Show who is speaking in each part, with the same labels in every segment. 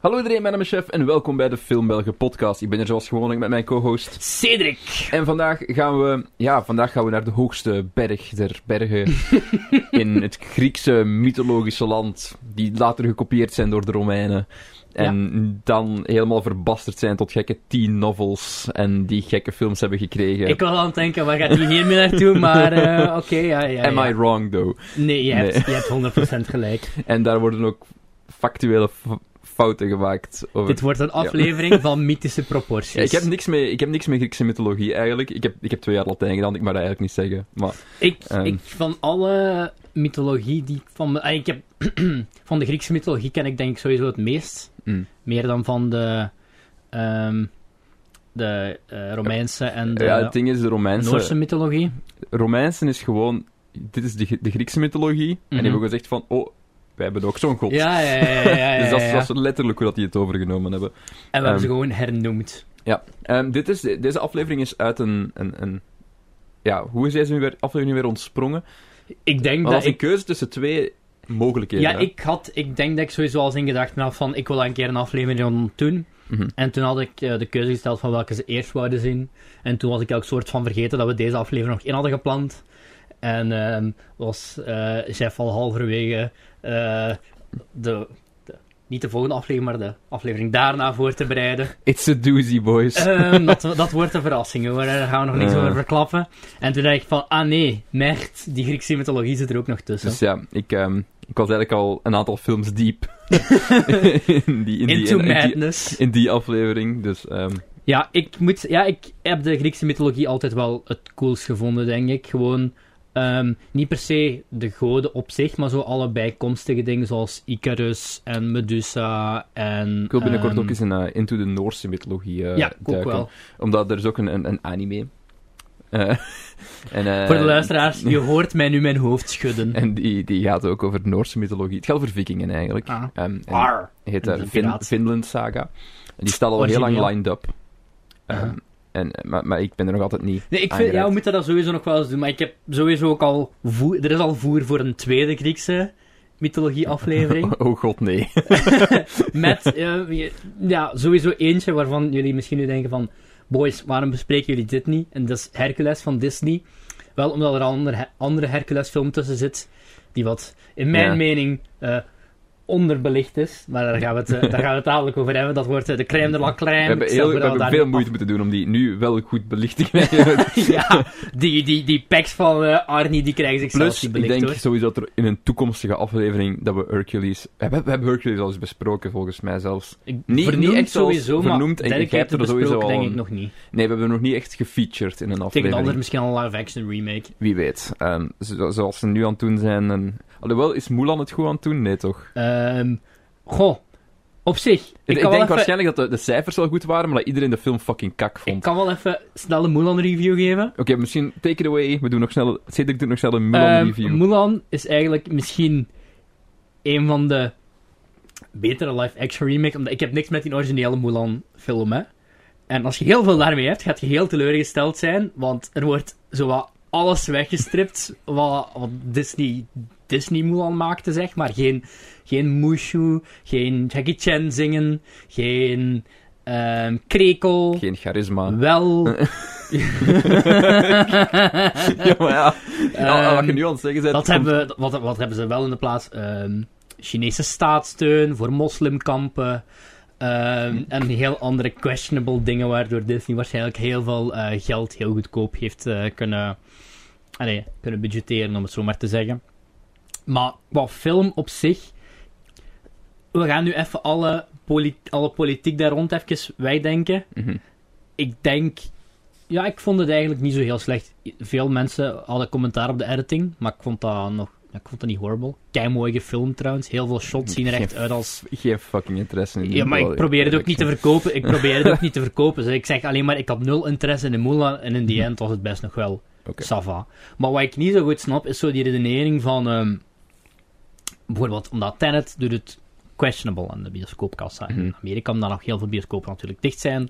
Speaker 1: Hallo iedereen, mijn naam is Chef en welkom bij de Filmbelgen podcast. Ik ben er zoals gewoonlijk met mijn co-host.
Speaker 2: Cedric!
Speaker 1: En vandaag gaan we, ja, vandaag gaan we naar de hoogste berg der bergen in het Griekse mythologische land, die later gekopieerd zijn door de Romeinen. En dan helemaal verbasterd zijn tot gekke teen novels en die gekke films hebben gekregen.
Speaker 2: Ik was aan het denken, waar gaat hij hiermee naartoe? Maar eh, oké, ja, ja.
Speaker 1: Am
Speaker 2: ja.
Speaker 1: I wrong though?
Speaker 2: Nee, je hebt,
Speaker 1: Nee.
Speaker 2: je hebt 100% gelijk.
Speaker 1: En daar worden ook factuele f- fouten gemaakt. Over...
Speaker 2: Dit wordt een aflevering van mythische proporties.
Speaker 1: Ja, ik, heb niks mee, ik heb niks met Griekse mythologie eigenlijk. Ik heb, ik heb twee jaar Latijn gedaan, ik mag dat eigenlijk niet zeggen. Maar
Speaker 2: Ik,
Speaker 1: Ehm.
Speaker 2: ik- van alle mythologie die ik van... ah, Ik heb, van de Griekse mythologie ken ik denk ik sowieso het meest.
Speaker 1: Mm.
Speaker 2: Meer dan van de... ehm, de eh, Romeinse en de
Speaker 1: ja, het ding is, de
Speaker 2: Noorse
Speaker 1: Romeinse,
Speaker 2: mythologie.
Speaker 1: Romeinse is gewoon... Dit is de, Gr- de Griekse mythologie. En die
Speaker 2: Mhm.
Speaker 1: hebben gezegd van, oh, wij hebben ook zo'n god.
Speaker 2: Ja, ja, ja. ja, ja,
Speaker 1: dus dat is,
Speaker 2: ja.
Speaker 1: dat is letterlijk hoe dat die het overgenomen hebben.
Speaker 2: En we hebben ze
Speaker 1: ehm.
Speaker 2: gewoon hernoemd.
Speaker 1: Ehm, dit is, deze aflevering is uit een... een, een ja, hoe is deze nu weer, aflevering weer ontsprongen?
Speaker 2: Ik denk
Speaker 1: Dat
Speaker 2: dat
Speaker 1: was een
Speaker 2: ik
Speaker 1: keuze tussen twee mogelijkheden.
Speaker 2: Ja,
Speaker 1: hè?
Speaker 2: ik had, ik denk dat ik sowieso al in gedachten had van, ik wil daar een keer een aflevering doen.
Speaker 1: Mhm.
Speaker 2: En toen had ik eh, de keuze gesteld van welke ze eerst wouden zien. En toen was ik ook soort van vergeten dat we deze aflevering nog in hadden gepland. En ehm, was eh Jeff al halverwege eh, de, de- niet de volgende aflevering, maar de aflevering daarna voor te bereiden.
Speaker 1: It's a doozy, boys.
Speaker 2: Ehm, dat, dat wordt een verrassing hoor, daar gaan we nog niks
Speaker 1: Ja.
Speaker 2: over verklappen. En toen dacht ik van, ah nee, merd, die Griekse mythologie zit er ook nog tussen.
Speaker 1: Dus ja, ik, ehm, ik was eigenlijk al een aantal films diep. in, die, in, die,
Speaker 2: Into
Speaker 1: in, in die,
Speaker 2: madness.
Speaker 1: in die aflevering. Dus ehm,
Speaker 2: Ja, ik moet... Ja, ik heb de Griekse mythologie altijd wel het coolst gevonden, denk ik. Gewoon... ehm, niet per se de goden op zich, maar zo alle bijkomstige dingen zoals Icarus en Medusa en...
Speaker 1: ik wil binnenkort
Speaker 2: ehm,
Speaker 1: ook eens in, eh, Into de Noorse mythologie eh,
Speaker 2: Ja, ik ook
Speaker 1: duiken.
Speaker 2: wel.
Speaker 1: Omdat er is ook een, een, een anime. Eh, en, eh,
Speaker 2: Voor de luisteraars, je hoort mij nu mijn hoofd schudden.
Speaker 1: En die, die gaat ook over Noorse mythologie. Het gaat over vikingen eigenlijk.
Speaker 2: Ah.
Speaker 1: Ehm, en
Speaker 2: Arr.
Speaker 1: het heet
Speaker 2: En
Speaker 1: eh,
Speaker 2: de
Speaker 1: Fin-
Speaker 2: piraat.
Speaker 1: Finland Saga. En die staat al heel
Speaker 2: Origineel.
Speaker 1: lang lined up. Ehm,
Speaker 2: Aha.
Speaker 1: en, eh, maar, maar ik ben er nog altijd niet.
Speaker 2: Nee, ik vind,
Speaker 1: aangeraakt.
Speaker 2: ja, we moeten dat sowieso nog wel eens doen, maar ik heb sowieso ook al voer... Er is al voer voor een tweede Griekse mythologie-aflevering.
Speaker 1: Oh god, nee.
Speaker 2: Met, eh, je- ja, sowieso eentje waarvan jullie misschien nu denken van... Boys, waarom bespreken jullie dit niet? En dat is Hercules van Disney. Wel omdat er een ander, andere Hercules film tussen zit. Die wat, in mijn
Speaker 1: Ja.
Speaker 2: mening, eh, onderbelicht is. Maar daar gaan, we het, eh, daar gaan we het dadelijk over hebben. Dat wordt eh, de crème de la crème.
Speaker 1: We hebben,
Speaker 2: Ik stel
Speaker 1: heel, we
Speaker 2: voor dat
Speaker 1: hebben
Speaker 2: daar
Speaker 1: veel
Speaker 2: niet
Speaker 1: moeite moeten doen om die nu wel goed belicht te krijgen.
Speaker 2: af- ja, die, die, die packs van eh Arnie, die krijgen zichzelf
Speaker 1: Plus,
Speaker 2: niet
Speaker 1: ik
Speaker 2: belicht
Speaker 1: denk
Speaker 2: hoor.
Speaker 1: sowieso dat er in een toekomstige aflevering dat we Hercules... Eh, We hebben, we hebben Hercules al eens besproken, volgens mij zelfs.
Speaker 2: Ik-
Speaker 1: niet
Speaker 2: vernoemd
Speaker 1: echt zelfs
Speaker 2: sowieso,
Speaker 1: vernoemd
Speaker 2: maar
Speaker 1: en
Speaker 2: dedicated
Speaker 1: jij hebt er sowieso
Speaker 2: besproken
Speaker 1: al
Speaker 2: denk
Speaker 1: een
Speaker 2: ik nog niet.
Speaker 1: Nee, we hebben hem nog niet echt gefeatured in een
Speaker 2: Tegen
Speaker 1: aflevering.
Speaker 2: de ander misschien al een live-action remake.
Speaker 1: Wie weet. Ehm, zo- zoals ze nu aan het doen zijn. En... Alhoewel, is Mulan het goed aan het doen? Nee, toch?
Speaker 2: Ehm goh, op zich.
Speaker 1: Ik, ik
Speaker 2: Ik, kan,
Speaker 1: denk
Speaker 2: wel even,
Speaker 1: waarschijnlijk dat de, de cijfers wel goed waren, maar dat iedereen de film fucking kak
Speaker 2: ik
Speaker 1: vond.
Speaker 2: kan wel even snel een Mulan-review geven.
Speaker 1: Oké, misschien take it away. We doen nog snel... Cedric doet nog snel een Mulan-review.
Speaker 2: Ehm, Mulan is eigenlijk misschien een van de betere live-action remakes. Omdat ik heb niks met die originele Mulan-film, hè. En als je heel veel daarmee hebt, gaat je heel teleurgesteld zijn. Want er wordt zowat alles weggestript wat, wat Disney, Disney Mulan maakte, zeg maar. Geen, geen Mushu, geen Jackie Chan zingen, geen ehm krekel.
Speaker 1: Geen charisma.
Speaker 2: Wel.
Speaker 1: ja, maar ja. Ja, wat je nu aan het zeggen bent...
Speaker 2: Wat
Speaker 1: komt-
Speaker 2: Ehm, hebben, wat, wat hebben ze wel in de plaats? Ehm, Chinese staatssteun voor moslimkampen. ehm, en heel andere questionable dingen waardoor Disney waarschijnlijk heel veel eh, geld heel goedkoop heeft eh, kunnen, allee, kunnen budgetteren, om het zo maar te zeggen. Maar qua film op zich. We gaan nu even alle, poli- alle politiek daar rond even wegdenken
Speaker 1: Mhm.
Speaker 2: ik denk. Ja, ik vond het eigenlijk niet zo heel slecht. Veel mensen hadden commentaar op de editing, maar ik vond dat nog. ja, Ik vond dat niet horrible. Kei mooi gefilmd trouwens. Heel veel shots zien er echt uit als.
Speaker 1: Geen fucking interesse in die
Speaker 2: Ja, maar ik
Speaker 1: bal-
Speaker 2: probeer het ook niet te
Speaker 1: production.
Speaker 2: verkopen. Ik probeer het ook niet te verkopen. Dus ik zeg alleen maar, ik had nul interesse in de Mulan. En in die end was het best nog wel
Speaker 1: Mhm. Oké.
Speaker 2: Sava. Maar wat ik niet zo goed snap, is zo die redenering van... ehm, bijvoorbeeld, omdat Tenet doet het questionable aan de bioscoopkassa. In
Speaker 1: Mhm.
Speaker 2: Amerika, omdat nog heel veel bioscopen natuurlijk dicht zijn.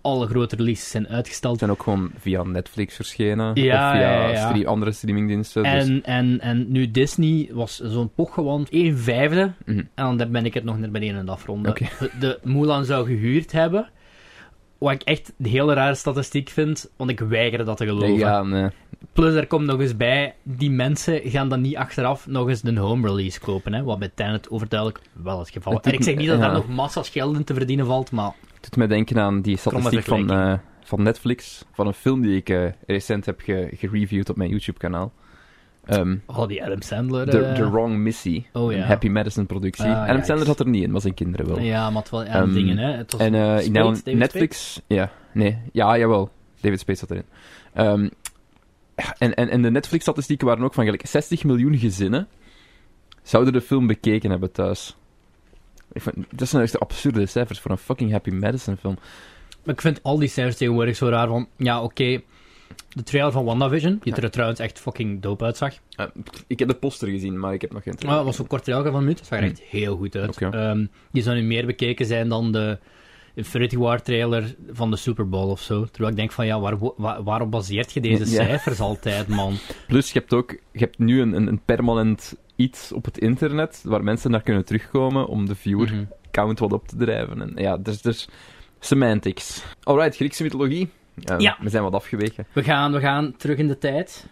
Speaker 2: alle grote releases zijn uitgesteld.
Speaker 1: zijn ook gewoon via Netflix verschenen.
Speaker 2: Ja,
Speaker 1: of via
Speaker 2: ja, ja.
Speaker 1: stre- andere streamingdiensten. dus-
Speaker 2: En, en, en nu Disney was zo'n pochgewand, 1 vijfde.
Speaker 1: Mhm.
Speaker 2: En dan ben ik het nog naar beneden aan het afronden.
Speaker 1: Oké.
Speaker 2: De, de Mulan zou gehuurd hebben. Wat ik echt een hele rare statistiek vind, want ik weiger dat te geloven.
Speaker 1: Ja, nee.
Speaker 2: Plus, er komt nog eens bij, die mensen gaan dan niet achteraf nog eens een home release kopen. Hè? Wat bij Tenet overduidelijk wel het geval is.
Speaker 1: Het doet
Speaker 2: En ik zeg
Speaker 1: me-
Speaker 2: niet dat daar
Speaker 1: ja.
Speaker 2: nog massa's geld in te verdienen valt, maar
Speaker 1: Het doet mij denken aan die statistiek van,
Speaker 2: vergelijking.
Speaker 1: eh, van Netflix. Van een film die ik eh, recent heb ge- gereviewd op mijn YouTube-kanaal. Ehm,
Speaker 2: oh, die Adam Sandler...
Speaker 1: the,
Speaker 2: eh,
Speaker 1: The Wrong Missy.
Speaker 2: Oh
Speaker 1: Een
Speaker 2: ja.
Speaker 1: Happy Madison-productie.
Speaker 2: Ah,
Speaker 1: en
Speaker 2: ja,
Speaker 1: Adam Sandler
Speaker 2: ik-
Speaker 1: zat er niet in, maar zijn kinderen wel.
Speaker 2: Ja, maar het wel ja,
Speaker 1: Ehm,
Speaker 2: dingen, hè. Het was
Speaker 1: En eh, ik
Speaker 2: Spade,
Speaker 1: nou,
Speaker 2: David
Speaker 1: Netflix... Ja, nee. Ja, jawel. David Spade zat erin. Ehm, en, en, en de Netflix-statistieken waren ook van gelijk 60 miljoen gezinnen zouden de film bekeken hebben thuis. Ik vind, dat zijn echt absurde cijfers voor een fucking Happy Madison-film.
Speaker 2: Maar ik vind al die cijfers tegenwoordig zo raar van... Ja, oké, de trailer van WandaVision, die er trouwens echt fucking dope uitzag.
Speaker 1: Eh, ik heb de poster gezien, maar ik heb nog geen
Speaker 2: Maar Ah, dat was zo'n kort trailer van een minuut, dat zag er echt heel goed uit.
Speaker 1: Hm. Oké.
Speaker 2: Ehm, die zou nu meer bekeken zijn dan de Infinity War trailer van de Super Bowl of zo. Terwijl ik denk van, ja, waar, wa- waarop baseert je deze
Speaker 1: Ja.
Speaker 2: cijfers altijd, man?
Speaker 1: Plus, je hebt ook je hebt nu een, een, een permanent iets op het internet waar mensen naar kunnen terugkomen om de viewer
Speaker 2: Mhm.
Speaker 1: count wat op te drijven. En ja, dus, dus semantics. Alright, Griekse mythologie. Eh,
Speaker 2: Ja.
Speaker 1: We zijn wat afgeweken.
Speaker 2: We, gaan, we gaan terug in de tijd.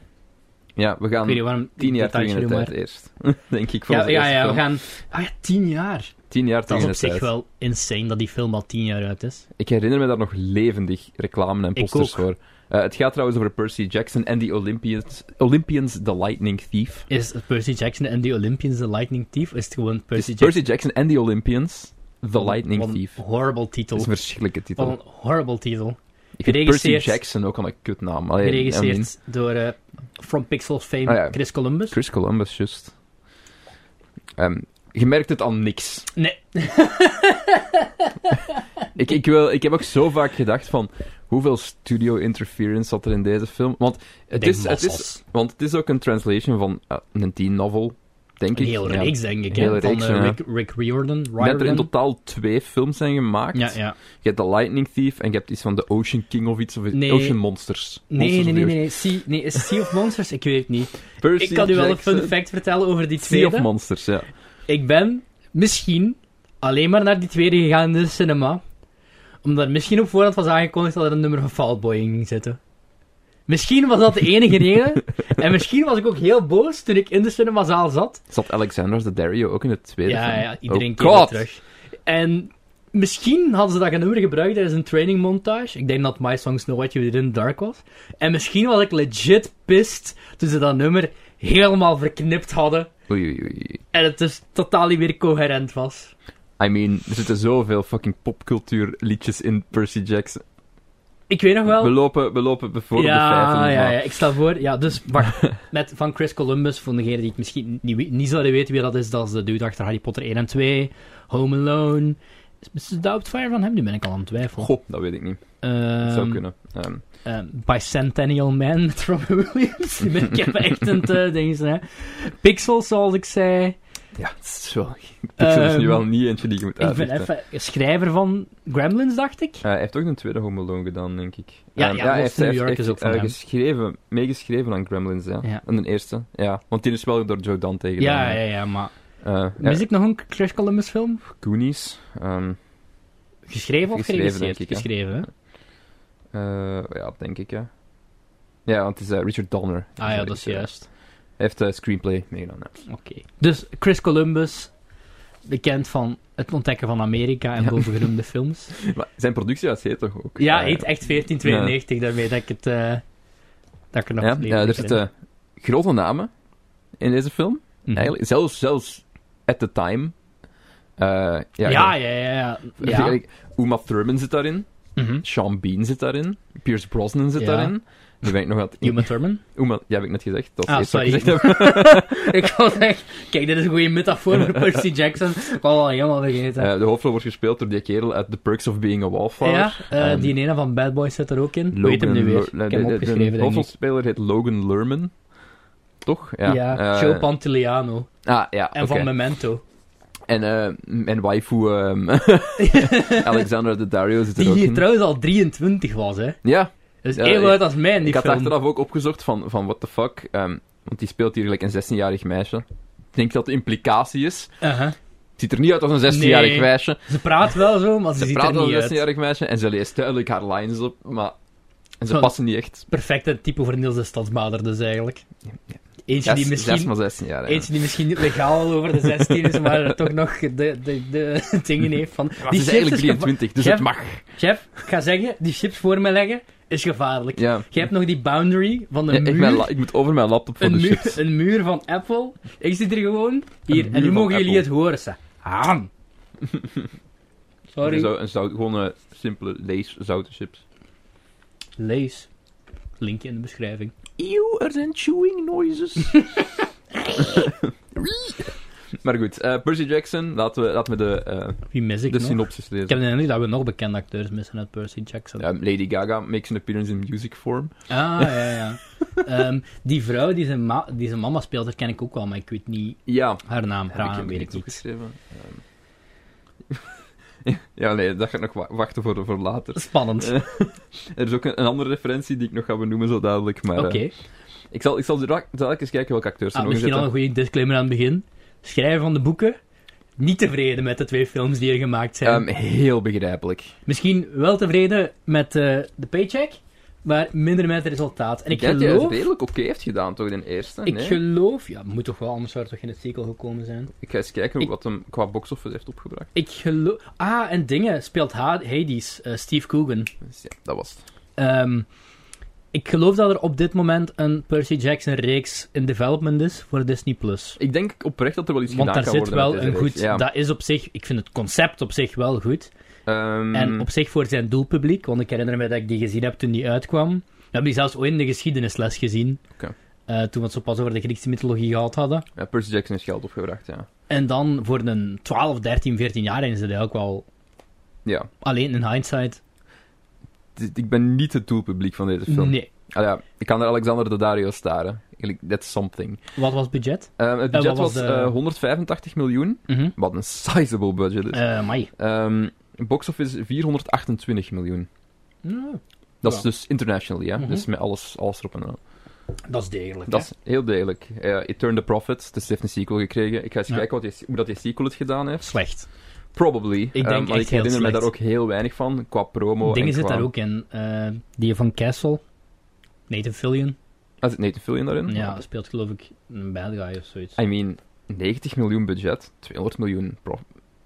Speaker 1: Ja, we
Speaker 2: Ik weet niet
Speaker 1: gaan
Speaker 2: waarom...
Speaker 1: tien jaar terug
Speaker 2: details
Speaker 1: in de
Speaker 2: noem maar.
Speaker 1: tijd eerst. Denk ik, voor
Speaker 2: Ja,
Speaker 1: onze
Speaker 2: ja,
Speaker 1: eerste
Speaker 2: ja, we
Speaker 1: film.
Speaker 2: gaan... Ah ja, tien jaar.
Speaker 1: Tien jaar
Speaker 2: Dat
Speaker 1: terug
Speaker 2: is
Speaker 1: in
Speaker 2: op
Speaker 1: de
Speaker 2: zich
Speaker 1: tijd.
Speaker 2: wel insane dat die film al tien jaar uit is.
Speaker 1: Ik herinner me daar nog levendig reclame en
Speaker 2: Ik
Speaker 1: posters
Speaker 2: ook.
Speaker 1: voor. Eh, het gaat trouwens over Percy Jackson en die Olympians, Olympians The Lightning Thief.
Speaker 2: Is Percy Jackson en die Olympians de Lightning Thief? Of is het gewoon
Speaker 1: Het
Speaker 2: Percy
Speaker 1: is
Speaker 2: Jackson?
Speaker 1: Dus Percy Jackson en The Olympians, The Lightning
Speaker 2: Wat een
Speaker 1: Thief.
Speaker 2: horrible
Speaker 1: Dat
Speaker 2: titel.
Speaker 1: is een verschrikkelijke titel.
Speaker 2: Wat een horrible titel.
Speaker 1: Ik vind
Speaker 2: geregisseerd-
Speaker 1: Percy Jackson ook al een kutnaam. Allee, I mean,
Speaker 2: Geregisseerd door eh, From Pixel fame
Speaker 1: Ah, ja.
Speaker 2: Chris Columbus.
Speaker 1: Chris Columbus, just. Ehm, je merkt het aan niks.
Speaker 2: Nee.
Speaker 1: Ik, ik, wil, ik heb ook zo vaak gedacht van... Hoeveel studio interference zat er in deze film? Want
Speaker 2: Ik
Speaker 1: het,
Speaker 2: denk
Speaker 1: is, het, is,
Speaker 2: massas.
Speaker 1: want het is ook een translation van eh, een teen novel, denk
Speaker 2: Een
Speaker 1: ik.
Speaker 2: heel
Speaker 1: Ja.
Speaker 2: reeks, denk ik. hè,
Speaker 1: Hele
Speaker 2: van
Speaker 1: reeks,
Speaker 2: eh,
Speaker 1: ja.
Speaker 2: Rick, Rick Riordan.
Speaker 1: Ik denk dat er in
Speaker 2: Riordan.
Speaker 1: totaal twee films zijn gemaakt.
Speaker 2: Ja, ja.
Speaker 1: Je hebt The Lightning Thief en je hebt iets van The Ocean King of iets. Of
Speaker 2: Nee.
Speaker 1: Ocean Monsters. Monsters
Speaker 2: Nee,
Speaker 1: of
Speaker 2: nee,
Speaker 1: the
Speaker 2: nee.
Speaker 1: Ocean.
Speaker 2: nee. Sea, nee is sea of Monsters? Ik weet het niet.
Speaker 1: Percy
Speaker 2: Ik kan u wel een
Speaker 1: Jackson.
Speaker 2: fun fact vertellen over die
Speaker 1: Sea of
Speaker 2: tweede.
Speaker 1: Monsters, ja.
Speaker 2: Ik ben misschien alleen maar naar die tweede gegaan in de cinema. Omdat er misschien op voorhand was aangekondigd dat er een nummer van Fall Boy in ging zitten. Misschien was dat de enige reden. En misschien was ik ook heel boos toen ik in de cinemazaal zat.
Speaker 1: Zat Alexander the Dario ook in het tweede
Speaker 2: Ja,
Speaker 1: film?
Speaker 2: ja, iedereen
Speaker 1: Oh,
Speaker 2: keek weer
Speaker 1: God.
Speaker 2: terug. En misschien hadden ze dat een nummer gebruikt tijdens een training montage. Ik denk dat My Songs Know What You Did in the Dark was. En misschien was ik legit pissed toen ze dat nummer helemaal verknipt hadden.
Speaker 1: Oei, oei, oei.
Speaker 2: En het dus totaal niet meer coherent was.
Speaker 1: I mean, er zitten zoveel fucking popcultuurliedjes in Percy Jackson.
Speaker 2: Ik weet nog wel.
Speaker 1: We lopen, we lopen bijvoorbeeld
Speaker 2: ja,
Speaker 1: de feiten.
Speaker 2: ja,
Speaker 1: maar-
Speaker 2: ja, ik stel voor. Ja, dus wacht. Met van Chris Columbus, voor degenen die het misschien niet, wie- niet zouden weten wie dat is, dat is de dude achter Harry Potter 1 en 2, Home Alone. Is Mr. Doubtfire van hem? Nu ben ik al aan het twijfelen.
Speaker 1: Goh, dat weet ik niet. Dat zou
Speaker 2: Ehm,
Speaker 1: kunnen. Ehm,
Speaker 2: ehm, Bicentennial Man met Robin Williams. Nu ben ik even echt een te dingsen, hè. Pixels, zoals ik zei.
Speaker 1: ja, het is wel... Pixel is dus nu
Speaker 2: Ehm,
Speaker 1: wel niet eentje die je moet
Speaker 2: ik ben
Speaker 1: uitlichten.
Speaker 2: even schrijver van Gremlins, dacht ik.
Speaker 1: Eh, hij heeft ook een tweede Home Alone gedaan, denk ik.
Speaker 2: Ja,
Speaker 1: Ehm,
Speaker 2: ja,
Speaker 1: hij
Speaker 2: Lost
Speaker 1: heeft,
Speaker 2: in
Speaker 1: hij
Speaker 2: New
Speaker 1: heeft
Speaker 2: York is ook
Speaker 1: echt,
Speaker 2: van
Speaker 1: eh,
Speaker 2: hem.
Speaker 1: geschreven, meegeschreven aan Gremlins, ja.
Speaker 2: Ja.
Speaker 1: En de eerste, ja. Want die is wel door Joe Dante gedaan.
Speaker 2: Ja,
Speaker 1: hè.
Speaker 2: ja, ja, maar...
Speaker 1: Eh, ja,
Speaker 2: Mis ik nog een Chris Columbus film?
Speaker 1: Goonies. ehm,
Speaker 2: Geschreven
Speaker 1: Geschreven,
Speaker 2: of
Speaker 1: denk
Speaker 2: geregisseerd?
Speaker 1: ik, hè.
Speaker 2: Geschreven, hè? Ah,
Speaker 1: Eh, ja, dat denk ik, ja. Ja, want het is eh, Richard Donner.
Speaker 2: Ah ja, dat is juist.
Speaker 1: Hij heeft eh, screenplay meegedaan, ja.
Speaker 2: Oké. Dus Chris Columbus, bekend van het ontdekken van Amerika en
Speaker 1: Ja.
Speaker 2: bovengenoemde films.
Speaker 1: Maar zijn productiehuis heet toch ook?
Speaker 2: Ja,
Speaker 1: Eh,
Speaker 2: heet echt 1492, daarmee dat ik het... eh, dat ik er nog
Speaker 1: ja,
Speaker 2: het leven
Speaker 1: ja, er
Speaker 2: in
Speaker 1: zitten grote namen in deze film.
Speaker 2: Mhm.
Speaker 1: Eigenlijk, zelfs, zelfs at the time. Eh,
Speaker 2: Ja,
Speaker 1: ja,
Speaker 2: ja, ja, ja. ja.
Speaker 1: Eigenlijk, Uma Thurman zit daarin.
Speaker 2: Mhm.
Speaker 1: Sean Bean zit daarin. Pierce Brosnan zit
Speaker 2: Ja.
Speaker 1: daarin. Die ben ik nog aan het-
Speaker 2: Uma Thurman?
Speaker 1: Uma, ja, heb ik net gezegd. Dat is
Speaker 2: Ah,
Speaker 1: het eerste wat
Speaker 2: sorry.
Speaker 1: ik gezegd heb.
Speaker 2: ik was echt... Kijk, dit is een goede metafoor voor Percy Jackson. Ik was al helemaal vergeten.
Speaker 1: Eh, de hoofdrol wordt gespeeld door die kerel uit The Perks of Being a Wallflower.
Speaker 2: ja, eh,
Speaker 1: ehm,
Speaker 2: die ene van Bad Boys zit er ook in. Weet hem nu weer?
Speaker 1: Lo-
Speaker 2: Ik heb
Speaker 1: de-
Speaker 2: hem
Speaker 1: de-
Speaker 2: opgeschreven,
Speaker 1: De
Speaker 2: denk ik.
Speaker 1: hoofdrolspeler heet Logan Lerman. Toch? Ja.
Speaker 2: Ja,
Speaker 1: eh,
Speaker 2: Joe Pantoliano.
Speaker 1: Ah, ja,
Speaker 2: En
Speaker 1: oké.
Speaker 2: van Memento.
Speaker 1: En, eh, en waifu ehm, Alexandra de Dario zit er
Speaker 2: Die
Speaker 1: ook
Speaker 2: hier
Speaker 1: in.
Speaker 2: trouwens al 23 was, hè.
Speaker 1: Ja,
Speaker 2: Dus
Speaker 1: Ja,
Speaker 2: even
Speaker 1: ik-
Speaker 2: uit als mij in die
Speaker 1: ik had
Speaker 2: film.
Speaker 1: achteraf ook opgezocht van, van what the fuck. ehm, want die speelt hier gelijk een 16-jarig meisje. Ik denk dat de implicatie is.
Speaker 2: Uh-huh.
Speaker 1: Het ziet er niet uit als een 16-jarig
Speaker 2: Nee.
Speaker 1: meisje.
Speaker 2: Ze praat wel zo, maar ze,
Speaker 1: Ze
Speaker 2: ziet
Speaker 1: praat
Speaker 2: er
Speaker 1: als
Speaker 2: niet
Speaker 1: een
Speaker 2: uit.
Speaker 1: 16-jarig meisje en ze leest duidelijk haar lines op, maar en ze
Speaker 2: Zo-
Speaker 1: passen niet echt.
Speaker 2: Perfecte type voor Niels de Stadsbader dus eigenlijk. Eentje,
Speaker 1: Ja,
Speaker 2: die,
Speaker 1: ze is
Speaker 2: misschien,
Speaker 1: maar 16 jaar. hè.
Speaker 2: eentje die misschien niet legaal al over de 16 is, maar er toch nog de, de, de dingen heeft van...
Speaker 1: Maar
Speaker 2: die
Speaker 1: ze is
Speaker 2: chips
Speaker 1: eigenlijk
Speaker 2: geva-
Speaker 1: 23, dus
Speaker 2: Chef-
Speaker 1: het mag.
Speaker 2: Chef, ik ga zeggen, die chips voor me leggen is gevaarlijk.
Speaker 1: Ja.
Speaker 2: Je hebt nog die boundary van een
Speaker 1: Ja, ik,
Speaker 2: muur.
Speaker 1: ben la- ik moet over mijn laptop voor
Speaker 2: een,
Speaker 1: de
Speaker 2: muur,
Speaker 1: chips.
Speaker 2: een muur van Apple. Ik zit er gewoon. Hier,
Speaker 1: muur
Speaker 2: en nu
Speaker 1: van
Speaker 2: mogen jullie het
Speaker 1: Apple.
Speaker 2: horen, ze. Aan. Sorry.
Speaker 1: Een zout- een zout- gewoon een simpele lees zoute chips.
Speaker 2: Lees. Linkje in de beschrijving.
Speaker 1: Eeuw, er zijn chewing noises. maar goed, eh, Percy Jackson, laten we, laten we de, eh,
Speaker 2: Wie mis ik
Speaker 1: de
Speaker 2: nog?
Speaker 1: synopsis
Speaker 2: Ik heb
Speaker 1: lezen.
Speaker 2: de indruk dat we nog bekende acteurs missen uit Percy Jackson.
Speaker 1: Ja, Lady Gaga makes an appearance in music form.
Speaker 2: Ah, ja, ja. Ehm, die vrouw die zijn, ma- die zijn mama speelt, dat ken ik ook wel, maar ik weet niet
Speaker 1: Ja,
Speaker 2: haar naam.
Speaker 1: heb ik
Speaker 2: Raam,
Speaker 1: hem
Speaker 2: weet
Speaker 1: niet
Speaker 2: ik niet.
Speaker 1: opgeschreven. Ehm. ja, nee, dat gaat nog wa- wachten voor, voor later.
Speaker 2: Spannend.
Speaker 1: Eh, Er is ook een, een andere referentie die ik nog ga benoemen zo dadelijk, maar...
Speaker 2: Oké.
Speaker 1: eh, Ik zal, ik zal direct, dadelijk eens kijken welke acteurs er
Speaker 2: Ah,
Speaker 1: nog in
Speaker 2: misschien
Speaker 1: zitten.
Speaker 2: al een goede disclaimer aan het begin. Schrijver van de boeken, niet tevreden met de twee films die er gemaakt zijn.
Speaker 1: Ehm, heel begrijpelijk.
Speaker 2: Misschien wel tevreden met eh, de paycheck, maar minder met het resultaat. En ik
Speaker 1: denk dat hij
Speaker 2: geloof,
Speaker 1: het redelijk oké heeft gedaan, toch, de eerste?
Speaker 2: ik
Speaker 1: nee?
Speaker 2: geloof, ja, moet toch wel, anders zou er toch geen sequel gekomen zijn.
Speaker 1: Ik ga eens kijken
Speaker 2: ik-
Speaker 1: wat hem qua box-office heeft opgebracht.
Speaker 2: Ik geloof, ah, en dingen, speelt Ha- Hades, eh, Steve Coogan.
Speaker 1: Dus ja, dat was het.
Speaker 2: Ehm, ik geloof dat er op dit moment een Percy Jackson reeks in development is voor Disney+. Plus.
Speaker 1: Ik denk oprecht dat er wel iets
Speaker 2: Want
Speaker 1: gedaan
Speaker 2: daar
Speaker 1: kan
Speaker 2: zit
Speaker 1: worden
Speaker 2: wel
Speaker 1: met
Speaker 2: een
Speaker 1: deze
Speaker 2: goed...
Speaker 1: reeks, Ja.
Speaker 2: Dat is op zich... Ik vind het concept op zich wel goed.
Speaker 1: Ehm,
Speaker 2: En op zich voor zijn doelpubliek, want ik herinner me dat ik die gezien heb toen die uitkwam. We hebben die zelfs ooit in de geschiedenisles gezien.
Speaker 1: Oké.
Speaker 2: Eh, toen we het zo pas over de Griekse mythologie gehad hadden.
Speaker 1: ja, Percy Jackson heeft geld opgebracht, ja.
Speaker 2: En dan voor een 12, 13, 14 jaar is het eigenlijk wel...
Speaker 1: Ja.
Speaker 2: Alleen in hindsight,
Speaker 1: D- Ik ben niet het doelpubliek van deze film.
Speaker 2: nee.
Speaker 1: Ah, ja, ik kan naar Alexander de Dario staren. Eigenlijk, That's something.
Speaker 2: Wat was het budget?
Speaker 1: Ehm, het budget
Speaker 2: wat was
Speaker 1: was,
Speaker 2: de-
Speaker 1: eh, 185 miljoen.
Speaker 2: Mhm.
Speaker 1: Wat een sizable budget is.
Speaker 2: Eh, amai.
Speaker 1: Ehm box-office 428 miljoen.
Speaker 2: Nou,
Speaker 1: Dat
Speaker 2: Ja.
Speaker 1: is dus international, ja.
Speaker 2: Mhm.
Speaker 1: Dus met alles, alles erop en aan.
Speaker 2: dat is degelijk,
Speaker 1: Dat
Speaker 2: hè?
Speaker 1: is heel degelijk. Eh It Turned the Profit, dus het heeft een sequel gekregen. Ik ga eens
Speaker 2: Ja.
Speaker 1: kijken wat die, hoe dat die sequel het gedaan heeft.
Speaker 2: Slecht.
Speaker 1: Probably.
Speaker 2: denk
Speaker 1: Eh,
Speaker 2: echt
Speaker 1: maar ik
Speaker 2: heel
Speaker 1: herinner me
Speaker 2: slecht.
Speaker 1: daar ook heel weinig van, qua promo
Speaker 2: Dingen
Speaker 1: en
Speaker 2: zit
Speaker 1: qua...
Speaker 2: daar ook in. eh, die van Castle. Nathan Fillion.
Speaker 1: Ah, zit Nathan Fillion daarin?
Speaker 2: Ja, speelt geloof ik een bad guy of zoiets.
Speaker 1: I mean, 90 miljoen budget, 200 miljoen pro-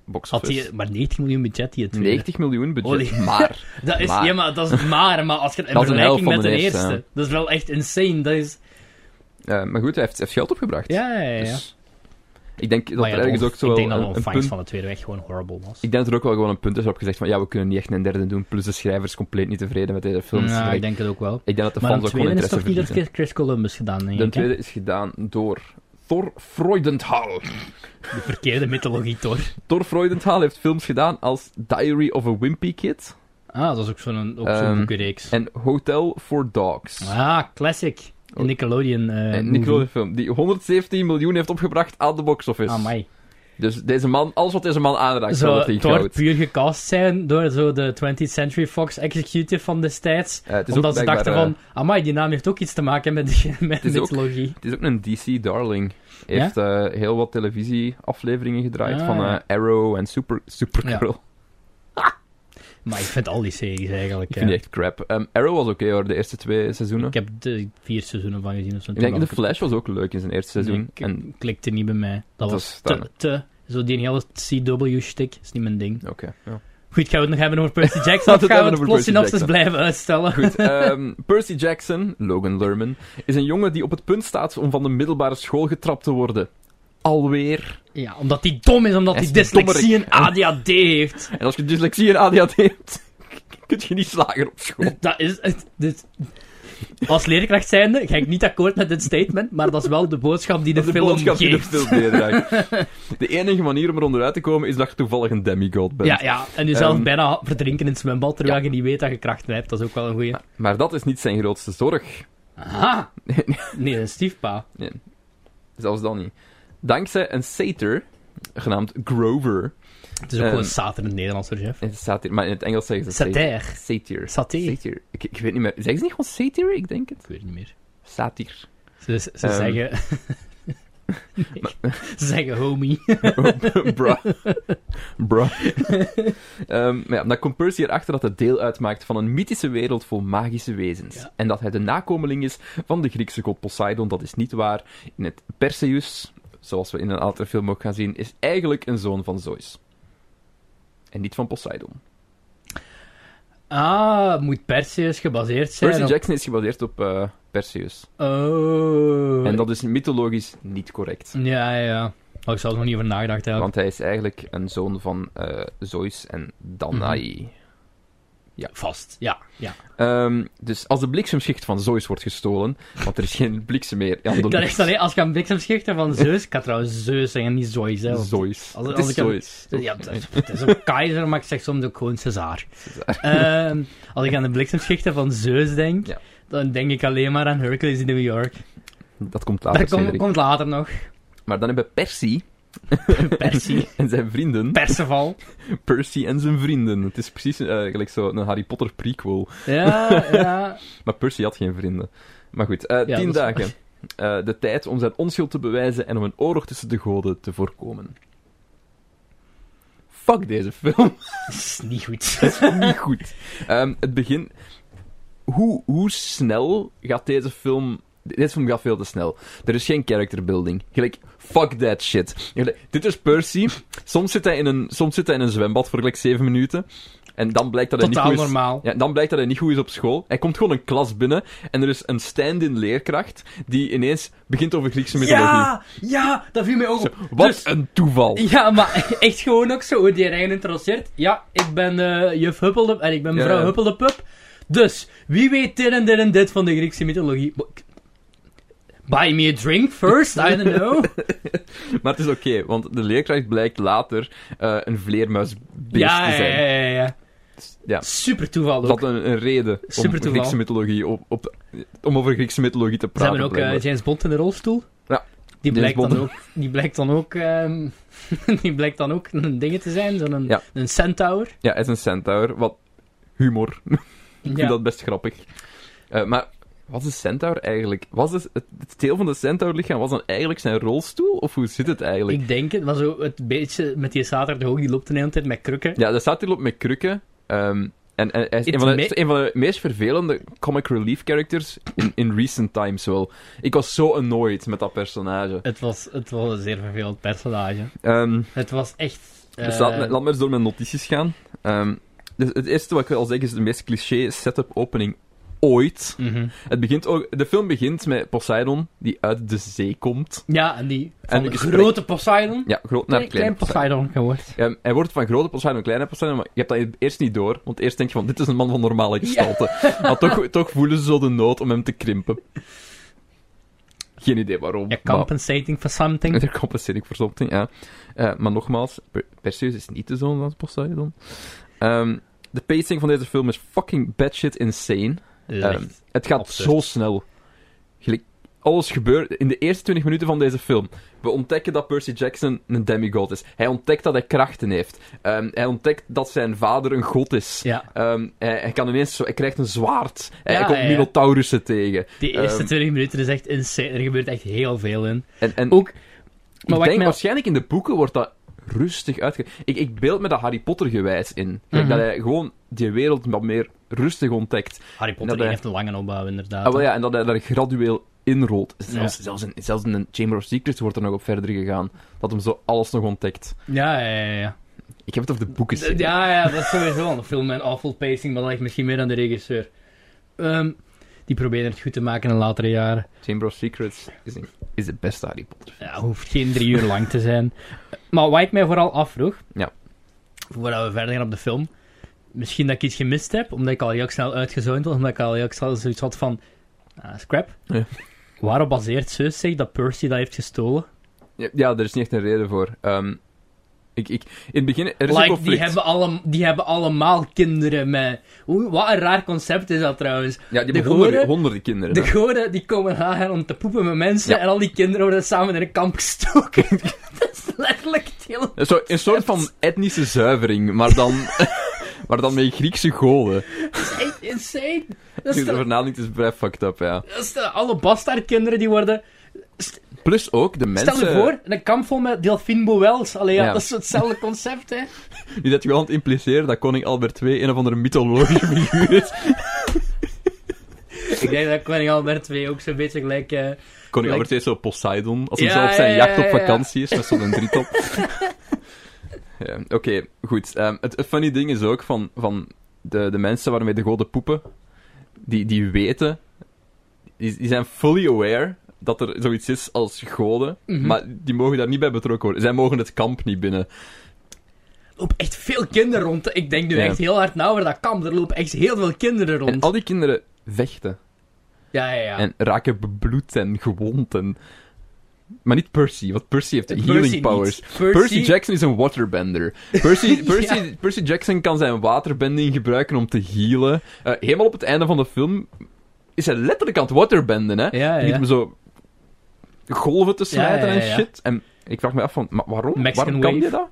Speaker 1: box
Speaker 2: Had
Speaker 1: office.
Speaker 2: die, maar 19 miljoen budget die het tweede.
Speaker 1: 90 miljoen budget,
Speaker 2: Holy-
Speaker 1: maar...
Speaker 2: Dat is,
Speaker 1: Maar-
Speaker 2: Ja, maar dat is maar, maar als je het in
Speaker 1: Dat is een helft
Speaker 2: vergelijking met de
Speaker 1: van de
Speaker 2: eerste,
Speaker 1: eerste,
Speaker 2: dat is wel echt insane. Dat is...
Speaker 1: eh, maar goed, hij heeft, hij heeft geld opgebracht.
Speaker 2: Ja, ja, ja.
Speaker 1: Dus ik denk dat
Speaker 2: Maar ja,
Speaker 1: er
Speaker 2: de
Speaker 1: ergens
Speaker 2: onf-
Speaker 1: ook zo wel
Speaker 2: ik denk dat de
Speaker 1: een, een
Speaker 2: ontvangst
Speaker 1: punt...
Speaker 2: van de tweede weg gewoon horrible was.
Speaker 1: Ik denk dat er ook wel gewoon een punt is op gezegd van ja, we kunnen niet echt een derde doen, plus de schrijver is compleet niet tevreden met deze film. Dus
Speaker 2: ja, ik
Speaker 1: ik,
Speaker 2: denk het ook wel.
Speaker 1: ik denk dat de
Speaker 2: Maar
Speaker 1: fans
Speaker 2: de
Speaker 1: ook gewoon
Speaker 2: tweede is
Speaker 1: interesse
Speaker 2: toch niet door
Speaker 1: verliezen.
Speaker 2: Chris- Chris Columbus gedaan, denk
Speaker 1: De
Speaker 2: ik, hè?
Speaker 1: tweede is gedaan door Thor Freudenthal.
Speaker 2: De verkeerde mythologie, toch?
Speaker 1: Thor Freudenthal heeft films gedaan als Diary of a Wimpy Kid
Speaker 2: Ah, dat is ook zo'n ook zo'n
Speaker 1: Ehm,
Speaker 2: boekenreeks.
Speaker 1: en Hotel for Dogs.
Speaker 2: Ah, classic.
Speaker 1: Oh.
Speaker 2: Een Nickelodeon eh
Speaker 1: Een
Speaker 2: movie.
Speaker 1: Nickelodeon-film die 117 miljoen heeft opgebracht aan de box-office.
Speaker 2: Ah, Amai.
Speaker 1: Dus deze man, alles wat deze man aanraakt, zal
Speaker 2: Zou
Speaker 1: het in
Speaker 2: Thor
Speaker 1: goud.
Speaker 2: puur gecast zijn door zo de 20th Century Fox executive van destijds?
Speaker 1: Eh, het is ook
Speaker 2: Omdat ze
Speaker 1: blijkbaar,
Speaker 2: dachten
Speaker 1: eh,
Speaker 2: van, amai, die naam heeft ook iets te maken met, met
Speaker 1: is ook-
Speaker 2: mythologie.
Speaker 1: Het is ook een DC-darling. heeft eh, heel wat televisieafleveringen gedraaid
Speaker 2: Ah,
Speaker 1: van eh,
Speaker 2: ja.
Speaker 1: Arrow en Super, Supergirl.
Speaker 2: Maar ik vind al die series eigenlijk...
Speaker 1: Ik
Speaker 2: eh,
Speaker 1: vind die echt crap. Ehm, Arrow was oké hoor, de eerste twee seizoenen.
Speaker 2: ik heb de vier seizoenen van gezien of zo.
Speaker 1: Ik denk The Flash was ook leuk in zijn eerste seizoen.
Speaker 2: Nee, ik-
Speaker 1: en
Speaker 2: klikte niet bij mij. Dat
Speaker 1: Dat
Speaker 2: was
Speaker 1: is
Speaker 2: te,
Speaker 1: dan-
Speaker 2: te... Zo die hele CW-shtick is niet mijn ding.
Speaker 1: oké. ja.
Speaker 2: Goed, gaan we het nog hebben over Percy
Speaker 1: Laten
Speaker 2: Jackson? of
Speaker 1: we het
Speaker 2: gaan we
Speaker 1: hebben
Speaker 2: het
Speaker 1: over
Speaker 2: plots
Speaker 1: Percy
Speaker 2: synopsis
Speaker 1: Jackson.
Speaker 2: blijven uitstellen?
Speaker 1: Goed, ehm, Percy Jackson, Logan Lerman, is een jongen die op het punt staat om van de middelbare school getrapt te worden. Alweer.
Speaker 2: Ja, omdat hij dom is, omdat
Speaker 1: Hij
Speaker 2: hij
Speaker 1: is
Speaker 2: dyslexie en
Speaker 1: dommerik.
Speaker 2: ADHD heeft.
Speaker 1: En als je dyslexie en ADHD hebt, kun je niet slagen op school.
Speaker 2: Dat is... het- dit- Als leerkracht zijnde ga ik niet akkoord met dit statement, maar dat is wel de boodschap die de,
Speaker 1: Dat is
Speaker 2: film
Speaker 1: boodschap die de
Speaker 2: geeft.
Speaker 1: film meedraagt. De enige manier om er onderuit te komen is dat je toevallig een demigod bent.
Speaker 2: Ja, ja, en jezelf
Speaker 1: Ehm,
Speaker 2: bijna verdrinken in het zwembad, terwijl je niet weet dat je krachten hebt. Dat is ook wel een goeie.
Speaker 1: Ah, Maar dat is niet zijn grootste zorg.
Speaker 2: Aha! Nee, een stiefpa.
Speaker 1: Zelfs dan niet. Dankzij een satyr, genaamd Grover.
Speaker 2: Het is ook
Speaker 1: Ehm,
Speaker 2: gewoon sater in het Nederlands, hoor, Jeff.
Speaker 1: Het is satir, maar in het Engels zeggen ze
Speaker 2: Satir.
Speaker 1: Satir.
Speaker 2: Saté. Ik
Speaker 1: Satir. Ik, ik weet niet meer. Zeggen ze niet gewoon satir? Ik denk het.
Speaker 2: weet het niet meer.
Speaker 1: Satir.
Speaker 2: Ze, ze
Speaker 1: Ehm.
Speaker 2: zeggen... Nee. Ze zeggen homie.
Speaker 1: Bruh. Bruh. Ehm, maar ja, dan komt Percy erachter dat het deel uitmaakt van een mythische wereld vol magische wezens.
Speaker 2: Ja.
Speaker 1: En dat hij de nakomeling is van de Griekse god Poseidon. Dat is niet waar. In het Perseus, zoals we in een latere film ook gaan zien, is eigenlijk een zoon van Zeus. En niet van Poseidon.
Speaker 2: Ah, moet Perseus gebaseerd zijn
Speaker 1: Percy
Speaker 2: op...
Speaker 1: Jackson is gebaseerd op eh, Perseus.
Speaker 2: Oh.
Speaker 1: En dat is mythologisch niet correct.
Speaker 2: Ja, ja. Oh, ik zou er nog niet over nagedacht hebben.
Speaker 1: Want hij is eigenlijk een zoon van eh, Zeus en Danae.
Speaker 2: Mhm. Vast, ja. ja.
Speaker 1: Ehm, dus als de bliksemschicht van Zeus wordt gestolen, want er is geen bliksem meer aan de
Speaker 2: Dat
Speaker 1: lucht.
Speaker 2: is alleen als je aan bliksemschichten van Zeus... Ik kan trouwens Zeus zeggen, niet Zooi zelf.
Speaker 1: Zeus.
Speaker 2: Als-
Speaker 1: het
Speaker 2: als
Speaker 1: is
Speaker 2: ik hem-
Speaker 1: Zeus.
Speaker 2: Ja, het is- het is een keizer, maar ik zeg soms ook gewoon César. Ehm, als ik aan de bliksemschichten van Zeus denk,
Speaker 1: Ja.
Speaker 2: dan denk ik alleen maar aan Hercules in New York.
Speaker 1: Dat komt
Speaker 2: Dat
Speaker 1: later,
Speaker 2: komt,
Speaker 1: Ah, Cedric.
Speaker 2: komt later nog.
Speaker 1: Maar dan hebben Percy
Speaker 2: Percy.
Speaker 1: en zijn vrienden...
Speaker 2: Perceval.
Speaker 1: Percy en zijn vrienden. Het is precies eh, eigenlijk zo een Harry Potter prequel.
Speaker 2: Ja, ja.
Speaker 1: Maar Percy had geen vrienden. Maar goed, eh,
Speaker 2: Ja,
Speaker 1: tien
Speaker 2: dat is-
Speaker 1: dagen. Eh, de tijd om zijn onschuld te bewijzen en om een oorlog tussen de goden te voorkomen. Fuck deze film.
Speaker 2: Dat is niet goed.
Speaker 1: Dat is niet goed. Ehm, het begin. Hoe, hoe snel gaat deze film. Deze film gaat veel te snel. Er is geen character building. Gelijk, fuck that shit. Gelijk, dit is Percy. Soms zit, hij in een, soms zit hij in een zwembad voor gelijk 7 minuten. En dan blijkt dat hij
Speaker 2: Totaal
Speaker 1: niet goed is.
Speaker 2: normaal.
Speaker 1: Ja, dan blijkt dat hij niet goed is op school. Hij komt gewoon een klas binnen en er is een stand-in leerkracht die ineens begint over Griekse mythologie.
Speaker 2: Ja, ja, dat viel mij ook op.
Speaker 1: Wat
Speaker 2: Dus-
Speaker 1: een toeval.
Speaker 2: Ja, maar echt gewoon ook zo, hoe die eigen introduceert. Ja, ik ben eh juf Huppelde, en ik ben
Speaker 1: Ja,
Speaker 2: mevrouw
Speaker 1: ja.
Speaker 2: Huppelde Pup. Dus, wie weet dit en dit en dit van de Griekse mythologie? Bo- Buy me a drink first, I don't know.
Speaker 1: Maar het is oké, want de leerkracht blijkt later eh, een vleermuisbeest
Speaker 2: ja,
Speaker 1: te
Speaker 2: ja,
Speaker 1: zijn.
Speaker 2: ja, ja, ja.
Speaker 1: Ja.
Speaker 2: Super toeval
Speaker 1: Dat
Speaker 2: ook.
Speaker 1: had een, een reden om,
Speaker 2: Super toeval.
Speaker 1: Griekse mythologie op, op, om over Griekse mythologie te
Speaker 2: Ze
Speaker 1: praten.
Speaker 2: hebben ook eh,
Speaker 1: blijkbaar.
Speaker 2: James Bond in de rolstoel.
Speaker 1: Ja,
Speaker 2: Die
Speaker 1: James
Speaker 2: blijkt, dan
Speaker 1: Bond.
Speaker 2: ook, die blijkt dan ook... ehm, die blijkt dan ook een ding te zijn, zo'n
Speaker 1: Ja.
Speaker 2: een centaur.
Speaker 1: Ja, hij is een centaur. Wat humor. Ik vind
Speaker 2: Ja.
Speaker 1: dat best grappig. Eh, maar wat is een centaur eigenlijk? Was het, het, het deel van de centaurlichaam was dan eigenlijk zijn rolstoel? Of hoe zit het eigenlijk?
Speaker 2: Ik denk het, maar zo het beetje met die zaterdag ook, die loopt de hele tijd met krukken.
Speaker 1: Ja, er staat hier op met krukken. ehm, en, en hij is
Speaker 2: Het
Speaker 1: een van, de,
Speaker 2: me-
Speaker 1: is een van de meest vervelende comic relief characters in, in recent times wel. Ik was zo annoyed met dat personage.
Speaker 2: Het was, het was een zeer vervelend personage.
Speaker 1: Ehm,
Speaker 2: Het was echt... eh,
Speaker 1: Dus laat, me- laat me eens door mijn notities gaan. Ehm, dus het eerste wat ik wil zeggen is de meest cliché setup opening ooit.
Speaker 2: mhm.
Speaker 1: Het begint ook, de film begint met Poseidon die uit de zee komt.
Speaker 2: Ja, en die van
Speaker 1: En
Speaker 2: de
Speaker 1: gesprek-
Speaker 2: grote Poseidon
Speaker 1: Ja, groot naar
Speaker 2: klein,
Speaker 1: klein,
Speaker 2: klein
Speaker 1: Poseidon.
Speaker 2: Poseidon geworden.
Speaker 1: Ehm, hij wordt van grote Poseidon naar kleine Poseidon, maar je hebt dat eerst niet door. Want eerst denk je van, dit is een man van normale gestalte. Maar toch, toch voelen ze zo de nood om hem te krimpen. Geen idee waarom.
Speaker 2: Ja,
Speaker 1: maar-
Speaker 2: compensating for something. Dus
Speaker 1: Er compenseer ik voor something, ja. Eh, maar nogmaals, Per- Perseus is niet de zoon van Poseidon. Ehm, de pacing van deze film is fucking batshit insane.
Speaker 2: Dus
Speaker 1: Ehm,
Speaker 2: echt,
Speaker 1: het gaat
Speaker 2: absurd.
Speaker 1: zo snel. Gelijk, alles gebeurt in de eerste 20 minuten van deze film. We ontdekken dat Percy Jackson een demigod is. Hij ontdekt dat hij krachten heeft. Ehm, hij ontdekt dat zijn vader een god is.
Speaker 2: ja,
Speaker 1: Ehm, hij, hij kan ineens zo, hij krijgt een zwaard. Hij,
Speaker 2: Ja,
Speaker 1: hij komt
Speaker 2: ja, ja.
Speaker 1: Minotaurussen tegen.
Speaker 2: die eerste
Speaker 1: ehm,
Speaker 2: 20 minuten is echt insane. Er gebeurt echt heel veel in.
Speaker 1: En, en
Speaker 2: Ook...
Speaker 1: Maar
Speaker 2: Maar
Speaker 1: ik denk,
Speaker 2: wat ik mij...
Speaker 1: waarschijnlijk in de boeken wordt dat rustig uitge... Ik, ik beeld me dat Harry Potter gewijs in. Kijk,
Speaker 2: Mhm.
Speaker 1: Dat hij gewoon die wereld wat meer rustig ontdekt.
Speaker 2: Harry Potter
Speaker 1: dat hij-
Speaker 2: heeft een lange opbouw, inderdaad.
Speaker 1: Ah, wel ja, en dat hij daar gradueel inrolt. Zelfs,
Speaker 2: Ja.
Speaker 1: zelfs, in, zelfs in de Chamber of Secrets wordt er nog op verder gegaan. Dat hem zo alles nog ontdekt.
Speaker 2: ja, ja, ja, ja.
Speaker 1: Ik heb het over de boeken.
Speaker 2: D-
Speaker 1: Cedric.
Speaker 2: Ja, ja, dat is sowieso wel een film met awful pacing, maar dat ligt misschien meer aan de regisseur. Ehm, die probeerde het goed te maken in latere jaren.
Speaker 1: Chamber of Secrets is, een- is de beste Harry Potter.
Speaker 2: Ja, hoeft geen drie uur lang te zijn. Maar wat ik mij vooral afvroeg,
Speaker 1: Ja.
Speaker 2: voordat we verder gaan op de film, misschien dat ik iets gemist heb, omdat ik al heel snel uitgezoond was, omdat ik al heel snel zoiets had van, ah, scrap.
Speaker 1: Ja.
Speaker 2: Waarop baseert Zeus zich dat Percy dat heeft gestolen?
Speaker 1: Ja, ja, er is niet echt een reden voor. Ehm, ik, ik, in het begin, er is een
Speaker 2: Like,
Speaker 1: conflict.
Speaker 2: die hebben, alle, die hebben allemaal kinderen met... Oeh, wat een raar concept is dat trouwens.
Speaker 1: Ja, die
Speaker 2: de
Speaker 1: hebben honderden,
Speaker 2: goden-
Speaker 1: honderden kinderen.
Speaker 2: De goden die komen haar om te poepen met mensen
Speaker 1: Ja.
Speaker 2: en al die kinderen worden samen in een kamp gestoken. dat is letterlijk het verschillende...
Speaker 1: Zo, een soort van etnische zuivering, maar dan, maar dan met Griekse goden.
Speaker 2: Dat is echt insane. Dat is
Speaker 1: Het
Speaker 2: de,
Speaker 1: verhaal niet is vrij fucked up, ja.
Speaker 2: dat is de eh, alle bastardkinderen die worden...
Speaker 1: Plus ook de mensen...
Speaker 2: Stel je voor, een kamp vol met Delphine Boels. Allee, ja,
Speaker 1: Ja.
Speaker 2: dat is hetzelfde concept, hè.
Speaker 1: Nu dat je wel aan het impliceren dat koning Albert II een of andere mythologische figuur is.
Speaker 2: Ik denk dat Koning Albert 2 ook zo'n beetje gelijk... eh,
Speaker 1: Koning
Speaker 2: Like-
Speaker 1: Albert II is zo Poseidon, als hij
Speaker 2: Ja,
Speaker 1: zo op zijn
Speaker 2: ja, ja,
Speaker 1: jacht op
Speaker 2: ja, ja.
Speaker 1: vakantie is, met zo'n drietop. ja, Oké, goed. Ehm, het, het funny ding is ook van, van de, de mensen waarmee de goden poepen, die, die weten, die, die zijn fully aware dat er zoiets is als goden,
Speaker 2: Mhm.
Speaker 1: maar die mogen daar niet bij betrokken worden. Zij mogen het kamp niet binnen.
Speaker 2: lopen echt veel kinderen rond. hè. Ik denk nu
Speaker 1: Ja.
Speaker 2: echt heel hard nou over dat kamp. Er lopen echt heel veel kinderen
Speaker 1: En
Speaker 2: rond.
Speaker 1: al die kinderen vechten
Speaker 2: Ja, ja, ja.
Speaker 1: en raken bebloed en gewond en... Maar niet Percy, want Percy heeft
Speaker 2: Percy
Speaker 1: healing
Speaker 2: niet.
Speaker 1: powers.
Speaker 2: Percy,
Speaker 1: Percy Jackson is een waterbender. Percy, Percy,
Speaker 2: Ja.
Speaker 1: Percy Jackson kan zijn waterbending gebruiken om te healen. Eh, helemaal op het einde van de film is hij letterlijk aan het waterbenden, hè?
Speaker 2: Ja, ja,
Speaker 1: Je
Speaker 2: ja.
Speaker 1: moet hem zo golven te smijten
Speaker 2: ja, ja, ja.
Speaker 1: en shit. En ik vraag me af van, maar waarom?
Speaker 2: Mexican
Speaker 1: waarom kan
Speaker 2: wave.
Speaker 1: je dat?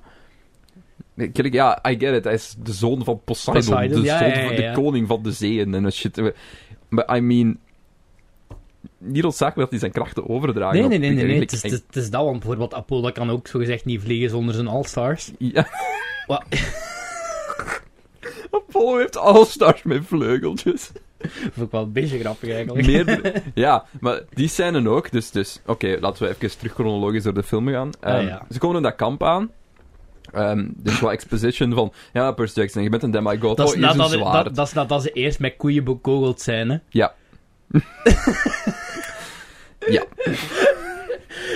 Speaker 1: Nee, kijk, Ja, I get it. Hij is de zoon van Poseidon.
Speaker 2: Poseidon,
Speaker 1: de,
Speaker 2: ja,
Speaker 1: zoon
Speaker 2: ja, ja,
Speaker 1: van- de
Speaker 2: ja.
Speaker 1: koning van de zeeën en dat shit. Maar I mean... Niet noodzakelijk dat hij zijn krachten overdraagt.
Speaker 2: Nee,
Speaker 1: op-
Speaker 2: nee, nee, nee, nee.
Speaker 1: eigenlijk-
Speaker 2: Het, is, het is dat, want bijvoorbeeld Apollo kan ook zogezegd niet vliegen zonder zijn All-Stars.
Speaker 1: Ja.
Speaker 2: Wa-
Speaker 1: Apollo heeft all-stars met vleugeltjes.
Speaker 2: Dat vind ik wel een beetje grappig eigenlijk.
Speaker 1: Meerdere, ja, maar die scènes ook. Dus, dus oké, laten we even terug chronologisch door de film gaan. Ehm,
Speaker 2: Ah, ja.
Speaker 1: Ze komen in dat kamp aan. Ehm, dus wat exposition van... Ja, Percy Jackson, je bent een demigod.
Speaker 2: Dat is,
Speaker 1: Oh, hier is een
Speaker 2: nadat,
Speaker 1: zwaard.
Speaker 2: dat, dat is nadat ze eerst met koeien bekogeld zijn, hè.
Speaker 1: Ja. ja.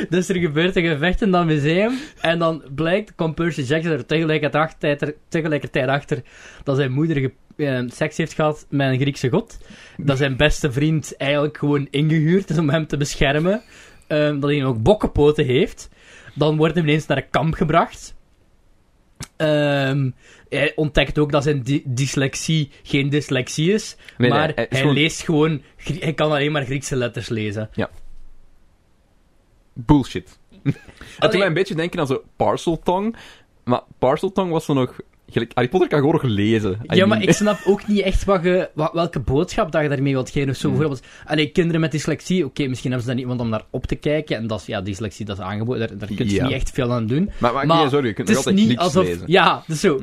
Speaker 2: Dus er gebeurt een gevecht in dat museum. En dan blijkt, komt Percy Jackson er tegelijkertijd achter, tegelijkertijd achter dat zijn moeder ge- eh, seks heeft gehad met een Griekse god. Dat zijn beste vriend eigenlijk gewoon ingehuurd is om hem te beschermen. Ehm, dat hij ook bokkenpoten heeft. Dan wordt hij ineens naar een kamp gebracht. Ehm, hij ontdekt ook dat zijn dy- dyslexie geen dyslexie is.
Speaker 1: Nee, nee,
Speaker 2: maar
Speaker 1: hij
Speaker 2: hij,
Speaker 1: is gewoon-
Speaker 2: leest gewoon... Grie- Hij kan alleen maar Griekse letters lezen.
Speaker 1: Bullshit. Het doet
Speaker 2: Allee.
Speaker 1: mij een beetje denken aan zo Parcel Tongue. Maar Parcel Tongue was dan nog... gelijk- Harry Potter kan gewoon nog lezen. I
Speaker 2: Ja,
Speaker 1: mean-
Speaker 2: maar ik snap ook niet echt wat je, wat, welke boodschap dat je daarmee wilt geven. Of
Speaker 1: Hmm.
Speaker 2: zo. Bijvoorbeeld, allee, kinderen met dyslexie, oké, misschien hebben ze dan iemand om naar op te kijken. En dat is, ja, dyslexie, dat is aangeboden, daar, daar kun je
Speaker 1: Ja.
Speaker 2: niet echt veel aan doen.
Speaker 1: Maar, maar,
Speaker 2: Maar
Speaker 1: nee, sorry, je kunt
Speaker 2: Het
Speaker 1: nog
Speaker 2: is
Speaker 1: altijd
Speaker 2: niet
Speaker 1: niks
Speaker 2: alsof...
Speaker 1: lezen.
Speaker 2: Ja, dus zo.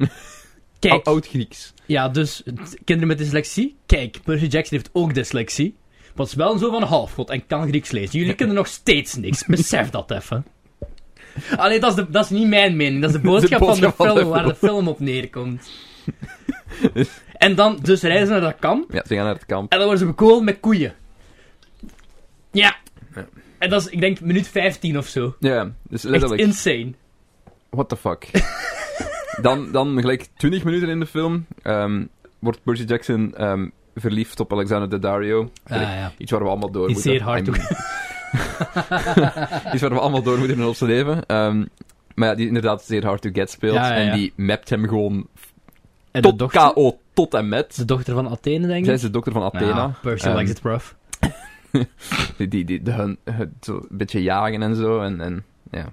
Speaker 2: Kijk,
Speaker 1: Oud-Grieks.
Speaker 2: ja, dus t- kinderen met dyslexie, kijk, Percy Jackson heeft ook dyslexie. Maar het is wel zo van een halfgod en kan Grieks lezen. Jullie kunnen nog steeds niks, besef dat even. Allee, dat is, de, dat is niet mijn mening. Dat is de boodschap,
Speaker 1: boodschap
Speaker 2: van
Speaker 1: van
Speaker 2: de
Speaker 1: de
Speaker 2: film waar de film op neerkomt. en dan, dus reizen ze naar dat kamp.
Speaker 1: Ja, ze gaan naar het kamp.
Speaker 2: En dan worden ze bekogeld met koeien. Ja. En dat is, ik denk, minuut 15 of zo.
Speaker 1: Ja, dus
Speaker 2: Echt
Speaker 1: letterlijk.
Speaker 2: insane.
Speaker 1: What the fuck. dan, dan gelijk 20 minuten in de film ehm, wordt Percy Jackson ehm, verliefd op Alexander Daddario.
Speaker 2: Ah, ja.
Speaker 1: Iets waar we allemaal door
Speaker 2: Die
Speaker 1: moeten.
Speaker 2: zeer hard
Speaker 1: I mean, Iets waar we allemaal door moeten in ons leven. Ehm, maar ja, die inderdaad zeer hard to get speelt.
Speaker 2: Ja, ja, ja.
Speaker 1: En die mapt hem gewoon
Speaker 2: En de
Speaker 1: tot
Speaker 2: dochter?
Speaker 1: KO, tot en met.
Speaker 2: De dochter van Athene, denk ik.
Speaker 1: Zij is de dokter van Athena.
Speaker 2: Ja, Percy
Speaker 1: Ehm,
Speaker 2: likes it rough.
Speaker 1: die, die, die, de hun, het zo een beetje jagen en zo. En, en ja.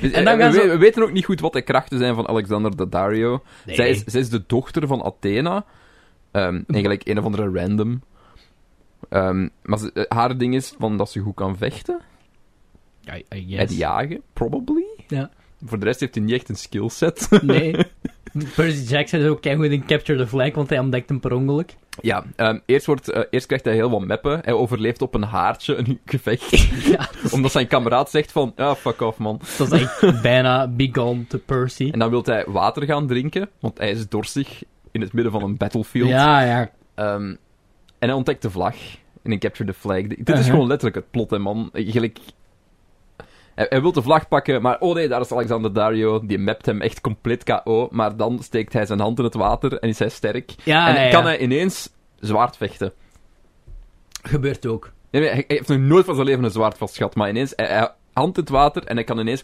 Speaker 1: Dus,
Speaker 2: En
Speaker 1: en
Speaker 2: dan gaan
Speaker 1: we,
Speaker 2: ze-
Speaker 1: we weten ook niet goed wat de krachten zijn van Alexander Daddario.
Speaker 2: Nee.
Speaker 1: Zij, is, zij is de dochter van Athena. Ehm, eigenlijk een of andere random. Ehm, maar ze- eh, haar ding is van dat ze goed kan vechten.
Speaker 2: I, I
Speaker 1: Het
Speaker 2: guess.
Speaker 1: jagen, probably.
Speaker 2: Ja.
Speaker 1: Voor de rest heeft hij niet echt een skillset.
Speaker 2: Nee. Percy Jackson is ook keigoed in Capture the Flag, want hij ontdekt hem per ongeluk.
Speaker 1: ja, ehm, eerst, wordt, eh, eerst krijgt hij heel wat meppen. Hij overleeft op een haartje een gevecht.
Speaker 2: ja,
Speaker 1: Omdat zijn kameraad zegt van, ah, fuck off man.
Speaker 2: dat is echt bijna begone to Percy.
Speaker 1: En dan wil hij water gaan drinken, want hij is dorstig in het midden van een battlefield.
Speaker 2: Ja, ja.
Speaker 1: Ehm, en hij ontdekt de vlag in een Capture the Flag. Dit
Speaker 2: Uh-huh.
Speaker 1: is gewoon letterlijk het plot, hè man. Eigenlijk... Hij, hij wil de vlag pakken, maar oh nee, daar is Alexander Dario. Die mapt hem echt compleet KO. Maar dan steekt hij zijn hand in het water en is hij sterk.
Speaker 2: Ja,
Speaker 1: en
Speaker 2: ja, ja.
Speaker 1: kan hij ineens zwaard vechten.
Speaker 2: Gebeurt ook.
Speaker 1: Nee, nee, hij hij heeft nog nooit van zijn leven een zwaard vast gehad, maar ineens... Hij, hij- hand in het water en hij kan ineens...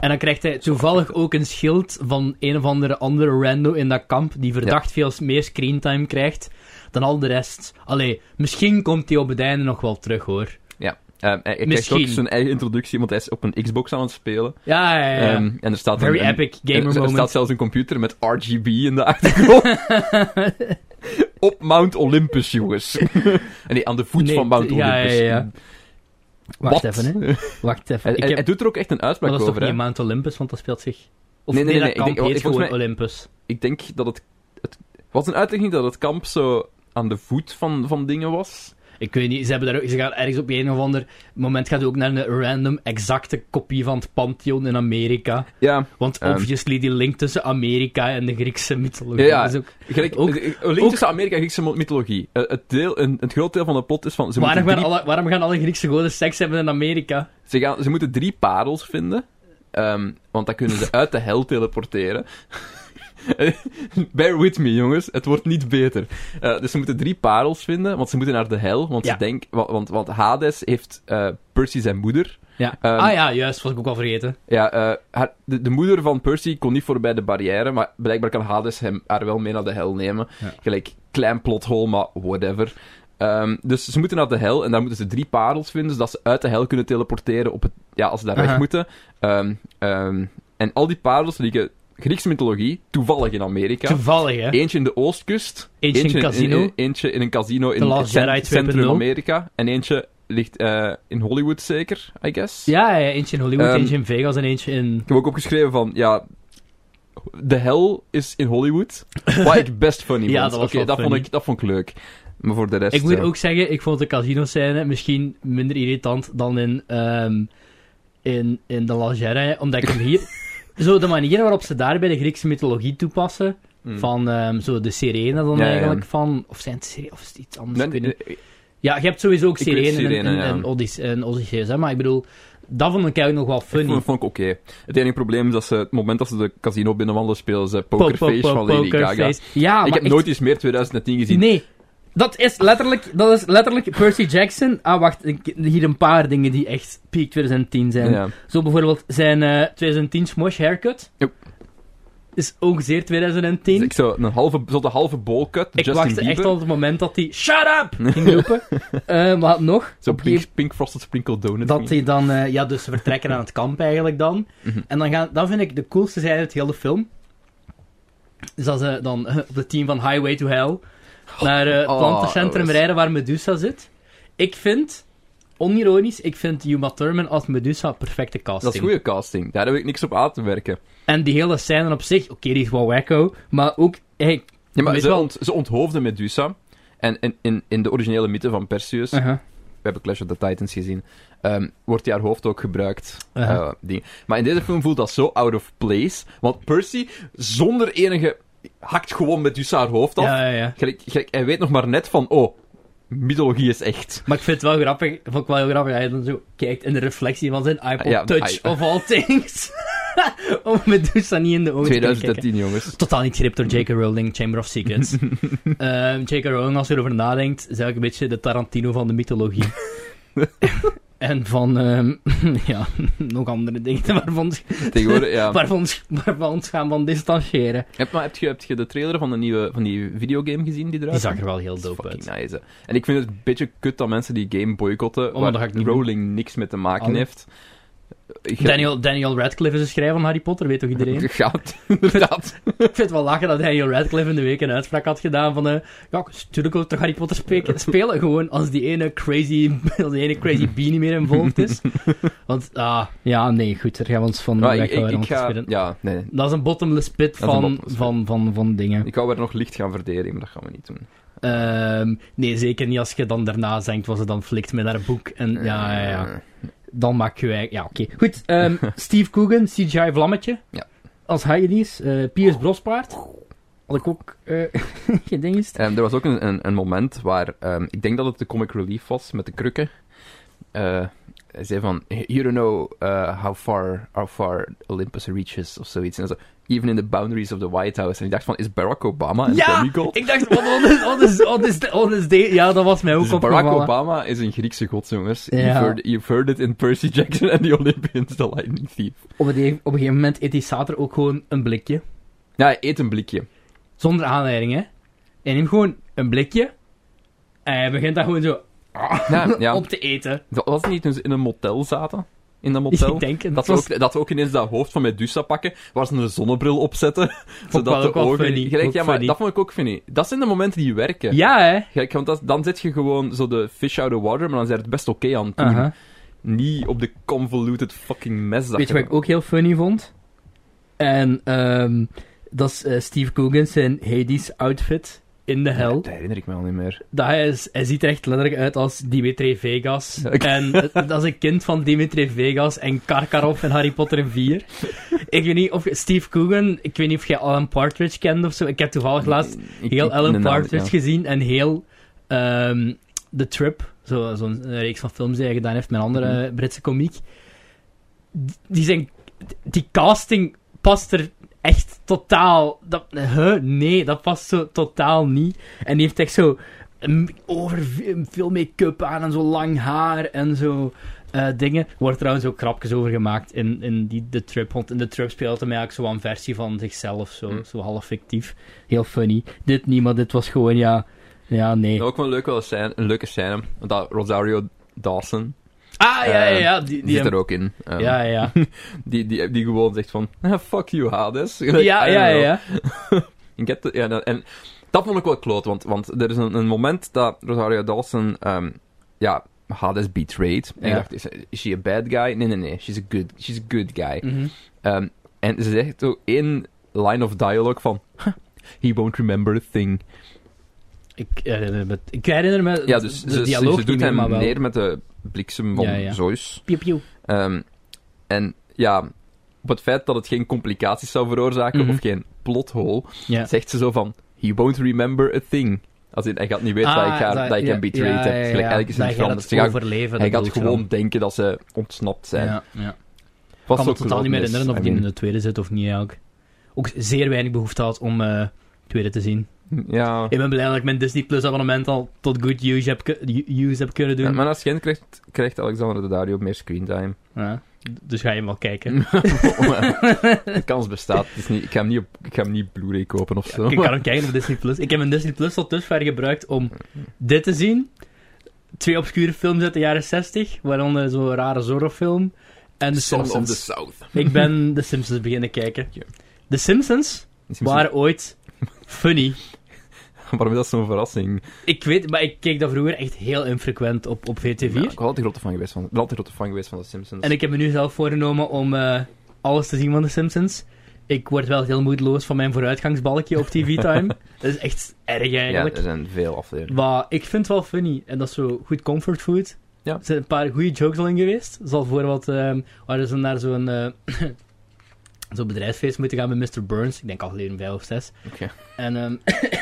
Speaker 2: En dan krijgt hij toevallig ook een schild van een of andere andere rando in dat kamp, die verdacht veel meer screentime krijgt dan al de rest. Allee, misschien komt hij op het einde nog wel terug, hoor.
Speaker 1: Ja. Ehm, hij hij krijgt
Speaker 2: Misschien.
Speaker 1: ook zijn eigen introductie, want hij is op een Xbox aan het spelen.
Speaker 2: Ja, ja, ja.
Speaker 1: Ehm, en er staat
Speaker 2: Very
Speaker 1: een, een-
Speaker 2: epic
Speaker 1: er-
Speaker 2: gamer
Speaker 1: er, staat
Speaker 2: moment.
Speaker 1: zelfs een computer met RGB in de achtergrond. op Mount Olympus, jongens. nee, aan de voet
Speaker 2: Nee,
Speaker 1: van Mount
Speaker 2: ja, ja,
Speaker 1: Olympus.
Speaker 2: ja. Wacht
Speaker 1: Wat?
Speaker 2: even, hè. Wacht even.
Speaker 1: Hij,
Speaker 2: Ik
Speaker 1: hij-
Speaker 2: heb...
Speaker 1: hij doet er ook echt een
Speaker 2: Maar
Speaker 1: uitspraak
Speaker 2: dat is toch
Speaker 1: over.
Speaker 2: niet
Speaker 1: hè.
Speaker 2: Mount Olympus, want dat speelt zich... Of
Speaker 1: Nee,
Speaker 2: nee,
Speaker 1: nee, nee,
Speaker 2: dat
Speaker 1: nee, ik
Speaker 2: kamp
Speaker 1: denk- oh,
Speaker 2: heet
Speaker 1: ik- volgens
Speaker 2: gewoon Olympus.
Speaker 1: Ik denk dat het, het... was een uitlegging dat het kamp zo aan de voet van, van dingen was.
Speaker 2: Ik weet niet, ze, hebben daar ook, ze gaan ergens op een of ander moment gaat u ook naar een random exacte kopie van het Pantheon in Amerika.
Speaker 1: Ja,
Speaker 2: Want
Speaker 1: Ehm.
Speaker 2: obviously die link tussen Amerika en de Griekse mythologie
Speaker 1: Ja, ja.
Speaker 2: is ook...
Speaker 1: gelijk,
Speaker 2: Ook-
Speaker 1: ook, link
Speaker 2: ook-
Speaker 1: tussen Amerika en Griekse mythologie. Eh, het, deel, een, het groot deel van de plot is van... Ze, moeten
Speaker 2: Waarom gaan,
Speaker 1: drie,
Speaker 2: alle, waarom gaan alle Griekse goden seks hebben in Amerika?
Speaker 1: ze, gaan, ze moeten drie parels vinden. ehm, want dan kunnen ze uit de hel teleporteren. Bear with me, jongens. Het wordt niet beter. Eh, dus ze moeten drie parels vinden, want ze moeten naar de hel. Want,
Speaker 2: Ja.
Speaker 1: ze denk, wa- want, want Hades heeft eh, Percy zijn moeder.
Speaker 2: Ja.
Speaker 1: Ehm.
Speaker 2: ah ja, juist, was ik ook al vergeten.
Speaker 1: Ja, eh, haar- de, de moeder van Percy kon niet voorbij de barrière, maar blijkbaar kan Hades hem, haar wel mee naar de hel nemen.
Speaker 2: Ja.
Speaker 1: Gelijk, klein plothole, maar whatever. Ehm, dus ze moeten naar de hel en daar moeten ze drie parels vinden, zodat ze uit de hel kunnen teleporteren op het, ja, als ze daar
Speaker 2: Aha.
Speaker 1: weg moeten. Ehm, ehm, en al die parels liggen Griekse mythologie, toevallig in Amerika.
Speaker 2: Toevallig, hè.
Speaker 1: Eentje in de oostkust.
Speaker 2: Eentje in een casino.
Speaker 1: eentje in een casino in
Speaker 2: Last
Speaker 1: het cent-
Speaker 2: Jedi 2.0.
Speaker 1: centrum Amerika. En eentje ligt eh, in Hollywood zeker, I guess.
Speaker 2: Ja, ja, eentje in Hollywood,
Speaker 1: Ehm.
Speaker 2: eentje in Vegas en eentje in...
Speaker 1: Ik heb ook opgeschreven van, ja... De hel is in Hollywood. Wat ik best funny
Speaker 2: Ja,
Speaker 1: vond.
Speaker 2: dat was
Speaker 1: Oké,
Speaker 2: wel
Speaker 1: dat, vond
Speaker 2: funny.
Speaker 1: ik, dat vond ik leuk. Maar voor de rest... eh,
Speaker 2: Ik moet
Speaker 1: ja.
Speaker 2: ook zeggen, ik vond de casino-scène misschien minder irritant dan in, ehm, in, in de Langere, omdat ik hem hier... zo de manier waarop ze daar bij de Griekse mythologie toepassen,
Speaker 1: Hmm.
Speaker 2: van ehm, zo de sirene dan
Speaker 1: Ja, ja.
Speaker 2: eigenlijk, van... Of zijn het sirene, of is het iets anders?
Speaker 1: Nee,
Speaker 2: ik weet niet.
Speaker 1: eh, eh,
Speaker 2: Ja, je hebt sowieso ook
Speaker 1: Ik weet
Speaker 2: sirene,
Speaker 1: sirene,
Speaker 2: en,
Speaker 1: ja.
Speaker 2: en, Odysse- en Odysseus, hè, maar ik bedoel, dat vond ik eigenlijk nog wel
Speaker 1: vond-
Speaker 2: funny.
Speaker 1: vond ik oké. Het enige probleem is dat ze... Het moment dat ze de casino binnenwandelen, spelen ze Pokerface
Speaker 2: Po- po-
Speaker 1: van
Speaker 2: po-
Speaker 1: Lady Gaga.
Speaker 2: Pokerface. Ja,
Speaker 1: ik
Speaker 2: maar
Speaker 1: heb
Speaker 2: echt-
Speaker 1: nooit eens meer 2010 gezien.
Speaker 2: Nee, dat is letterlijk, dat is letterlijk Percy Jackson. Ah, wacht, ik- hier een paar dingen die echt peak 2010 zijn.
Speaker 1: Ja.
Speaker 2: Zo bijvoorbeeld zijn eh, 2010 Smosh haircut.
Speaker 1: Yep.
Speaker 2: Is ook zeer 2010.
Speaker 1: Dus ik zo een halve, zo de halve bolcut,
Speaker 2: ik
Speaker 1: Justin
Speaker 2: wachtte
Speaker 1: Bieber.
Speaker 2: echt al op het moment dat hij Shut up! ging roepen. Eh, maar nog,
Speaker 1: Zo
Speaker 2: op die-
Speaker 1: pink, pink Frosted Sprinkle Donut.
Speaker 2: dat hij dan, eh, ja, dus ze vertrekken aan het kamp eigenlijk dan.
Speaker 1: Mhm.
Speaker 2: En dan gaan, dat vind ik de coolste zijde uit heel de film. Dus dat ze dan eh, op de team van Highway to Hell naar eh, het
Speaker 1: Oh,
Speaker 2: plantencentrum
Speaker 1: dat is-
Speaker 2: rijden waar Medusa zit. Ik vind, onironisch, ik vind Uma Thurman als Medusa perfecte casting.
Speaker 1: dat is goede casting. Daar heb ik niks op aan te werken.
Speaker 2: En die hele scène op zich, oké, die is wel wacko, maar ook... Hey,
Speaker 1: Ja, maar
Speaker 2: weet
Speaker 1: ze,
Speaker 2: wel-
Speaker 1: ont, ze onthoofden Medusa. En in, in, in de originele mythe van Perseus...
Speaker 2: Uh-huh.
Speaker 1: we hebben Clash of the Titans gezien, ehm, wordt die haar hoofd ook gebruikt.
Speaker 2: Aha.
Speaker 1: eh, ding. Maar in deze film voelt dat zo out of place, want Percy, zonder enige, hakt gewoon met dus haar hoofd af.
Speaker 2: Ja, ja, ja.
Speaker 1: Gelijk- gelijk, hij weet nog maar net van, oh, mythologie is echt.
Speaker 2: Maar ik vind het wel grappig, vond ik wel heel grappig, dat hij dan zo kijkt in de reflectie van zijn iPod
Speaker 1: Ja,
Speaker 2: Touch
Speaker 1: i-
Speaker 2: of all things. Om Medusa niet in de ogen te kijken.
Speaker 1: 2010, jongens.
Speaker 2: Totaal niet geript door J.K. Rowling, Chamber of Secrets. Ehm, J.K. Rowling, als je erover nadenkt, is eigenlijk een beetje de Tarantino van de mythologie. en van, ehm, ja, nog andere dingen waarvan,
Speaker 1: Tegenwoordig, ja.
Speaker 2: waarvan, waarvan ons gaan van distancieren.
Speaker 1: Heb, maar heb je, heb je de trailer van, de nieuwe, van die videogame gezien die
Speaker 2: Die
Speaker 1: eruit
Speaker 2: zag er
Speaker 1: komt?
Speaker 2: wel heel
Speaker 1: Dat is
Speaker 2: dope uit. Oh,
Speaker 1: Fucking nice. hè. En ik vind het een beetje kut dat mensen die game boycotten,
Speaker 2: maar dat ga
Speaker 1: waar
Speaker 2: ik niet
Speaker 1: Rowling niks mee te maken
Speaker 2: Al-
Speaker 1: heeft. Eh, Ik-
Speaker 2: Daniel, Daniel Radcliffe is een schrijver van Harry Potter, weet toch iedereen?
Speaker 1: Gaat, inderdaad.
Speaker 2: Ik vind het wel lachen dat Daniel Radcliffe in de week een uitspraak had gedaan van... eh ja, natuurlijk wil ik toch Harry Potter spelen, spelen gewoon als die ene crazy, als die ene crazy bee niet meer involved is. Want, ah, ja, nee, goed, daar gaan we ons van
Speaker 1: Maar ik, ik,
Speaker 2: weghouden.
Speaker 1: ik
Speaker 2: want dat
Speaker 1: ga...
Speaker 2: is weer een-
Speaker 1: Ja, nee. nee.
Speaker 2: Dat is een bottomless pit
Speaker 1: Dat is een
Speaker 2: van,
Speaker 1: bottomless
Speaker 2: van, van, van dingen.
Speaker 1: Ik wou er nog licht gaan verdedigen, maar dat gaan we niet doen.
Speaker 2: Ehm, nee, zeker niet als je dan daarna denkt, was het dan flikt met haar boek. En Mm, ja, ja, ja.
Speaker 1: Eh,
Speaker 2: Dan maak je eigenlijk... Ja, oké. Goed, ehm, Steve Coogan, CGI Vlammetje.
Speaker 1: Ja. Oh.
Speaker 2: Als Hyenes. eh Piers Brospaard. Had ik ook eh geen ding is.
Speaker 1: Eh, en er was ook een, een, een moment waar... ehm, ik denk dat het de comic relief was, met de krukken. Eh, hij zei van... You don't know eh, how, far, how far Olympus reaches, of zoiets. En dan zo... Even in the boundaries of the White House. En ik dacht van, is Barack Obama een
Speaker 2: Ja,
Speaker 1: demigod?
Speaker 2: ik dacht, wat, wat is, wat is, wat is, wat is de- Ja, dat was mij ook
Speaker 1: Dus
Speaker 2: opgevallen.
Speaker 1: Barack Obama is een Griekse god, jongens.
Speaker 2: Ja.
Speaker 1: You've, heard, you've heard it in Percy Jackson and the Olympians, the lightning thief.
Speaker 2: Op, een, op een gegeven moment eet die Sater ook gewoon een blikje.
Speaker 1: Ja, hij eet een blikje.
Speaker 2: Zonder aanleiding, hè. Hij neemt gewoon een blikje. En hij begint dat gewoon zo
Speaker 1: Ja, ja.
Speaker 2: om te eten.
Speaker 1: Dat was het niet toen ze in een motel zaten? In dat
Speaker 2: Ik
Speaker 1: motel?
Speaker 2: denk het.
Speaker 1: Dat ze,
Speaker 2: was
Speaker 1: ook, dat ze ook ineens dat hoofd van Medusa pakken, waar ze een zonnebril op zetten.
Speaker 2: wel
Speaker 1: zodat
Speaker 2: ook
Speaker 1: de
Speaker 2: wel
Speaker 1: ogen...
Speaker 2: funny.
Speaker 1: Gelijk,
Speaker 2: Ook
Speaker 1: ja, maar
Speaker 2: funny.
Speaker 1: dat vond ik ook funny. Dat zijn de momenten die werken.
Speaker 2: Ja, hè?
Speaker 1: Gelijk, want dat, dan zit je gewoon zo de fish out of water, maar dan zijn het best oké aan het doen.
Speaker 2: Aha.
Speaker 1: Niet op de convoluted fucking mes dat
Speaker 2: Weet je
Speaker 1: je
Speaker 2: wat ik ook heel funny vond? En ehm, dat is eh, Steve Coogan zijn Hades outfit in de hel.
Speaker 1: Ja, dat herinner ik me al niet meer.
Speaker 2: Dat hij, is, hij ziet er echt letterlijk uit als Dimitri Vegas.
Speaker 1: Ja, ik-
Speaker 2: En eh, dat is een kind van Dimitri Vegas en Karkaroff in Harry Potter 4. ik weet niet of je- Steve Coogan, ik weet niet of jij Alan Partridge kent of zo. Ik heb toevallig laatst
Speaker 1: Ik-
Speaker 2: heel
Speaker 1: ik-
Speaker 2: Alan
Speaker 1: de naam-
Speaker 2: Partridge
Speaker 1: ja.
Speaker 2: gezien en heel ehm, The Trip, zo- zo'n eh, reeks van films die hij gedaan heeft met een andere
Speaker 1: Mhm.
Speaker 2: eh, Britse komiek. D- Die, zijn, die casting past er echt totaal. Dat, huh? Nee, dat past zo totaal niet. En die heeft echt zo mm, over veel make-up aan en zo lang haar en zo. eh, dingen. Wordt trouwens ook grapjes over gemaakt in, in die, de Trip. Want in de Trip speelt hij eigenlijk zo'n versie van zichzelf, zo,
Speaker 1: Hm.
Speaker 2: zo half fictief heel funny. Dit niet, maar dit was gewoon, ja... Ja, nee.
Speaker 1: Ja, ook wel een leuke scène, een leuke scène want dat Rosario Dawson
Speaker 2: Ah, ja, ja, ja. Die,
Speaker 1: die,
Speaker 2: die
Speaker 1: zit er ook in. Ehm,
Speaker 2: Ja, ja.
Speaker 1: die, die, die gewoon zegt van, "Ah, fuck you Hades.
Speaker 2: Ja,
Speaker 1: Gelijk,
Speaker 2: ja,
Speaker 1: I don't
Speaker 2: ja.
Speaker 1: know.
Speaker 2: ja.
Speaker 1: Ik heb de- ja, dat- en dat vond ik wel kloot, want, want er is een, een moment dat Rosario Dawson, ehm, ja, Hades betrayed. En
Speaker 2: Ja.
Speaker 1: ik dacht, is, is she a bad guy? Nee, nee, nee, she's a good, she's a good guy.
Speaker 2: Mhm.
Speaker 1: Ehm, en ze zegt ook in line of dialogue van, "Huh, he won't remember a thing.
Speaker 2: Ik herinner me... Ik herinner me
Speaker 1: Ja, dus
Speaker 2: de
Speaker 1: ze,
Speaker 2: dialoog
Speaker 1: ze doet
Speaker 2: niet meer,
Speaker 1: hem
Speaker 2: maar wel.
Speaker 1: neer met de bliksem van
Speaker 2: Ja, ja.
Speaker 1: Zeus.
Speaker 2: Piu, piu.
Speaker 1: Ehm, en ja, op het feit dat het geen complicaties zou veroorzaken
Speaker 2: Mhm.
Speaker 1: of geen plothole,
Speaker 2: Ja.
Speaker 1: zegt ze zo van... He won't remember a thing. Als in, hij gaat niet weten
Speaker 2: Ah,
Speaker 1: dat ik, haar, dat, ik hem betrayed heb. Gelijk, eigenlijk is het
Speaker 2: hij
Speaker 1: niet veranderd. Ze gaan-
Speaker 2: overleven.
Speaker 1: Hij
Speaker 2: dat
Speaker 1: gaat
Speaker 2: bedoel ik
Speaker 1: gewoon denken dat ze ontsnapt
Speaker 2: dan.
Speaker 1: zijn.
Speaker 2: Ja, ja. Ik
Speaker 1: Was
Speaker 2: kan me
Speaker 1: ook
Speaker 2: totaal niet meer
Speaker 1: klootmis,
Speaker 2: herinneren of
Speaker 1: I
Speaker 2: die in
Speaker 1: mean.
Speaker 2: de tweede zit of niet, eigenlijk. Ook zeer weinig behoefte had om eh tweede te zien.
Speaker 1: Ja.
Speaker 2: Ik ben blij dat ik mijn Disney Plus abonnement al tot good use heb, ku- use heb kunnen
Speaker 1: Ja,
Speaker 2: doen.
Speaker 1: Maar als geen krijgt, krijgt Alexander de Dario meer screentime.
Speaker 2: Ja. Dus ga je hem wel kijken.
Speaker 1: de kans bestaat. Het is niet, ik ga hem niet, op, ik ga hem niet Blu-ray kopen of zo.
Speaker 2: Ik kan hem kijken op Disney Plus. Ik heb mijn Disney Plus tot dusver gebruikt om dit te zien. Twee obscure films uit de jaren 60, waaronder zo'n rare Zorro-film. En The
Speaker 1: Son of the
Speaker 2: Simpsons.
Speaker 1: South.
Speaker 2: Ik ben The Simpsons beginnen kijken.
Speaker 1: Ja.
Speaker 2: The Simpsons waren ooit funny.
Speaker 1: Waarom is dat zo'n verrassing?
Speaker 2: Ik weet, maar ik keek dat vroeger echt heel infrequent op, op VT4.
Speaker 1: Ja, ik ben altijd grote fan geweest van, ik ben altijd grote fan geweest van de Simpsons.
Speaker 2: En ik heb me nu zelf voorgenomen om eh, alles te zien van The Simpsons. Ik word wel heel moedeloos van mijn vooruitgangsbalkje op TV-time. dat is echt erg eigenlijk.
Speaker 1: Ja, er zijn veel afleveringen.
Speaker 2: Maar ik vind het wel funny. En dat is zo goed comfort food.
Speaker 1: Ja.
Speaker 2: Er zijn een paar goede jokes al in geweest. Zoals bijvoorbeeld, ehm waar ze naar zo'n eh, zo'n bedrijfsfeest moeten gaan met Mr. Burns. Ik denk aflevering 5 of 6.
Speaker 1: Oké.
Speaker 2: En ehm,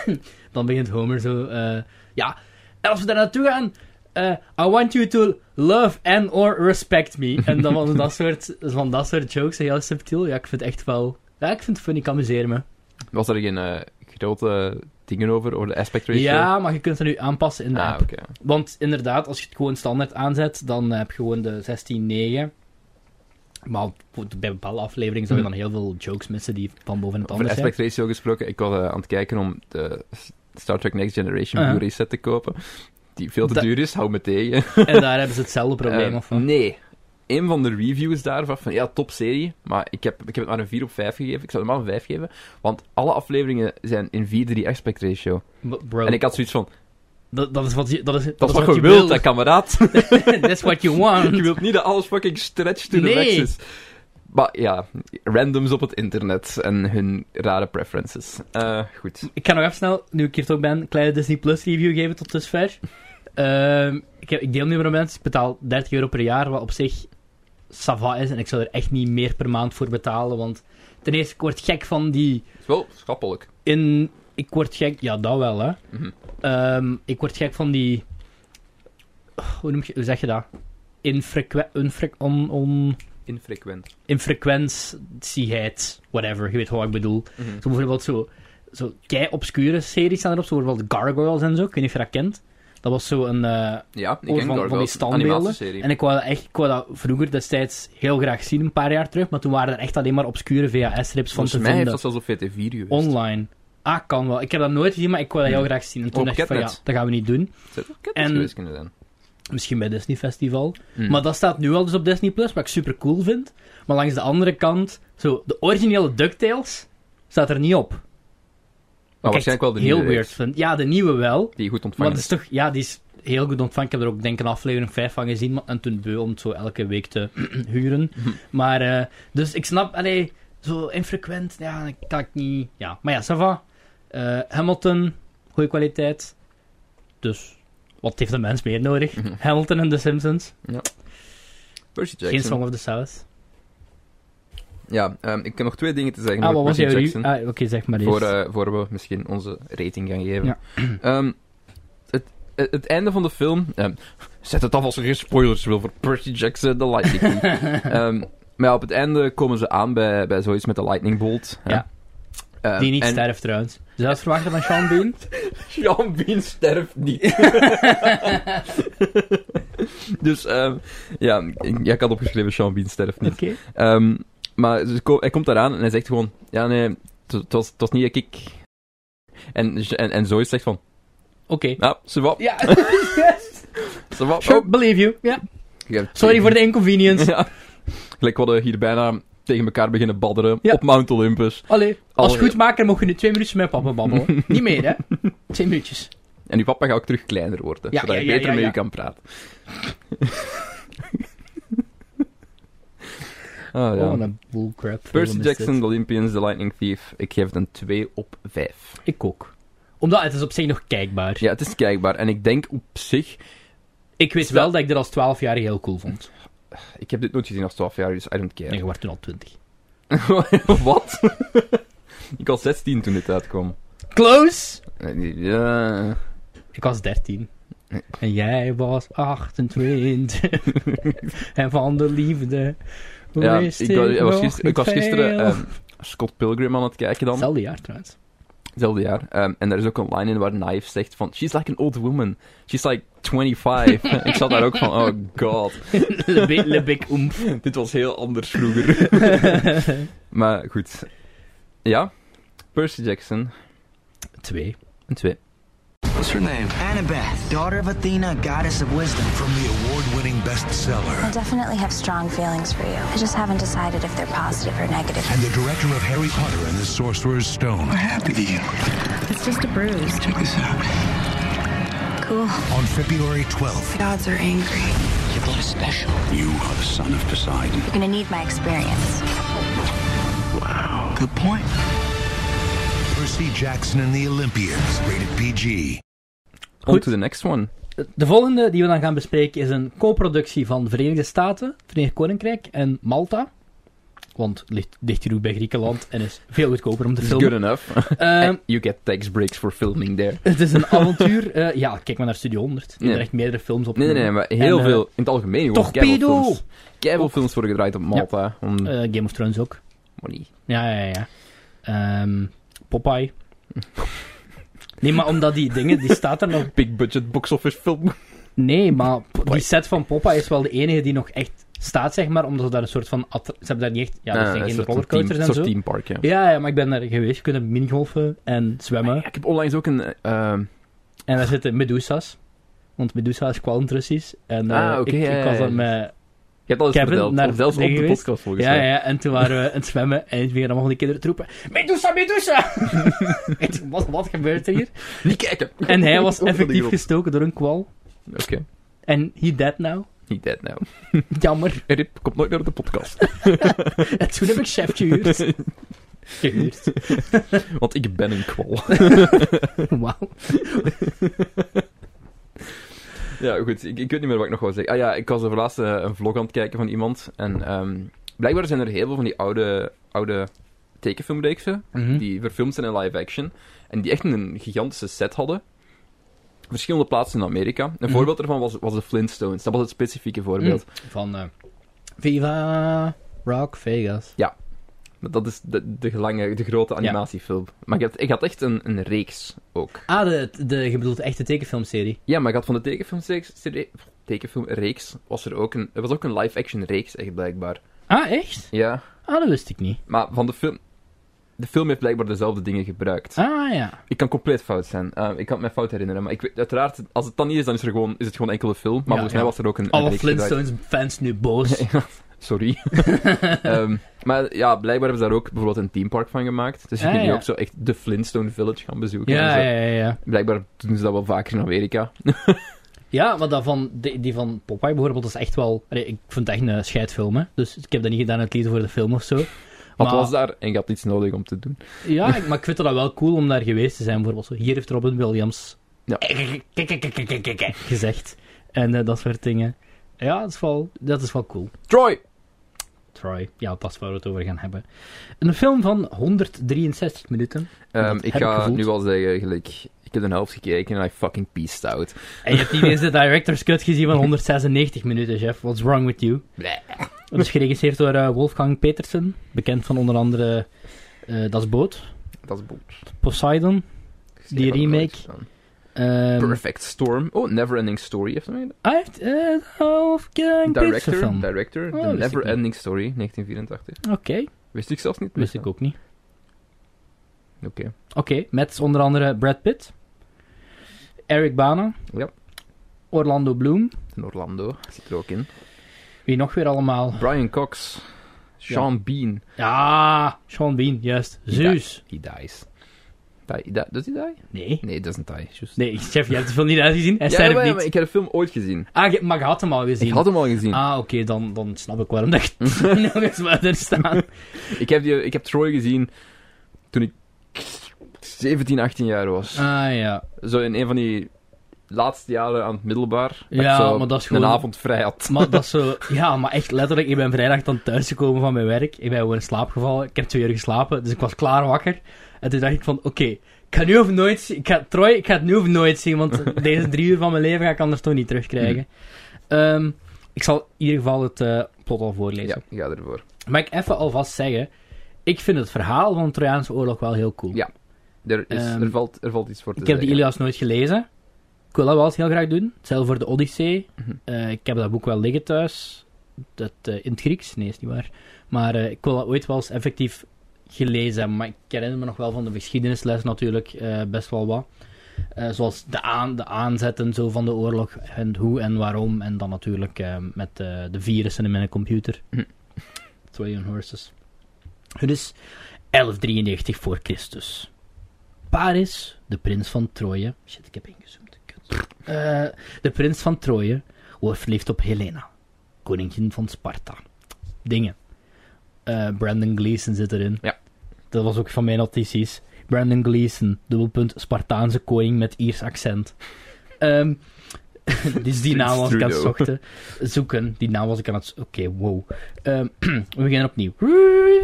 Speaker 2: dan begint Homer zo... eh, ja, en als we daar naartoe gaan... eh, I want you to love and or respect me. En dan van dat soort, van dat soort jokes. Heel subtiel. Ja, ik vind het echt wel... Ja, ik vind het funny. Ik amuseer me.
Speaker 1: Was er geen eh, grote dingen over, over de aspect ratio?
Speaker 2: Ja, maar je kunt het nu aanpassen in de app.
Speaker 1: Ah, oké.
Speaker 2: Want inderdaad, als je het gewoon standaard aanzet, dan heb je gewoon de 16-9. Maar goed, bij bepaalde afleveringen zou je dan heel veel jokes missen die van boven het
Speaker 1: Over
Speaker 2: anders zijn.
Speaker 1: Hmm. aspect ratio gesproken, ik was eh, aan het kijken om de Star Trek Next Generation
Speaker 2: Ah.
Speaker 1: Blu-ray set te kopen. Die veel te
Speaker 2: Dat-
Speaker 1: duur is, hou me tegen.
Speaker 2: En daar hebben ze hetzelfde probleem
Speaker 1: Eh,
Speaker 2: of wat?
Speaker 1: nee. Een van de reviews daarvan, van ja, top serie, maar ik heb, ik heb het maar een 4 op 5 gegeven. Ik zou het maar een 5 geven, want alle afleveringen zijn in 4-3 aspect ratio.
Speaker 2: B- Bro,
Speaker 1: En ik had zoiets van, dat,
Speaker 2: dat, dat is wat je, dat is, dat
Speaker 1: is wat je wilt, hè, kameraad.
Speaker 2: That's what you want.
Speaker 1: Je wilt niet dat alles fucking stretched to the
Speaker 2: Nee.
Speaker 1: max is. Maar ja, randoms op het internet en hun rare preferences. Eh, goed.
Speaker 2: Ik ga nog even snel, nu ik hier toch ben, een kleine Disney Plus review geven tot dusver. Ehm, ik, heb, ik deel nu met mensen, ik betaal 30 euro per jaar, wat op zich sava is. En ik zou er echt niet meer per maand voor betalen, want ten eerste, ik word gek van die...
Speaker 1: Het is wel schappelijk.
Speaker 2: in. Ik word gek. Ja, dat wel, hè.
Speaker 1: Mhm.
Speaker 2: Ehm, ik word gek van die. Hoe, noem je, hoe zeg je dat? Infrequ infre on, on,
Speaker 1: Infrequent.
Speaker 2: infrequentieheid. Whatever, je weet wat ik bedoel.
Speaker 1: Mhm.
Speaker 2: Zo bijvoorbeeld zo, zo kei-obscure series staan erop. Zo bijvoorbeeld Gargoyles en zo. Ik weet niet of je dat kent. Dat was zo een... eh,
Speaker 1: Ja, ik ken
Speaker 2: Over van- van die
Speaker 1: Gargoyles,
Speaker 2: standbeelden.
Speaker 1: animatieserie.
Speaker 2: en ik wou, dat echt, ik wou dat vroeger destijds heel graag zien, een paar jaar terug. Maar toen waren er echt alleen maar obscure VHS-rips van
Speaker 1: Volgens
Speaker 2: te
Speaker 1: mij heeft dat
Speaker 2: vinden.
Speaker 1: zelfs op VT4 geweest.
Speaker 2: Online. Ah, kan wel. Ik heb dat nooit gezien, maar ik wil dat heel
Speaker 1: Hmm.
Speaker 2: graag zien. En toen
Speaker 1: Op
Speaker 2: dacht ik van ja,
Speaker 1: Catnet.
Speaker 2: dat gaan we niet doen.
Speaker 1: Zou het ook
Speaker 2: En-
Speaker 1: en... geweest kunnen zijn.
Speaker 2: Misschien bij Disney Festival.
Speaker 1: Hm.
Speaker 2: Maar dat staat nu al dus op Disney Plus, wat ik super cool vind. Maar langs de andere kant, zo, de originele DuckTales staat er niet op. Wat
Speaker 1: maar
Speaker 2: ik echt
Speaker 1: Ah, waarschijnlijk wel de
Speaker 2: heel
Speaker 1: nieuwe
Speaker 2: weird vind. Ja, de nieuwe wel.
Speaker 1: Die goed
Speaker 2: Maar
Speaker 1: ontvangen
Speaker 2: dat is
Speaker 1: is.
Speaker 2: toch, ja, die is heel goed ontvangen. Ik heb er ook, denk ik, een aflevering 5 van gezien. Maar, en toen beu om het zo elke week te huren. Maar, eh, dus ik snap, allee, zo infrequent, ja, dat kan ik niet. Ja, maar ja, ça va. Eh, Hamilton, goede kwaliteit. Dus, wat heeft een mens meer nodig?
Speaker 1: Mhm.
Speaker 2: Hamilton en The Simpsons.
Speaker 1: Percy
Speaker 2: Geen
Speaker 1: Jackson.
Speaker 2: Song of the South.
Speaker 1: Ja, ehm, ik heb nog twee dingen te zeggen
Speaker 2: Ah,
Speaker 1: over
Speaker 2: wat was
Speaker 1: Percy
Speaker 2: jouw...
Speaker 1: Jackson.
Speaker 2: review? Ah, oké, zeg maar eens.
Speaker 1: voor, eh, voor we misschien onze rating gaan geven.
Speaker 2: Ja.
Speaker 1: Ehm, het, het, het einde van de film... ehm, zet het af als er geen spoilers wil voor Percy Jackson, de Lightning King. Ehm, maar ja, op het einde komen ze aan bij, bij zoiets met de Lightning Bolt. hè.
Speaker 2: Ja.
Speaker 1: Ehm,
Speaker 2: Die niet
Speaker 1: en
Speaker 2: sterft trouwens. Zou je dat verwachten van Sean Bean?
Speaker 1: Sean Bean sterft niet. dus ehm, ja, ik, ja, ik had opgeschreven Sean Bean sterft niet.
Speaker 2: Oké.
Speaker 1: Ehm, maar ze ko- hij komt daaraan en hij zegt gewoon: Ja, nee, het- het was, het was niet dat ik. En, en, en Zoe zegt van:
Speaker 2: Oké.
Speaker 1: Nou, ze wat,
Speaker 2: Ja,
Speaker 1: ze wat.
Speaker 2: sure, believe you. Ja. Sorry voor de inconvenience.
Speaker 1: Ja. Gelijk wat we hier bijna tegen elkaar beginnen badderen
Speaker 2: Ja.
Speaker 1: op Mount Olympus.
Speaker 2: Allee, als
Speaker 1: Allee.
Speaker 2: goedmaker mocht je nu twee minuutjes met papa babbelen. Niet meer, hè? Twee minuutjes.
Speaker 1: En die papa gaat ook terug kleiner worden,
Speaker 2: Ja,
Speaker 1: zodat
Speaker 2: ja,
Speaker 1: je
Speaker 2: ja,
Speaker 1: beter
Speaker 2: ja,
Speaker 1: mee
Speaker 2: ja.
Speaker 1: kan praten. Ah, ja.
Speaker 2: Oh, wat een bullcrap. film
Speaker 1: Percy
Speaker 2: is
Speaker 1: Jackson,
Speaker 2: dit.
Speaker 1: The Olympians, The Lightning Thief. Ik geef het een 2 op 5.
Speaker 2: Ik ook. Omdat het is op zich nog kijkbaar.
Speaker 1: Ja, het is kijkbaar. En ik denk op zich
Speaker 2: Ik wist wel dat ik dit als 12 jaar heel cool vond.
Speaker 1: Ik heb dit nooit gezien als 12 jaar, dus I don't
Speaker 2: En
Speaker 1: care.
Speaker 2: je werd toen al 20.
Speaker 1: Wat? ik was 16 toen dit uitkwam.
Speaker 2: Close!
Speaker 1: Eh, Ja.
Speaker 2: Ik was 13. En jij was 28. en van de liefde.
Speaker 1: ja
Speaker 2: wist
Speaker 1: ik, was, ik was
Speaker 2: nog
Speaker 1: gister-
Speaker 2: niet
Speaker 1: ik was gisteren
Speaker 2: veel.
Speaker 1: ehm, Scott Pilgrim aan het kijken dan.
Speaker 2: Hetzelfde jaar trouwens.
Speaker 1: Hetzelfde jaar. Ehm, en daar is ook een line in waar Knife zegt van... She's like an old woman. She's like 25. ik zat daar ook van... Oh god.
Speaker 2: Le big- Le Big Oomph.
Speaker 1: Dit was heel anders vroeger. maar goed. Ja. Percy Jackson.
Speaker 2: Twee.
Speaker 1: Een 2.
Speaker 3: What's her name?
Speaker 4: Annabeth, daughter of Athena, goddess of wisdom.
Speaker 5: From the award winning bestseller
Speaker 6: I definitely have strong feelings for you. I just haven't decided if they're positive or negative.
Speaker 5: and the director of Harry Potter and the Sorcerer's Stone
Speaker 3: What happened to you?
Speaker 7: It's just a bruise.
Speaker 3: Check this out.
Speaker 6: Cool.
Speaker 5: on February 12th.
Speaker 7: Gods are angry.
Speaker 3: Your blood is special. You are the son of Poseidon.
Speaker 6: You're gonna need my experience.
Speaker 3: Good point.
Speaker 5: Percy Jackson and the Olympians, rated PG.
Speaker 1: On
Speaker 2: Goed.
Speaker 1: to the next one.
Speaker 2: De volgende die we dan gaan bespreken is een co-productie van de Verenigde Staten, het Verenigd Koninkrijk en Malta. Want het ligt dicht hier ook bij Griekenland en is veel goedkoper om te
Speaker 1: It's good
Speaker 2: filmen.
Speaker 1: enough.
Speaker 2: Ehm,
Speaker 1: And you get tax breaks for filming there.
Speaker 2: het is een avontuur. eh, ja, kijk maar naar Studio 100. Die hebben
Speaker 1: Ja.
Speaker 2: echt meerdere films op.
Speaker 1: Nee, nee, nee, maar heel
Speaker 2: En, eh,
Speaker 1: veel, in het algemeen gewoon.
Speaker 2: Toch
Speaker 1: Keibelfilms.
Speaker 2: pedo!
Speaker 1: Keibelfilms worden gedraaid op Malta, om
Speaker 2: Eh, Game of Thrones ook.
Speaker 1: money.
Speaker 2: Ja, ja, ja. Ehm, Popeye. Nee, maar omdat die dingen, die staat er nog
Speaker 1: Big budget box office film.
Speaker 2: Nee, maar p- die
Speaker 1: Popeye.
Speaker 2: set van Popeye is wel de enige die nog echt staat, zeg maar. Omdat ze daar een soort van... att- Ze hebben daar niet echt... Ja, dat
Speaker 1: Eh,
Speaker 2: zijn
Speaker 1: een
Speaker 2: geen
Speaker 1: soort
Speaker 2: rollercoasters
Speaker 1: team- Ah,
Speaker 2: en zo.
Speaker 1: soort teampark, ja.
Speaker 2: Ja, ja, maar ik ben daar geweest. Je kunt daar minigolfen en zwemmen.
Speaker 1: Ik heb onlangs ook een... eh, ehm,
Speaker 2: En daar zitten Medusa's. Want Medusa is kwalentrussisch. En eh,
Speaker 1: Ah, oké,
Speaker 2: ik,
Speaker 1: ja,
Speaker 2: ik
Speaker 1: ja,
Speaker 2: was
Speaker 1: ja.
Speaker 2: dan met...
Speaker 1: je hebt al eens
Speaker 2: Kevin,
Speaker 1: verteld,
Speaker 2: naar
Speaker 1: of zelfs op de
Speaker 2: dingen geweest?
Speaker 1: podcast volgens
Speaker 2: Ja,
Speaker 1: mij.
Speaker 2: ja, en toen waren we aan het zwemmen en toen gingen allemaal de kinderen te roepen... Medusa, Medusa! En toen, wat, wat gebeurt er hier?
Speaker 1: Niet kijken!
Speaker 2: En hij was
Speaker 1: Over de
Speaker 2: effectief
Speaker 1: grond.
Speaker 2: gestoken door een kwal.
Speaker 1: Oké,
Speaker 2: En he dead now.
Speaker 1: niet dead now.
Speaker 2: Jammer.
Speaker 1: Rip, komt nooit naar de podcast.
Speaker 2: En toen heb ik chef gehuurd. Gehuurd.
Speaker 1: Want ik ben een kwal.
Speaker 2: Wauw.
Speaker 1: Ja, goed. Ik, ik weet niet meer wat ik nog wou zeggen. Ah ja, ik was er laatst eh, een vlog aan het kijken van iemand. En ehm, blijkbaar zijn er heel veel van die oude, oude tekenfilmreeksen.
Speaker 2: Mhm.
Speaker 1: Die verfilmd zijn in live action. En die echt een gigantische set hadden. Verschillende plaatsen in Amerika. Een voorbeeld daarvan was, was de Flintstones. Dat was het specifieke voorbeeld.
Speaker 2: Van eh, Viva Rock Vegas.
Speaker 1: Maar Dat is de, de, lange, de grote animatiefilm. Maar ik had, ik had echt een, een reeks ook.
Speaker 2: Ah, de, de, je bedoelt de echte tekenfilmserie.
Speaker 1: Ja, maar ik had van de tekenfilmreeks... serie- Tekenfilmreeks was er ook een... Er was ook een live action reeks, echt blijkbaar.
Speaker 2: Ah, echt?
Speaker 1: Ja.
Speaker 2: Ah, dat wist ik niet.
Speaker 1: Maar van de film. de film heeft blijkbaar dezelfde dingen gebruikt.
Speaker 2: Ah ja.
Speaker 1: Ik kan compleet fout zijn. Eh, ik kan het mij fout herinneren. Maar ik weet, uiteraard, als het dan niet is, dan is, er gewoon, is het gewoon enkel een film. Maar
Speaker 2: Ja,
Speaker 1: volgens mij
Speaker 2: ja.
Speaker 1: was er ook een, een
Speaker 2: Alle
Speaker 1: reeks gedraaid.
Speaker 2: Flintstones-fans nu boos.
Speaker 1: Sorry. Ehm, maar ja, blijkbaar hebben ze daar ook bijvoorbeeld een themepark van gemaakt. Dus je
Speaker 2: Ah,
Speaker 1: kunt nu
Speaker 2: ja.
Speaker 1: ook zo echt de Flintstone Village gaan bezoeken. en
Speaker 2: Ja,
Speaker 1: zo.
Speaker 2: ja, ja, ja.
Speaker 1: Blijkbaar doen ze dat wel vaker in Amerika.
Speaker 2: Ja, maar dat van, die, die van Popeye bijvoorbeeld is echt wel... allee, ik vond het echt een scheidfilm, hè. Dus ik heb dat niet gedaan uit liefde voor de film of zo.
Speaker 1: Wat
Speaker 2: Maar-
Speaker 1: was daar en je had iets nodig om te doen.
Speaker 2: Ja, ik- maar ik vind dat wel cool om daar geweest te zijn. Bijvoorbeeld, zo, hier heeft Robin Williams Eh,
Speaker 1: Ja.
Speaker 2: gezegd. En eh, dat soort dingen. Ja, dat is wel, dat is wel cool.
Speaker 1: Troy!
Speaker 2: Troy, ja, dat is waar we het over gaan hebben. Een film van 163 minuten.
Speaker 1: Ehm,
Speaker 2: Dat
Speaker 1: ik
Speaker 2: heb ik
Speaker 1: ga
Speaker 2: gevoeld.
Speaker 1: nu al zeggen, gelijk, ik heb de helft gekeken en I fucking peaced out.
Speaker 2: En je hebt niet eens de director's cut gezien van 196 minuten, Jeff. What's wrong with you?
Speaker 1: Bleh.
Speaker 2: Dat is geregisseerd door eh, Wolfgang Petersen. Bekend van onder andere eh Das Boot,
Speaker 1: Dat is boel.
Speaker 2: Poseidon. Die remake. ehm,
Speaker 1: Perfect Storm. Oh, Neverending Story heeft hem gedaan.
Speaker 2: Hij heeft eh, Wolfgang Petersen
Speaker 1: Director,
Speaker 2: film.
Speaker 1: director
Speaker 2: Oh,
Speaker 1: The
Speaker 2: wist ik
Speaker 1: Neverending Story, 1984.
Speaker 2: Oké,
Speaker 1: Wist ik zelfs niet.
Speaker 2: wist ik ook niet.
Speaker 1: Oké.
Speaker 2: Oké, met onder andere Brad Pitt, Eric Bana,
Speaker 1: Ja.
Speaker 2: Orlando Bloom,
Speaker 1: In Orlando zit er ook in.
Speaker 2: wie nog weer allemaal?
Speaker 1: Brian Cox. Sean Bean.
Speaker 2: Ja, Sean Bean, juist. Zeus.
Speaker 1: He dies. Die, die, does he die?
Speaker 2: Nee.
Speaker 1: Nee, doesn't die. Just.
Speaker 2: Nee, chef, je hebt de film niet uitgezien. Hij
Speaker 1: Ja,
Speaker 2: sterft
Speaker 1: ja, maar-
Speaker 2: niet.
Speaker 1: maar ik heb de film ooit gezien.
Speaker 2: Ah, je- maar je had hem al gezien.
Speaker 1: Ik had hem al gezien.
Speaker 2: Ah, oké, dan, dan snap ik waarom dat je nog eens verder staan.
Speaker 1: Ik, heb die, ik heb Troy gezien toen ik 17, 18 jaar was.
Speaker 2: Ah, ja.
Speaker 1: Zo in een van die laatste jaren aan het middelbaar. dat
Speaker 2: Ja,
Speaker 1: ik zo
Speaker 2: maar dat is gewoon-
Speaker 1: Een avond vrij had.
Speaker 2: Maar dat is zo... Ja, maar echt letterlijk. Ik ben vrijdag dan thuisgekomen van mijn werk. Ik ben gewoon in slaap gevallen. Ik heb twee uur geslapen. Dus ik was klaar wakker. En toen dacht ik van, oké, ik ga nu of nooit... zien- Ik ga, Troy, ik ga het nu of nooit zien. Want deze drie uur van mijn leven ga ik anders toch niet terugkrijgen. Ehm, ik zal in ieder geval het eh, plot al
Speaker 1: Ja,
Speaker 2: voorlezen.
Speaker 1: ik ga ervoor.
Speaker 2: Maar ik even alvast zeggen... Ik vind het verhaal van de Trojaanse oorlog wel heel cool.
Speaker 1: Ja, Er, is,
Speaker 2: Ehm,
Speaker 1: er, valt, er valt iets voor te
Speaker 2: Ik heb
Speaker 1: zeggen.
Speaker 2: de Ilias nooit gelezen. Ik wil dat wel eens heel graag doen. Hetzelfde voor de Odyssee.
Speaker 1: Mhm.
Speaker 2: Eh, ik heb dat boek wel liggen thuis. Dat, eh, in het Grieks? Nee, is niet waar. Maar eh, ik wil dat ooit wel eens effectief gelezen hebben. Maar ik herinner me nog wel van de geschiedenisles natuurlijk eh, best wel wat. Eh, zoals de, aan, de aanzet en zo van de oorlog. En hoe en waarom. En dan natuurlijk eh, met eh, de virussen in mijn computer.
Speaker 1: Mhm.
Speaker 2: Trojan Horses. Het is 1193 voor Christus. Paris, de prins van Troje. Shit, ik heb ingezoomd. kut. Eh, de prins van Troje wordt verliefd op Helena, koningin van Sparta. Dingen. Eh, Brandon Gleeson zit erin.
Speaker 1: Ja.
Speaker 2: Dat was ook van mijn notities. Brandon Gleeson, dubbelpunt Spartaanse koning met Iers accent. Ehm, dus die naam was ik aan het
Speaker 1: Trudeau.
Speaker 2: zochten, zoeken. Die naam was ik aan het... z- Oké, wow. Ehm, we beginnen opnieuw.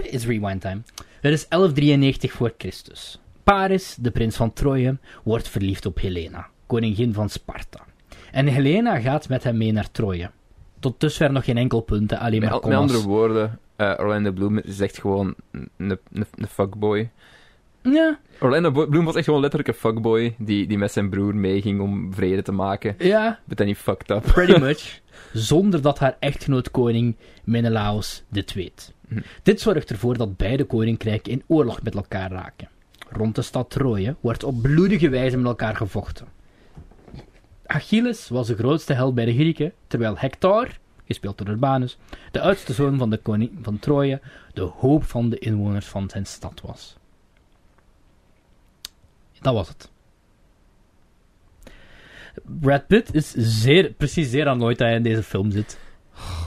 Speaker 2: It's rewind time. Het is 1193 voor Christus. Paris, de prins van Troje, wordt verliefd op Helena, koningin van Sparta. En Helena gaat met hem mee naar Troje. Tot dusver nog geen enkel punt, hè, alleen maar
Speaker 1: Met, met
Speaker 2: kommas.
Speaker 1: andere woorden, eh, Orlando Bloom is echt gewoon een- een een fuckboy.
Speaker 2: Ja,
Speaker 1: Orlando Bo- Bloom was echt gewoon letterlijk een fuckboy die, die met zijn broer meeging om vrede te maken.
Speaker 2: ja,
Speaker 1: But then he fucked up.
Speaker 2: pretty much. Zonder dat haar echtgenoot koning Menelaos dit weet. Dit zorgt ervoor dat beide koninkrijken in oorlog met elkaar raken. Rond de stad Troje wordt op bloedige wijze met elkaar gevochten. Achilles was de grootste held bij de Grieken, terwijl Hector, gespeeld door Urbanus, de oudste zoon van de koning van Troje, de hoop van de inwoners van zijn stad was. Dat was het. Brad Pitt is zeer, precies zeer annoyed dat hij in deze film zit.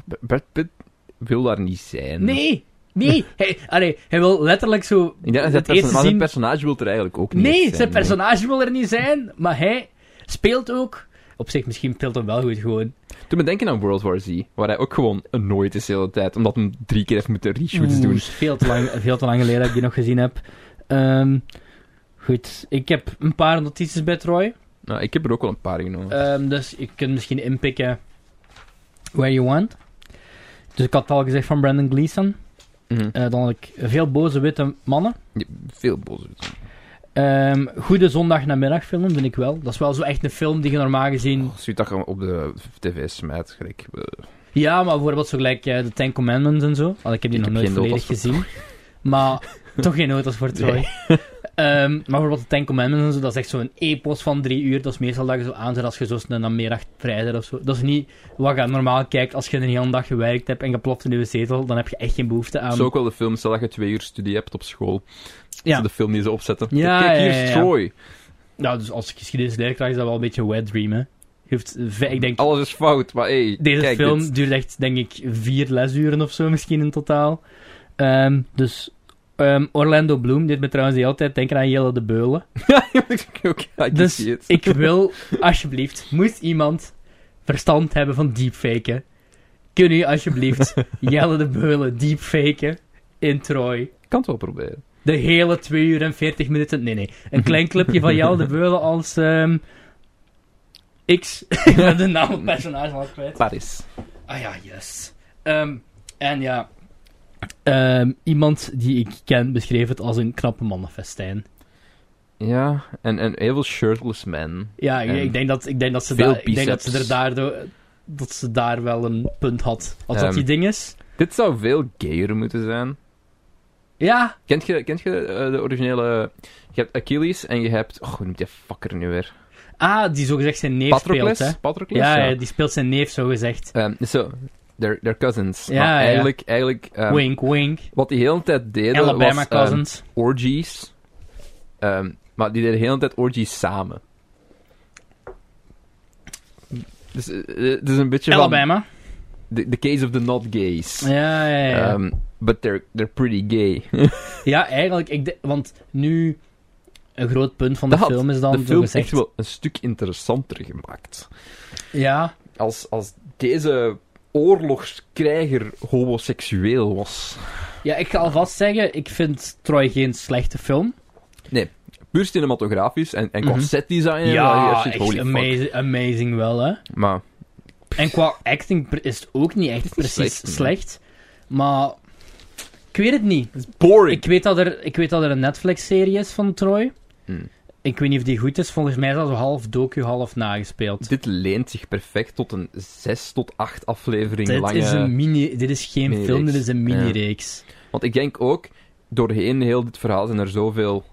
Speaker 1: B- Brad Pitt wil daar niet zijn.
Speaker 2: Nee, nee. Hij, allee, hij wil letterlijk zo
Speaker 1: Ik denk dat zijn
Speaker 2: het
Speaker 1: perso-
Speaker 2: eerste
Speaker 1: maar zijn
Speaker 2: zien...
Speaker 1: personage wil er eigenlijk ook niet
Speaker 2: nee,
Speaker 1: zijn,
Speaker 2: zijn personage wil er niet zijn, maar hij speelt ook... Op zich, misschien speelt hij wel goed gewoon.
Speaker 1: Toen me denken aan World War Z, waar hij ook gewoon annoyed is de hele tijd, omdat hij drie keer heeft moeten reshoots
Speaker 2: Oeh,
Speaker 1: doen.
Speaker 2: is Veel te, lang, veel te lang geleden dat ik die nog gezien heb. Ehm, goed, ik heb een paar notities bij Troy.
Speaker 1: Nou, ik heb er ook wel een paar genomen.
Speaker 2: Ehm, dus ik kan misschien inpikken where you want. Dus ik had het al gezegd van Brandon Gleeson.
Speaker 1: Mhm.
Speaker 2: Eh, dan had ik veel boze witte mannen.
Speaker 1: Ja, Veel boze.
Speaker 2: Ehm, goede zondagnamiddagfilm vind ik wel. Dat is wel zo echt een film die je normaal gezien...
Speaker 1: Als je Oh, dat gewoon op de tv smijt, gelijk. eh,
Speaker 2: Ja, maar bijvoorbeeld zo gelijk eh, de Ten Commandments en zo. Al, ik heb die
Speaker 1: Ik
Speaker 2: nog
Speaker 1: heb
Speaker 2: nooit
Speaker 1: geen nood
Speaker 2: volledig
Speaker 1: als
Speaker 2: gezien. Maar Toch geen auto's voor Troy. Ehm, maar bijvoorbeeld de Ten Commandments en zo, dat is echt zo'n epos van drie uur. Dat is meestal dat je zo aanzet als je zo snel namiddag vrij bent of zo. Dat is niet wat je normaal kijkt als je een hele dag gewerkt hebt en geploft in je zetel. Dan heb je echt geen behoefte aan...
Speaker 1: Dat is ook wel de film, stel dat je twee uur studie hebt op school. Ja.
Speaker 2: Ja.
Speaker 1: De film die ze opzetten.
Speaker 2: Ja,
Speaker 1: Kijk, hier
Speaker 2: ja, ja,
Speaker 1: is
Speaker 2: ja.
Speaker 1: Troy.
Speaker 2: Ja, dus als geschiedenisleerkracht is dat wel een beetje wet dream, hè. Je hoeft, ve- ik denk,
Speaker 1: Alles is fout, maar hey,
Speaker 2: deze
Speaker 1: kijk
Speaker 2: film
Speaker 1: dit.
Speaker 2: duurt echt, denk ik, vier lesuren of zo misschien in totaal. Ehm, dus ehm, Orlando Bloom deed me trouwens die altijd denken aan Jelle de Beulen.
Speaker 1: ja, ik ook, I can
Speaker 2: Dus
Speaker 1: see it.
Speaker 2: ik wil, alsjeblieft, moest iemand verstand hebben van deepfaken, kun je alsjeblieft Jelle de Beulen deepfaken in Troy?
Speaker 1: Ik kan het wel proberen.
Speaker 2: De hele 2 uur en 40 minuten. Nee, nee. Een klein clubje van Jelle de Beulen als. ehm, X. Ik ben de naam van het personage al kwijt.
Speaker 1: Paris.
Speaker 2: Ah ja, yes. Ehm, en ja. ehm, iemand die ik ken beschreef het als een knappe mannenfestijn.
Speaker 1: Ja, en, en heel veel shirtless men.
Speaker 2: Ja, ik,
Speaker 1: En
Speaker 2: ik denk dat, ik denk dat, ze,
Speaker 1: veel
Speaker 2: daar- ik denk dat ze er
Speaker 1: biceps.
Speaker 2: daardoor. Dat ze daar wel een punt had. Als dat
Speaker 1: Ehm.
Speaker 2: die ding is.
Speaker 1: Dit zou veel gayer moeten zijn.
Speaker 2: Ja,
Speaker 1: Kent je, kent je eh, de originele... Je hebt Achilles en je hebt... Oh, hoe noemt die fucker nu weer?
Speaker 2: ah, die zogezegd zijn neef speelt, hè?
Speaker 1: Patroclus? Patroclus?
Speaker 2: Ja, ja, die speelt zijn neef, zogezegd.
Speaker 1: Ehm, zo, they're, they're cousins.
Speaker 2: Ja,
Speaker 1: maar
Speaker 2: ja.
Speaker 1: eigenlijk... eigenlijk ehm,
Speaker 2: wink, wink.
Speaker 1: Wat die hele tijd deden
Speaker 2: Alabama
Speaker 1: was... ehm,
Speaker 2: Cousins.
Speaker 1: orgies. Ehm, maar die deden de hele tijd orgies samen. Dus eh, eh, het is een beetje van...
Speaker 2: Alabama.
Speaker 1: The, the case of the not gays.
Speaker 2: Ja, ja, ja.
Speaker 1: Ehm, but they're, they're pretty gay.
Speaker 2: ja, eigenlijk. Ik de- want nu, een groot punt van de
Speaker 1: Dat had
Speaker 2: film is dan,
Speaker 1: de
Speaker 2: zo
Speaker 1: film is
Speaker 2: gezegd,
Speaker 1: echt wel een stuk interessanter gemaakt.
Speaker 2: Ja,
Speaker 1: Als, als deze oorlogskrijger homoseksueel was.
Speaker 2: ja, ik ga alvast zeggen, ik vind Troy geen slechte film.
Speaker 1: Puur cinematografisch en, en qua
Speaker 2: Mhm.
Speaker 1: setdesign.
Speaker 2: ja,
Speaker 1: en,
Speaker 2: echt
Speaker 1: holy fuck.
Speaker 2: amazing, amazing wel, hè.
Speaker 1: Maar
Speaker 2: En qua acting pr- is het ook niet echt precies
Speaker 1: Slecht,
Speaker 2: slecht,
Speaker 1: nee.
Speaker 2: maar ik weet het niet.
Speaker 1: het is boring.
Speaker 2: Ik weet dat er, ik weet dat er een Netflix-serie is van Troy.
Speaker 1: Hmm.
Speaker 2: Ik weet niet of die goed is, volgens mij is dat zo half docu, half nagespeeld.
Speaker 1: Dit reent zich perfect tot een 6 tot 8 aflevering
Speaker 2: Dit
Speaker 1: lange...
Speaker 2: is, een mini, dit is geen
Speaker 1: minireeks.
Speaker 2: film, dit is een
Speaker 1: Ja.
Speaker 2: mini-reeks.
Speaker 1: Want ik denk ook, doorheen heel dit verhaal zijn er zoveel...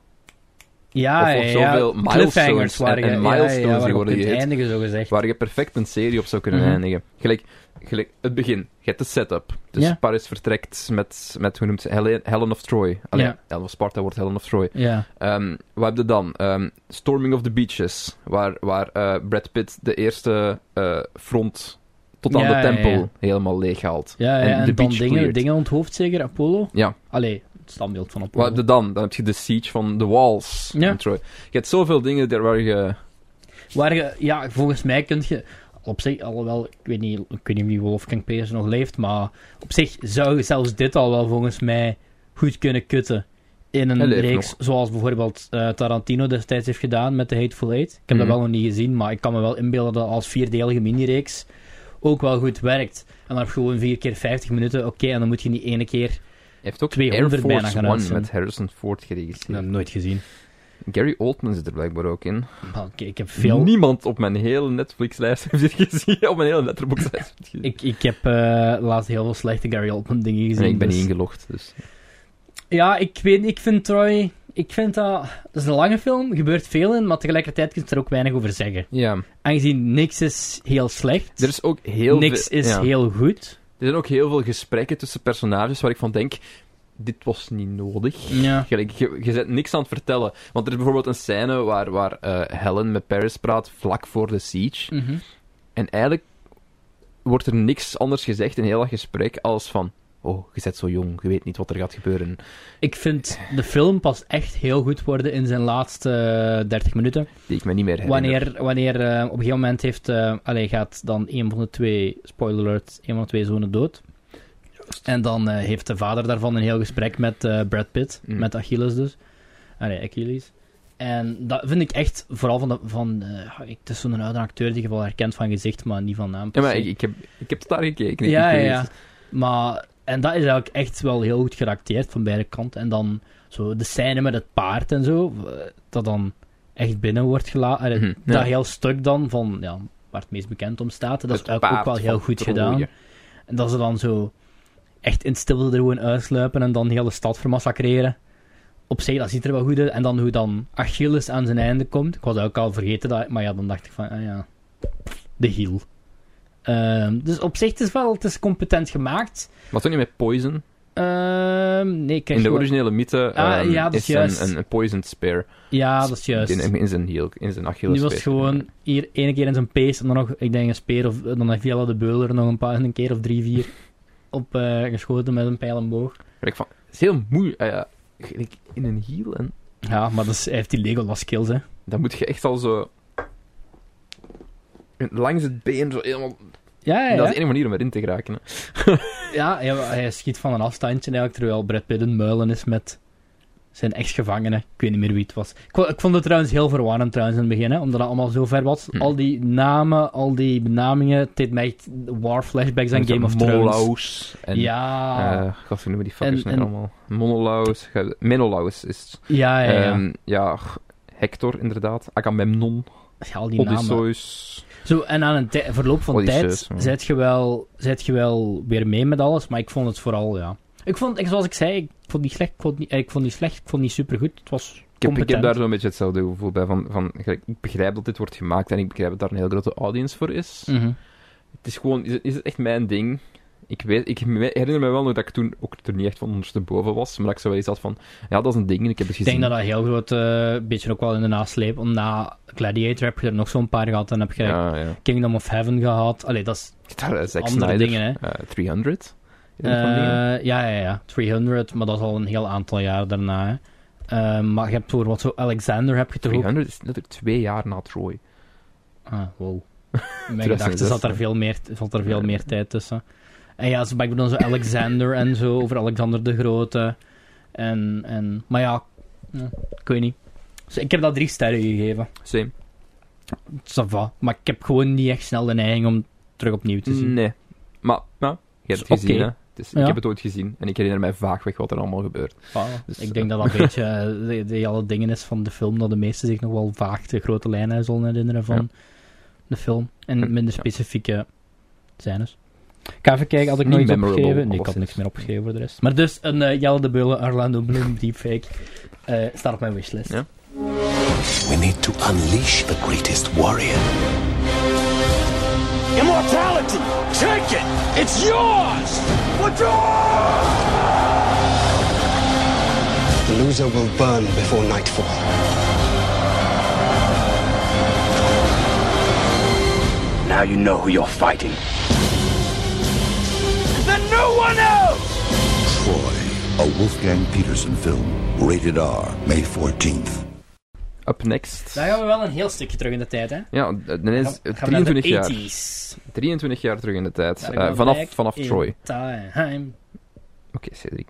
Speaker 2: Ja,
Speaker 1: Of- of
Speaker 2: ja,
Speaker 1: zoveel
Speaker 2: ja.
Speaker 1: milestones
Speaker 2: cliffhangers
Speaker 1: en-
Speaker 2: waren
Speaker 1: en
Speaker 2: ge-
Speaker 1: milestones
Speaker 2: ja,
Speaker 1: die
Speaker 2: ja, waarop
Speaker 1: worden
Speaker 2: je kunt
Speaker 1: geheeld.
Speaker 2: eindigen, zo gezegd.
Speaker 1: waar je perfect een serie op zou kunnen
Speaker 2: Mhm.
Speaker 1: eindigen. Gelijk, gelijk het begin. Je hebt de setup. Dus
Speaker 2: Ja.
Speaker 1: Paris vertrekt met, met hoe noemt ze, Helen, Helen of Troy. Allee,
Speaker 2: Ja.
Speaker 1: Helen of Sparta wordt Helen of Troy.
Speaker 2: Ja.
Speaker 1: Ehm wat heb je dan? Ehm, Storming of the Beaches, waar, waar eh, Brad Pitt de eerste eh, front tot aan
Speaker 2: Ja,
Speaker 1: de
Speaker 2: ja,
Speaker 1: tempel
Speaker 2: ja.
Speaker 1: helemaal leeghaalt.
Speaker 2: Ja, ja, en,
Speaker 1: de
Speaker 2: dan
Speaker 1: beach
Speaker 2: dingen,
Speaker 1: cleared.
Speaker 2: dingen onthoofd zeker, Apollo?
Speaker 1: Ja.
Speaker 2: Allee, het standbeeld van Apollo.
Speaker 1: Wat heb je dan? Dan heb je de siege van the walls
Speaker 2: Mhm. Ja.
Speaker 1: in Troy. Je hebt zoveel dingen daar waar je...
Speaker 2: Waar je, ja, volgens mij kun je... Op zich, alhoewel, ik weet niet, ik weet niet of die Wolfgang Peers nog leeft, maar op zich zou je zelfs dit al wel volgens mij goed kunnen kutten. In
Speaker 1: Hij
Speaker 2: een
Speaker 1: leeft
Speaker 2: reeks
Speaker 1: nog.
Speaker 2: zoals bijvoorbeeld eh, Tarantino destijds heeft gedaan met The Hateful Eight. Ik heb dat
Speaker 1: Mhm.
Speaker 2: wel nog niet gezien, maar ik kan me wel inbeelden dat als vierdelige mini-reeks ook wel goed werkt. En dan heb je gewoon vier keer 50 minuten, oké, en dan moet je niet ene keer...
Speaker 1: Je hebt ook
Speaker 2: 200
Speaker 1: Air
Speaker 2: bijna
Speaker 1: Force
Speaker 2: gaan
Speaker 1: One
Speaker 2: uitzenden.
Speaker 1: met Harrison Ford geregisseerd.
Speaker 2: nooit gezien.
Speaker 1: Gary Oldman zit er blijkbaar ook in.
Speaker 2: Maar Ah, oké, ik heb veel...
Speaker 1: Niemand op mijn hele Netflix-lijst heeft dit gezien. Op mijn hele Letterboxd-lijst heeft dit gezien.
Speaker 2: Ik, ik heb eh, laatst heel veel slechte Gary Oldman dingen gezien.
Speaker 1: En ik ben
Speaker 2: dus-
Speaker 1: niet ingelogd, dus...
Speaker 2: Ja, ik weet ik vind Troy... Ik vind dat... Dat is een lange film, gebeurt veel in, maar tegelijkertijd kun je er ook weinig over zeggen.
Speaker 1: Ja.
Speaker 2: Aangezien niks is heel slecht,
Speaker 1: Er is ook heel
Speaker 2: niks
Speaker 1: veel...
Speaker 2: is
Speaker 1: ja.
Speaker 2: heel goed.
Speaker 1: Er zijn ook heel veel gesprekken tussen personages waar ik van denk... Dit was niet nodig.
Speaker 2: Ja.
Speaker 1: Gelijk, Je, je bent niks aan het vertellen. Want er is bijvoorbeeld een scène waar, waar eh, Helen met Paris praat vlak voor de siege.
Speaker 2: Mhm.
Speaker 1: En eigenlijk wordt er niks anders gezegd in heel dat gesprek als van... Oh, je bent zo jong, je weet niet wat er gaat gebeuren.
Speaker 2: Ik vind de film pas echt heel goed worden in zijn laatste eh, 30 minuten.
Speaker 1: Die ik me niet meer herinner.
Speaker 2: Wanneer, wanneer eh, op een gegeven moment heeft, eh allee, gaat dan een van de twee, spoiler alert, een van de twee zonen dood. En dan eh, heeft de vader daarvan een heel gesprek met eh, Brad Pitt,
Speaker 1: Mm.
Speaker 2: met Achilles dus. Allee, Achilles. En dat vind ik echt, vooral van, de, van eh, ik- het is zo'n oude acteur die je wel herkent van gezicht, maar niet van naam.
Speaker 1: Ja, maar
Speaker 2: per
Speaker 1: ik,
Speaker 2: se.
Speaker 1: ik, heb, ik heb het daar gekeken. Ik-
Speaker 2: ja,
Speaker 1: ik
Speaker 2: ja,
Speaker 1: weet
Speaker 2: ja.
Speaker 1: het.
Speaker 2: Maar, en dat is eigenlijk echt wel heel goed geracteerd van beide kanten. En dan zo de scène met het paard en zo, eh, dat dan echt binnen wordt gelaten. Allee,
Speaker 1: Mhm, ja.
Speaker 2: Dat heel stuk dan van, ja, waar het meest bekend om staat. Dat
Speaker 1: Het
Speaker 2: is eigenlijk ook
Speaker 1: paard
Speaker 2: wel heel
Speaker 1: van
Speaker 2: goed
Speaker 1: Troje.
Speaker 2: gedaan. En dat ze dan zo echt in stilte er gewoon uitsluipen en dan de hele stad vermassacreren. op zich, dat ziet er wel goed uit. En dan hoe dan Achilles aan zijn einde komt. Ik was ook al vergeten, dat, maar ja, dan dacht ik van, ah ja, de hiel. Ehm, dus op zich, het is wel het is competent gemaakt.
Speaker 1: Maar toch niet met Poison?
Speaker 2: Ehm, nee, ik krijg
Speaker 1: In de
Speaker 2: wel-
Speaker 1: originele mythe
Speaker 2: Ah,
Speaker 1: ehm,
Speaker 2: ja, dat is
Speaker 1: is
Speaker 2: juist.
Speaker 1: een, een, een Poison Spear.
Speaker 2: Ja, dat is juist.
Speaker 1: In, in zijn heel, in zijn Achilles.
Speaker 2: Nu was het gewoon hier ene keer in zijn pees en dan nog, ik denk, een speer of dan heeft Jelle de Beuler er nog een paar, een keer of drie, vier op eh, geschoten met een pijl en boog.
Speaker 1: Ik van, het is heel moeilijk. eh, ik- in een heel en
Speaker 2: Ja, maar dat is, hij heeft die Legolas skills, hè.
Speaker 1: dan moet je echt al zo. Langs het been zo helemaal.
Speaker 2: Ja, ja,
Speaker 1: Dat is
Speaker 2: ja.
Speaker 1: de enige manier om erin te geraken. hè.
Speaker 2: ja hij, hij schiet van een afstandje eigenlijk, terwijl Brad Pitt een muilen is met zijn ex-gevangene. Ik weet niet meer wie het was. Ik, wa- ik vond het trouwens heel verwarrend trouwens in het begin, hè, omdat dat allemaal zo ver was.
Speaker 1: Hmm.
Speaker 2: Al die namen, al die benamingen, het deed mij echt war flashbacks aan
Speaker 1: Met
Speaker 2: Game of Thrones.
Speaker 1: Molaus en,
Speaker 2: Ja.
Speaker 1: eh, god, hoe noemen die fuckers
Speaker 2: En-
Speaker 1: nou
Speaker 2: en-
Speaker 1: allemaal? Monolaus. ge- Menolaus is.
Speaker 2: ja, ja, ja.
Speaker 1: Ehm, ja, g- Hector inderdaad. Agamemnon.
Speaker 2: Ja, al die namen.
Speaker 1: Odysseus.
Speaker 2: Zo, en aan een tij- verloop van
Speaker 1: Odysseus,
Speaker 2: tijd
Speaker 1: ja.
Speaker 2: zet je, wel, zet je wel weer mee met alles, maar ik vond het vooral, ja. Ik vond, ik, zoals ik zei, ik vond het niet slecht, ik vond het niet, eh, ik vond het niet slecht, ik vond het niet supergoed. Het was
Speaker 1: Ik heb, ik heb
Speaker 2: competent.
Speaker 1: daar zo'n beetje hetzelfde gevoel bij. Van, van, gelijk, ik begrijp dat dit wordt gemaakt en ik begrijp dat daar een heel grote audience voor is.
Speaker 2: Mhm.
Speaker 1: Het is gewoon, is, het- is het echt mijn ding? Ik, weet, ik me- herinner me wel nog dat ik toen ook er niet echt van ondersteboven was, maar dat ik zo wel iets had van, ja, dat is een ding en ik heb het
Speaker 2: Ik
Speaker 1: gezien.
Speaker 2: denk dat dat heel groot, eh, beetje ook wel in de nasleep, want na Gladiator heb je er nog zo'n paar gehad, dan heb je
Speaker 1: Ja, ja.
Speaker 2: Kingdom of Heaven gehad. Allee, dat is...
Speaker 1: Daar, eh, Zack
Speaker 2: Andere
Speaker 1: Snyder,
Speaker 2: dingen, hè.
Speaker 1: eh, 300. Is dat van
Speaker 2: eh,
Speaker 1: dingen?
Speaker 2: ja, ja, ja. 300, maar dat is al een heel aantal jaar daarna, hè. Eh, maar je hebt bijvoorbeeld zo Alexander heb je toch ook
Speaker 1: 300 is letterlijk twee jaar na Troy.
Speaker 2: Ah, wow. In mijn
Speaker 1: 2016.
Speaker 2: gedachten zat er veel meer, zat er veel meer tijd tussen. En ja, zo, maar ik bedoel zo Alexander en zo, over Alexander de Grote. En, en, maar ja, ja, ik weet niet. Dus ik heb dat drie sterren gegeven.
Speaker 1: Same.
Speaker 2: Ça va. Maar ik heb gewoon niet echt snel de neiging om terug opnieuw te zien.
Speaker 1: Nee. Maar, nou, je hebt
Speaker 2: Dus
Speaker 1: het gezien,
Speaker 2: oké.
Speaker 1: hè. Dus
Speaker 2: Ja.
Speaker 1: Ik heb het ooit gezien en ik herinner mij vaagweg wat er allemaal gebeurt.
Speaker 2: Voilà.
Speaker 1: Dus,
Speaker 2: ik denk dat dat een beetje eh, de, de alle dingen is van de film, dat de meesten zich nog wel vaag de grote lijnen zullen herinneren van de film. En
Speaker 1: En-
Speaker 2: minder
Speaker 1: ja.
Speaker 2: specifieke scènes. Ik ga even kijken, had ik
Speaker 1: Niet
Speaker 2: nooit
Speaker 1: memorable,
Speaker 2: opgegeven? Nee, ik had
Speaker 1: alleszins.
Speaker 2: niks meer opgegeven voor de rest. Maar dus, een eh, Jelle de Beulen, Orlando Bloom deepfake eh, staat op mijn wishlist.
Speaker 1: Ja.
Speaker 3: We need to unleash the greatest warrior.
Speaker 8: Immortality! Take it! It's yours!
Speaker 3: The loser will burn before nightfall.
Speaker 8: Now you know who you're fighting. Then no one else!
Speaker 5: Troy, a Wolfgang Peterson film. Rated R, May 14th.
Speaker 1: Up next.
Speaker 2: Daar gaan we wel een heel stukje terug in de tijd, hè?
Speaker 1: Ja, d- dan is
Speaker 2: Gaan we- gaan we naar de
Speaker 1: 23 jaar.
Speaker 2: 80s.
Speaker 1: 23 jaar terug in de tijd.
Speaker 2: Daar
Speaker 1: Eh,
Speaker 2: gaan we
Speaker 1: vanaf,
Speaker 2: back
Speaker 1: vanaf
Speaker 2: in
Speaker 1: Troy. Oké,
Speaker 2: time.
Speaker 1: Cedric.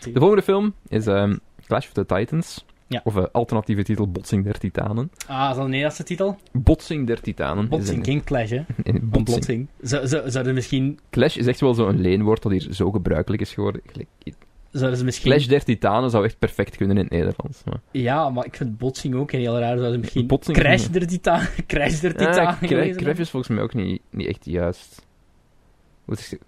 Speaker 1: De volgende film is ehm, Clash of the Titans.
Speaker 2: Ja.
Speaker 1: Of eh, alternatieve titel Botsing der Titanen.
Speaker 2: Ah, is dat de eerste titel?
Speaker 1: Botsing der Titanen.
Speaker 2: Botsing,
Speaker 1: is
Speaker 2: geen clash, hè?
Speaker 1: een, een botsing.
Speaker 2: Ontplotsing. Zou- zou- Zouden misschien...
Speaker 1: Clash is echt wel zo'n leenwoord dat hier zo gebruikelijk is geworden. Gelijk-
Speaker 2: Zouden ze misschien...
Speaker 1: Clash der Titanen zou echt perfect kunnen in het Nederlands. Maar...
Speaker 2: Ja, maar ik vind botsing ook heel raar. Zouden ze misschien...
Speaker 1: Botsing-
Speaker 2: crash der titaan... Crash der titaan
Speaker 1: Ah, cra-
Speaker 2: gelezen
Speaker 1: Crash is volgens mij ook niet, niet echt juist. Wat is het?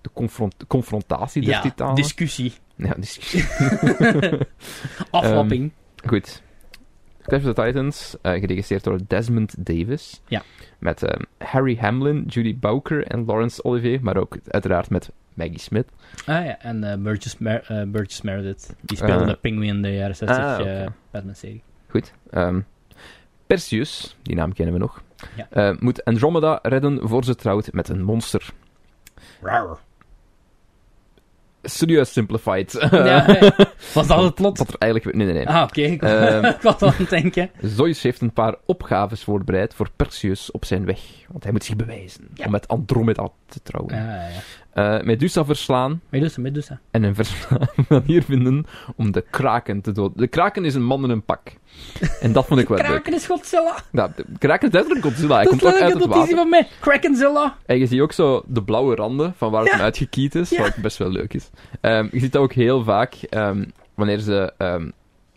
Speaker 1: De confront- confrontatie der
Speaker 2: Ja,
Speaker 1: Titanen?
Speaker 2: discussie.
Speaker 1: Ja, discussie.
Speaker 2: Aflapping.
Speaker 1: Goed. Clash of the Titans, eh, geregisseerd door Desmond Davis.
Speaker 2: Ja.
Speaker 1: Met ehm, Harry Hamlin, Judy Bowker en Laurence Olivier, maar ook uiteraard met Maggie Smith.
Speaker 2: Ah ja, en eh Burgess, Mer- eh, Burgess Meredith. Die speelde
Speaker 1: Ehm. Eh.
Speaker 2: de Penguin in de jaren 60
Speaker 1: Ah,
Speaker 2: eh,
Speaker 1: oké.
Speaker 2: Batman-serie.
Speaker 1: Goed. ehm, Perseus, die naam kennen we nog,
Speaker 2: Ja.
Speaker 1: eh, moet Andromeda redden voor ze trouwt met een monster. Serieus simplified.
Speaker 2: Ja, was dat het plot?
Speaker 1: Wat er eigenlijk... Nee, nee, nee.
Speaker 2: Ah, oké. Ik,
Speaker 1: Ehm.
Speaker 2: ik was al aan het denken.
Speaker 1: Zeus heeft een paar opgaves voorbereid voor Perseus op zijn weg. Want hij moet zich bewijzen
Speaker 2: Ja.
Speaker 1: om met Andromeda te trouwen.
Speaker 2: Ja, Ah, ja, ja.
Speaker 1: Eh, Medusa verslaan
Speaker 2: Medusa, Medusa.
Speaker 1: en een verslaafde manier vinden om de kraken te doden. De kraken is een man in een pak. En dat vond ik wel leuk.
Speaker 2: Kraken is Godzilla.
Speaker 1: Nou, de kraken is duidelijk Godzilla. Hij
Speaker 2: Dat is
Speaker 1: komt ook uit
Speaker 2: letterlijk
Speaker 1: het
Speaker 2: de notitie
Speaker 1: water.
Speaker 2: van mij. Krakenzilla.
Speaker 1: En je ziet ook zo de blauwe randen van waar het
Speaker 2: Ja.
Speaker 1: hem uitgekiet is,
Speaker 2: Ja.
Speaker 1: wat best wel leuk is. Ehm, je ziet dat ook heel vaak ehm, wanneer ze ehm,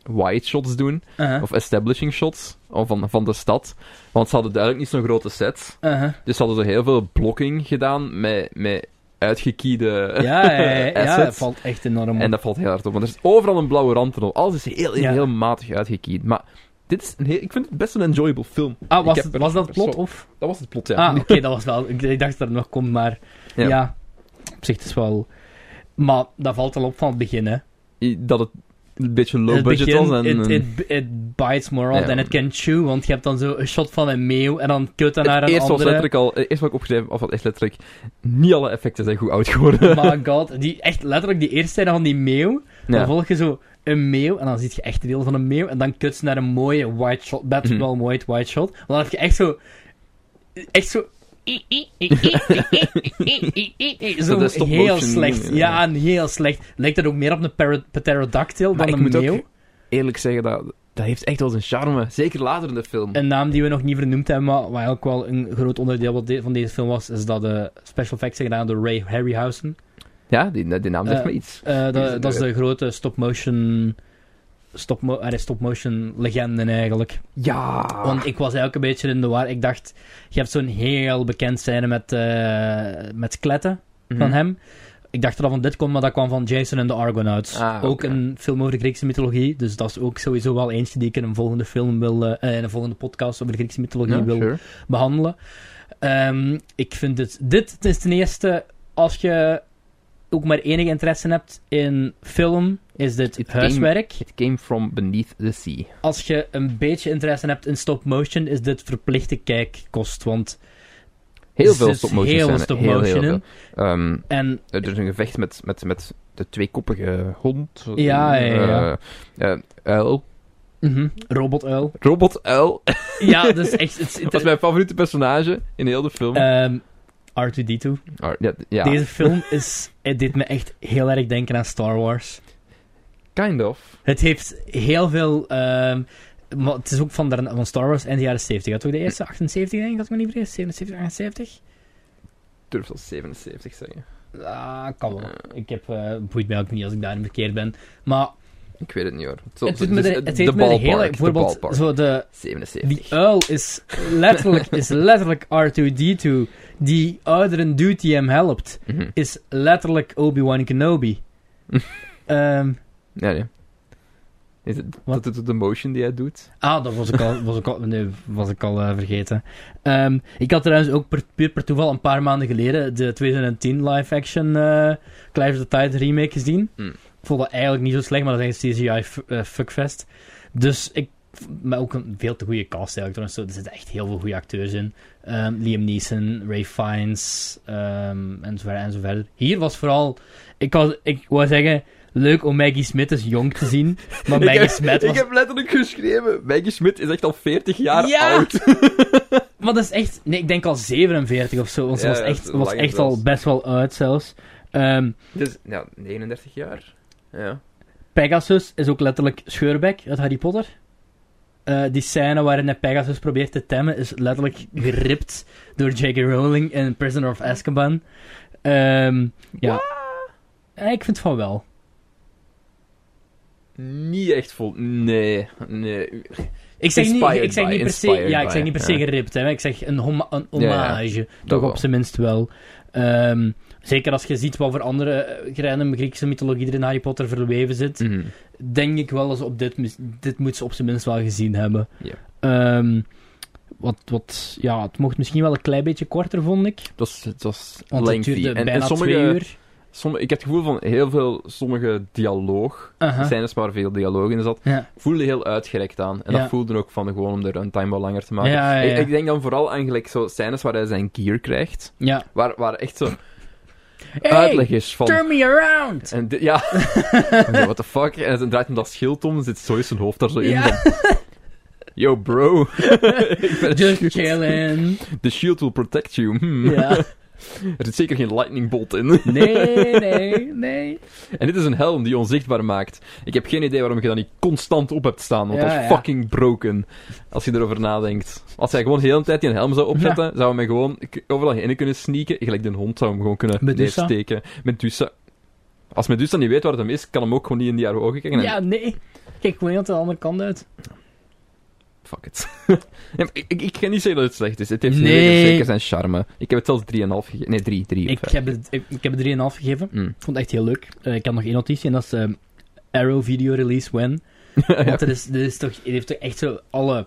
Speaker 1: wide shots doen,
Speaker 2: Uh-huh,
Speaker 1: of establishing shots of van, van de stad. Want ze hadden duidelijk niet zo'n grote set.
Speaker 2: uh-huh.
Speaker 1: Dus ze hadden zo heel veel blocking gedaan met, met uitgekiede
Speaker 2: Ja, ja, ja, ja, dat
Speaker 1: assets.
Speaker 2: valt echt enorm op.
Speaker 1: en dat valt heel hard op. Want er is overal een blauwe rand en al. Alles is heel, heel,
Speaker 2: Ja.
Speaker 1: heel matig uitgekiend. Maar dit is een heel, ik vind het best een enjoyable film.
Speaker 2: ah,
Speaker 1: Ik
Speaker 2: was,
Speaker 1: heb
Speaker 2: het-
Speaker 1: er
Speaker 2: was dat
Speaker 1: perso-
Speaker 2: plot of?
Speaker 1: Dat was het plot, ja.
Speaker 2: Ah, oké, dat was wel. Ik, ik dacht dat het nog komt, maar ja.
Speaker 1: Ja.
Speaker 2: Op zich het is wel. Maar dat valt al op van het begin, hè?
Speaker 1: Dat het een beetje low
Speaker 2: het
Speaker 1: budget was. En,
Speaker 2: it,
Speaker 1: en-
Speaker 2: it, it bites more off
Speaker 1: Ja.
Speaker 2: than it can chew, want je hebt dan zo een shot van een meeuw en dan kut dan
Speaker 1: het
Speaker 2: naar een
Speaker 1: eerste was
Speaker 2: andere.
Speaker 1: letterlijk al... Het eerste wat ik opgeschreven had, was echt letterlijk... Niet alle effecten zijn goed oud geworden.
Speaker 2: My god, die, echt letterlijk die eerste scène van die meeuw. Dan
Speaker 1: ja.
Speaker 2: volg je zo een meeuw en dan zie je echt een deel van een meeuw. En dan kut ze naar een mooie white shot, Batman
Speaker 1: Mhm.
Speaker 2: white white shot. Want dan heb je echt zo. Echt zo.
Speaker 1: Dat
Speaker 2: Zo
Speaker 1: is stop
Speaker 2: heel
Speaker 1: motion,
Speaker 2: slecht.
Speaker 1: ja.
Speaker 2: Ja, een heel slecht. Lijkt dat ook meer op een para- pterodactyl
Speaker 1: Maar
Speaker 2: dan
Speaker 1: ik
Speaker 2: een
Speaker 1: moet
Speaker 2: meeuw.
Speaker 1: ook eerlijk zeggen, dat, dat heeft echt wel zijn charme. Zeker later in de film.
Speaker 2: Een naam die we nog niet vernoemd hebben, maar wat ook wel een groot onderdeel wat de- van deze film was, is dat de special effects zijn gedaan door Ray Harryhausen.
Speaker 1: ja, die, die naam zegt
Speaker 2: Eh,
Speaker 1: me iets.
Speaker 2: Eh,
Speaker 1: Die is
Speaker 2: dat,
Speaker 1: er
Speaker 2: dat is
Speaker 1: weer.
Speaker 2: de grote stop-motion stop-mo- allee, stop-motion legende eigenlijk.
Speaker 1: Ja!
Speaker 2: Want ik was eigenlijk een beetje in de war. Ik dacht, je hebt zo'n heel bekend scène met, eh, met kletten
Speaker 1: Mhm.
Speaker 2: van hem. Ik dacht dat dat van dit komt, maar dat kwam van Jason en de Argonauts.
Speaker 1: Ah, oké.
Speaker 2: Ook een film over de Griekse mythologie. Dus dat is ook sowieso wel eentje die ik in een volgende film wil... eh, eh, in een volgende podcast over de Griekse mythologie
Speaker 1: Ja,
Speaker 2: wil
Speaker 1: sure.
Speaker 2: behandelen. Ehm, ik vind het... Dit is ten eerste, als je ook maar enige interesse hebt in film, is dit
Speaker 1: Het
Speaker 2: huiswerk.
Speaker 1: It came from beneath the sea.
Speaker 2: Als je een beetje interesse hebt in stop-motion, is dit verplichte kijkkost. Want
Speaker 1: Heel
Speaker 2: Dus
Speaker 1: veel
Speaker 2: het is
Speaker 1: stop-motion
Speaker 2: heel
Speaker 1: scènes.
Speaker 2: stop-motion
Speaker 1: heel, heel
Speaker 2: in.
Speaker 1: veel. Ehm,
Speaker 2: en
Speaker 1: er is een gevecht met, met, met de tweekoppige hond.
Speaker 2: Ja, ja, ja.
Speaker 1: Eh, eh, uil.
Speaker 2: mhm, robotuil.
Speaker 1: Robot uil.
Speaker 2: Ja, dat is echt... Het,
Speaker 1: Dat is mijn favoriete personage in heel de film.
Speaker 2: Ehm, R2-D2.
Speaker 1: Ah, ja, ja.
Speaker 2: Deze film is... Het deed me echt heel erg denken aan Star Wars.
Speaker 1: Kind of.
Speaker 2: Het heeft heel veel... ehm, maar het is ook van, de, van Star Wars en de jaren 70. Had ook de eerste 78, denk ik, als ik me niet vergis. 77, 78?
Speaker 1: Ik durf wel 77 zeggen.
Speaker 2: Ah, kan wel. Ik heb... eh boeit mij ook niet als ik daarin verkeerd ben. Maar
Speaker 1: Ik weet het niet hoor. Het,
Speaker 2: het, doet me
Speaker 1: is
Speaker 2: de,
Speaker 1: het-
Speaker 2: het
Speaker 1: de
Speaker 2: heeft me de hele...
Speaker 1: ballpark, de
Speaker 2: Bijvoorbeeld,
Speaker 1: ballpark.
Speaker 2: zo de... Die
Speaker 1: 77.
Speaker 2: uil is letterlijk, is letterlijk R2-D2. Die oudere dude die hem helpt,
Speaker 1: Mhm.
Speaker 2: is letterlijk Obi-Wan Kenobi. Ehm,
Speaker 1: Ja, nee. Is het,
Speaker 2: Wat?
Speaker 1: dat is de motion die hij doet.
Speaker 2: ah, dat was ik al, was ik al, nee, was ik al eh, vergeten. Ehm, ik had trouwens ook per, puur per toeval een paar maanden geleden de 2010 live-action eh Clive the Tide remake gezien.
Speaker 1: Mm.
Speaker 2: Ik vond dat eigenlijk niet zo slecht, maar dat is een CGI f- eh, fuckfest. Dus ik... Maar ook een veel te goede cast eigenlijk. trouwens. Zo, Er zitten echt heel veel goede acteurs in. Ehm, Liam Neeson, Ray Fiennes, ehm en zo verder en zo verder. Hier was vooral... Ik, was, ik wou zeggen, leuk om Maggie Smith eens jong te zien. Maar
Speaker 1: Ik
Speaker 2: Maggie
Speaker 1: heb-
Speaker 2: Smith
Speaker 1: Ik
Speaker 2: was...
Speaker 1: heb letterlijk geschreven, Maggie Smit is echt al 40 jaar
Speaker 2: Ja!
Speaker 1: oud.
Speaker 2: Maar dat is echt... Nee, ik denk al 47 of zo. Want ze
Speaker 1: Ja,
Speaker 2: was
Speaker 1: ja,
Speaker 2: echt,
Speaker 1: dat is
Speaker 2: was
Speaker 1: lang
Speaker 2: echt
Speaker 1: zelfs.
Speaker 2: al best wel oud zelfs. Ehm,
Speaker 1: Dus, ja, 39 jaar. Ja.
Speaker 2: Pegasus is ook letterlijk Scheurbek uit Harry Potter. Eh, die scène waarin hij Pegasus probeert te temmen is letterlijk geript door J.K. Rowling in Prisoner of Azkaban. Ehm, ja. Eh, ik vind van wel.
Speaker 1: Niet echt vol. Nee, nee.
Speaker 2: Ik zeg, niet,
Speaker 1: Inspired
Speaker 2: ik zeg
Speaker 1: by,
Speaker 2: niet per se,
Speaker 1: inspired
Speaker 2: ja, ik zeg
Speaker 1: by,
Speaker 2: niet per se
Speaker 1: ja.
Speaker 2: geript, hè. ik zeg een, homa- een
Speaker 1: Ja, ja,
Speaker 2: hommage.
Speaker 1: dat
Speaker 2: toch
Speaker 1: wel.
Speaker 2: op zijn minst wel. Ehm, zeker als je ziet wat voor andere eh, random Griekse mythologie er in Harry Potter verweven zit.
Speaker 1: Mhm.
Speaker 2: denk ik wel eens op dit, mis- dit moet ze op zijn minst wel gezien hebben.
Speaker 1: Ja.
Speaker 2: Ehm, wat, wat, ja, het mocht misschien wel een klein beetje korter, vond ik.
Speaker 1: Het was, het was
Speaker 2: Want
Speaker 1: lengthy.
Speaker 2: het duurde
Speaker 1: en,
Speaker 2: bijna
Speaker 1: en sommige,
Speaker 2: twee uur.
Speaker 1: sommige- ik heb het gevoel van heel veel, sommige dialoog,
Speaker 2: Aha.
Speaker 1: zijn dus maar veel dialoog in zat,
Speaker 2: Ja.
Speaker 1: voelde heel uitgerekt aan. En
Speaker 2: Ja.
Speaker 1: dat voelde ook van gewoon om de runtime wat langer te maken.
Speaker 2: Ja, ja, ja.
Speaker 1: Ik, ik denk dan vooral aan gelijk zo scènes waar hij zijn gear krijgt,
Speaker 2: ja.
Speaker 1: waar, waar echt zo
Speaker 2: Hey,
Speaker 1: uitleg is van...
Speaker 2: turn me around!
Speaker 1: En dit- ja, Ja, what the fuck? En dan draait hem dat schild om en zit zo zijn hoofd daar zo
Speaker 2: Ja.
Speaker 1: in van... Yo, bro. Ik ben
Speaker 2: Just
Speaker 1: shoot.
Speaker 2: chilling.
Speaker 1: The shield will protect you. Hmm.
Speaker 2: ja.
Speaker 1: Er zit zeker geen lightning bolt in.
Speaker 2: Nee, nee, nee.
Speaker 1: En dit is een helm die je onzichtbaar maakt. Ik heb geen idee waarom je dat niet constant op hebt staan, want
Speaker 2: Ja,
Speaker 1: dat is
Speaker 2: ja.
Speaker 1: fucking broken. Als je erover nadenkt. Als hij gewoon de hele tijd die een helm zou opzetten, zou hij mij gewoon k- overal in kunnen sneaken. Gelijk de hond zou hem gewoon kunnen
Speaker 2: Medusa?
Speaker 1: neersteken. Medusa. Als Medusa niet weet waar het hem is, kan hem ook gewoon niet in die haar ogen kijken. En-
Speaker 2: Ja, nee. Kijk, gewoon heel de andere kant uit.
Speaker 1: fuck it. Ja, maar ik, ik, ik ga niet zeggen dat het slecht is. Het heeft
Speaker 2: Nee.
Speaker 1: zeker, zeker zijn charme. Ik heb het zelfs 3,5 gegeven. Nee, 3. 3
Speaker 2: Ik heb, het, ik, ik heb er 3,5 gegeven.
Speaker 1: Mm.
Speaker 2: Ik vond het echt heel leuk. Eh, ik had nog één notitie en dat is ehm, Arrow Video Release When. Want er is, er is toch, het heeft toch echt zo alle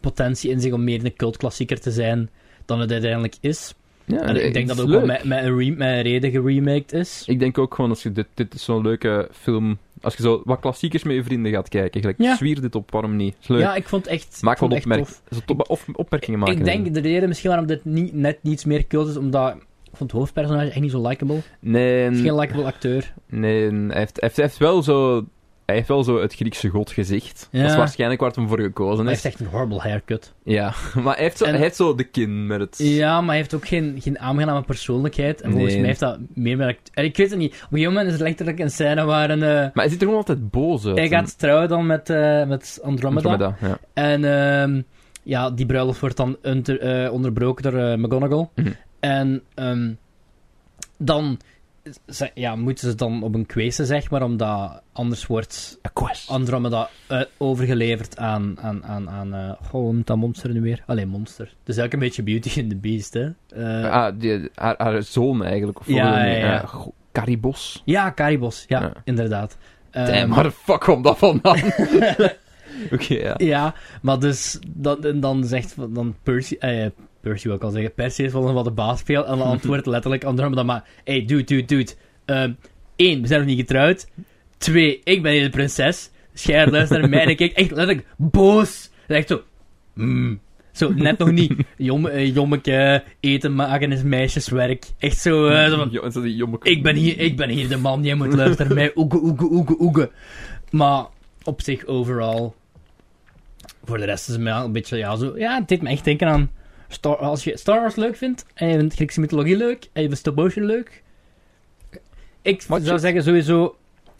Speaker 2: potentie in zich om meer een cultklassieker te zijn dan het uiteindelijk is.
Speaker 1: Ja,
Speaker 2: en ik
Speaker 1: Eh, het
Speaker 2: denk dat
Speaker 1: is
Speaker 2: het ook wel
Speaker 1: leuk.
Speaker 2: met, met, een re- met een reden geremaked is.
Speaker 1: Ik denk ook gewoon, als je dit, dit is zo'n leuke film... Als je zo wat klassiekers met je vrienden gaat kijken, gelijk,
Speaker 2: Ja.
Speaker 1: zwier dit op, waarom niet? Is leuk.
Speaker 2: Ja, ik vond het echt,
Speaker 1: Maak
Speaker 2: ik vond
Speaker 1: wat
Speaker 2: het echt
Speaker 1: opmerkingen.
Speaker 2: tof.
Speaker 1: Of opmerkingen maken.
Speaker 2: Ik denk de reden misschien waarom dit niet, net niets meer cult is, omdat ik vond het hoofdpersonage echt niet zo likable.
Speaker 1: Nee,
Speaker 2: Het is geen likable acteur.
Speaker 1: nee hij, heeft, hij, heeft, hij heeft wel zo... Hij heeft wel zo het Griekse godgezicht.
Speaker 2: Ja.
Speaker 1: Dat is waarschijnlijk waar het hem voor gekozen
Speaker 2: Hij
Speaker 1: is.
Speaker 2: heeft echt een horrible haircut.
Speaker 1: Ja, maar hij heeft, zo,
Speaker 2: En-
Speaker 1: hij heeft zo de kin met het...
Speaker 2: Ja, maar hij heeft ook geen, geen aangename persoonlijkheid. En volgens
Speaker 1: Nee.
Speaker 2: mij heeft dat meer met... act- en Ik weet het niet. Op een gegeven moment is er letterlijk een scène waar een... eh,
Speaker 1: Maar hij ziet er gewoon altijd boos uit.
Speaker 2: hij gaat trouwen dan met, eh, met Andromeda.
Speaker 1: Andromeda, ja.
Speaker 2: En ehm, ja, die bruiloft wordt dan unter- eh, onderbroken door eh, McGonagall.
Speaker 1: Mhm.
Speaker 2: En ehm, dan ze- ja, moeten ze dan op een kwezen, zeg maar, omdat anders wordt Andromeda eh, overgeleverd aan... aan, aan, aan eh, goh, hoe noemt dat monster nu weer? Alleen monster. Dus ook een beetje Beauty and the Beast, hè. Eh,
Speaker 1: ah, die, haar, haar zoon eigenlijk. Of
Speaker 2: Ja,
Speaker 1: hoe noem je-
Speaker 2: ja, ja.
Speaker 1: eh, go- Caribos.
Speaker 2: Ja, Caribos, ja,
Speaker 1: Ja.
Speaker 2: inderdaad.
Speaker 1: Damn,
Speaker 2: Ehm,
Speaker 1: waar de fuck komt dat vandaan? Oké, ja.
Speaker 2: Ja, maar dus dan, en dan zegt dan Percy, eh, Percy wil ik al zeggen, Perseus wil nog wat de baas spelen. En dan antwoordt letterlijk Andromeda maar, hey dude, dude, dude. Ehm één, we zijn nog niet getrouwd. Twee, ik ben hier de prinses. Dus jij luistert naar mij en ik kijk echt letterlijk boos. En echt zo, mm. Zo, net nog niet. Jomme, eh, jommeke, eten maken is meisjeswerk. Echt zo, eh, zo van,
Speaker 1: Jo- zo die jomme-
Speaker 2: ik ben hier, ik ben hier de man, jij moet luisteren naar mij. Oege, oege, oege, oege. Maar op zich, overal. Voor de rest is het mij al een beetje, ja, zo. Ja, het deed me echt denken aan. Star, als je Star Wars leuk vindt, en je vindt Griekse mythologie leuk, en je vindt stop motion leuk. Ik
Speaker 1: Wat
Speaker 2: zou
Speaker 1: je-
Speaker 2: zeggen, sowieso.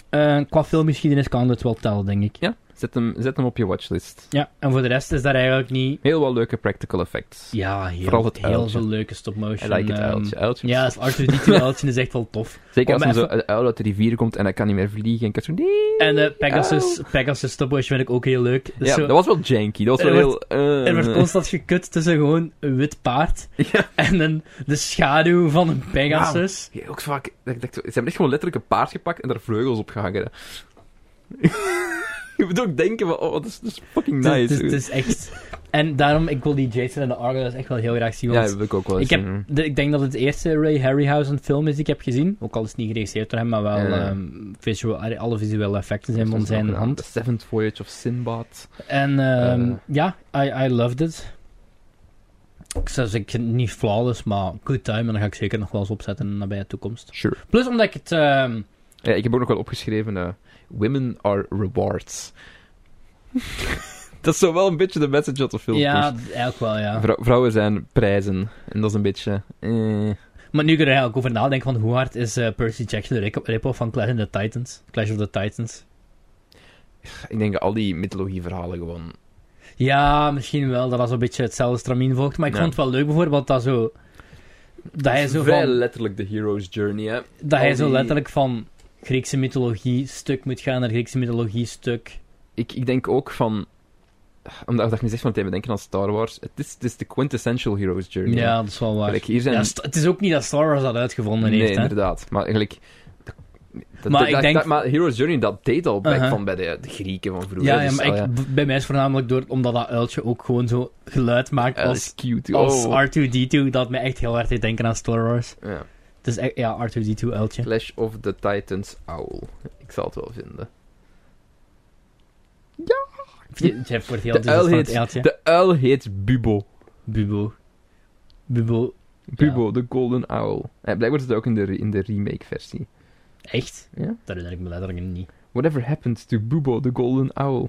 Speaker 2: eh, qua filmgeschiedenis kan dat wel tellen, denk ik.
Speaker 1: Ja, zet hem, zet hem op je watchlist.
Speaker 2: Ja, en voor de rest is daar eigenlijk niet.
Speaker 1: Heel wel leuke practical effects.
Speaker 2: Ja, heel,
Speaker 1: Vooral het
Speaker 2: heel
Speaker 1: uiltje.
Speaker 2: veel leuke stop-motion.
Speaker 1: I like het
Speaker 2: ehm,
Speaker 1: uiltje. Uiltje
Speaker 2: Ja,
Speaker 1: is-
Speaker 2: het Arthur D2-uiltje is echt wel tof.
Speaker 1: Zeker
Speaker 2: om
Speaker 1: als er zo
Speaker 2: even-
Speaker 1: een uil uit de rivier komt en hij kan niet meer vliegen. En kan zo...
Speaker 2: En eh Pegasus, Pegasus stopwatch vind ik ook heel leuk. Dus
Speaker 1: Ja,
Speaker 2: Zo-
Speaker 1: dat was wel janky. Dat was
Speaker 2: Er
Speaker 1: wel heel... eh,
Speaker 2: er wordt constant gekut tussen gewoon een wit paard
Speaker 1: Ja.
Speaker 2: en een, de schaduw van een Pegasus.
Speaker 1: Ja, ook zo vaak... dat ik dacht, ze hebben echt gewoon letterlijk een paard gepakt en daar vleugels op gehangen. Je moet ook denken van... Oh, dat is, dat is fucking
Speaker 2: Het is-
Speaker 1: nice.
Speaker 2: Het is, het is echt... En daarom, ik wil die Jason en de Argonauts echt wel heel graag zien.
Speaker 1: ja,
Speaker 2: Want
Speaker 1: dat heb ik ook wel eens
Speaker 2: ik, heb,
Speaker 1: gezien.
Speaker 2: de- ik denk dat het de eerste Ray Harryhausen film is die ik heb gezien. Ook al is het niet geregisseerd door hem, maar wel
Speaker 1: Ja.
Speaker 2: ehm, visual, alle visuele effecten zijn
Speaker 1: Dat
Speaker 2: van
Speaker 1: is ook
Speaker 2: zijn
Speaker 1: een- The
Speaker 2: hand.
Speaker 1: Seventh Voyage of Sinbad.
Speaker 2: En ehm,
Speaker 1: Eh.
Speaker 2: ja, I, I loved it. Ik zou zeggen, niet flawless, maar good time. En dan ga ik zeker nog wel eens opzetten in de nabije toekomst.
Speaker 1: Sure.
Speaker 2: Plus omdat ik het... ehm,
Speaker 1: Ja, ik heb ook nog wel opgeschreven... eh, Women are rewards. dat is zo wel een beetje de message dat de film
Speaker 2: ja,
Speaker 1: pusht.
Speaker 2: eigenlijk wel, ja.
Speaker 1: Vrou- vrouwen zijn prijzen. En dat is een beetje... eh,
Speaker 2: Maar nu kun je er eigenlijk over nadenken van hoe hard is eh, Percy Jackson de rip- rip-off van Clash, of the Titans, Clash of the Titans.
Speaker 1: ik denk dat al die mythologieverhalen gewoon...
Speaker 2: Ja, misschien wel dat dat zo'n beetje hetzelfde stramien volgt. Maar ik
Speaker 1: Ja.
Speaker 2: vond het wel leuk bijvoorbeeld dat zo... Dat hij zo,
Speaker 1: Vrij
Speaker 2: van,
Speaker 1: letterlijk de hero's journey, hè.
Speaker 2: dat hij
Speaker 1: al
Speaker 2: zo
Speaker 1: die-
Speaker 2: letterlijk van Griekse mythologie stuk moet gaan naar Griekse mythologie stuk.
Speaker 1: ik, ik denk ook van. Omdat ik nu zeg van meteen denken aan Star Wars. Het is, het is de quintessential hero's journey.
Speaker 2: Ja, dat is wel waar.
Speaker 1: Gelijk, hier zijn.
Speaker 2: Ja, st- het is ook niet dat Star Wars dat uitgevonden
Speaker 1: nee,
Speaker 2: heeft. Hè?
Speaker 1: inderdaad. Maar eigenlijk. Dat,
Speaker 2: Maar
Speaker 1: dat-
Speaker 2: ik
Speaker 1: dat-
Speaker 2: denk-
Speaker 1: dat- maar Hero's Journey, dat deed al back
Speaker 2: Uh-huh.
Speaker 1: van bij de, de Grieken van vroeger.
Speaker 2: Ja, ja,
Speaker 1: dus,
Speaker 2: maar
Speaker 1: ah,
Speaker 2: ik, b- bij mij is voornamelijk door, omdat dat uiltje ook gewoon zo geluid maakt
Speaker 1: Ja, dat is
Speaker 2: als,
Speaker 1: cute.
Speaker 2: als
Speaker 1: oh.
Speaker 2: R2-D2, dat me echt heel hard deed denken aan Star Wars.
Speaker 1: Ja.
Speaker 2: Het is echt, ja, R2-D2 uiltje.
Speaker 1: Clash of the Titans Owl. Ik zal het wel vinden.
Speaker 2: Je- Jeff wordt heel
Speaker 1: De uil,
Speaker 2: enthousiast van
Speaker 1: heet,
Speaker 2: het uiltje.
Speaker 1: de uil heet Bubo.
Speaker 2: Bubo. Bubo.
Speaker 1: Bubo, de Golden Owl. Eh, blijkbaar zit het ook in de, re- in de remake-versie.
Speaker 2: Echt?
Speaker 1: Ja.
Speaker 2: Dat herinner ik me letterlijk niet.
Speaker 1: Whatever happened to Bubo the Golden Owl?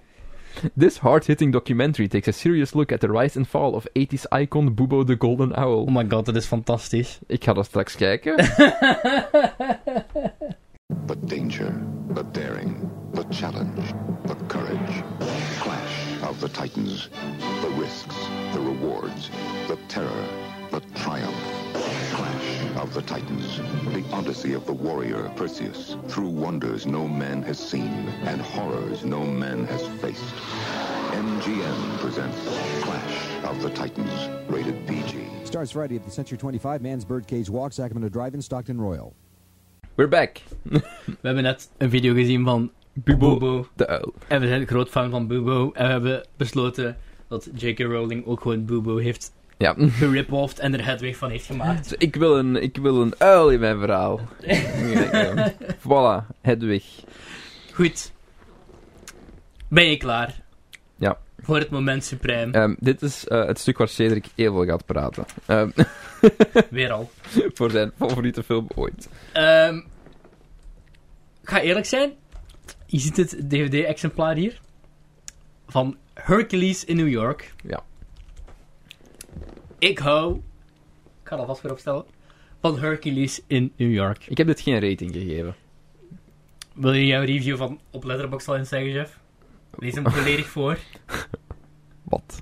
Speaker 1: This hard hitting documentary takes a serious look at the rise and fall of 80s icon Bubo the Golden Owl.
Speaker 2: Oh my god, dat is fantastisch.
Speaker 1: Ik ga dat straks kijken.
Speaker 5: But danger, but daring, but challenge, but courage. Clash of the Titans. The risks, the rewards, the terror, the triumph. Clash of the Titans. The odyssey of the warrior Perseus through wonders no man has seen and horrors no man has faced. MGM presents Clash of the Titans, rated PG.
Speaker 9: Starts Friday at the Century 25, Man's Birdcage Walk, Sacramento Drive-In, Stockton Royal.
Speaker 1: We're back.
Speaker 2: We hebben net een video gezien van Bubo.
Speaker 1: De uil.
Speaker 2: En we zijn een groot fan van Bubo. En we hebben besloten dat J.K. Rowling ook gewoon Bubo heeft
Speaker 1: Ja.
Speaker 2: gerip-offed en er Hedwig van heeft gemaakt.
Speaker 1: Dus ik, wil een, ik wil een uil in mijn verhaal. Ja, ja. voilà, Hedwig.
Speaker 2: Goed. Ben je klaar?
Speaker 1: Ja.
Speaker 2: Voor het moment supreme.
Speaker 1: Ehm, dit is eh, het stuk waar Cedric Evel gaat praten. Ehm,
Speaker 2: Weer al.
Speaker 1: voor zijn favoriete film ooit.
Speaker 2: Ehm, ik ga eerlijk zijn. Je ziet het DVD-exemplaar hier. Van Hercules in New York.
Speaker 1: Ja.
Speaker 2: Ik hou... Ik ga er alvast weer opstellen. Van Hercules in New York.
Speaker 1: Ik heb dit geen rating gegeven.
Speaker 2: Wil je jouw review van op Letterboxd al eens zeggen, Jeff? Lees hem volledig voor.
Speaker 1: Wat?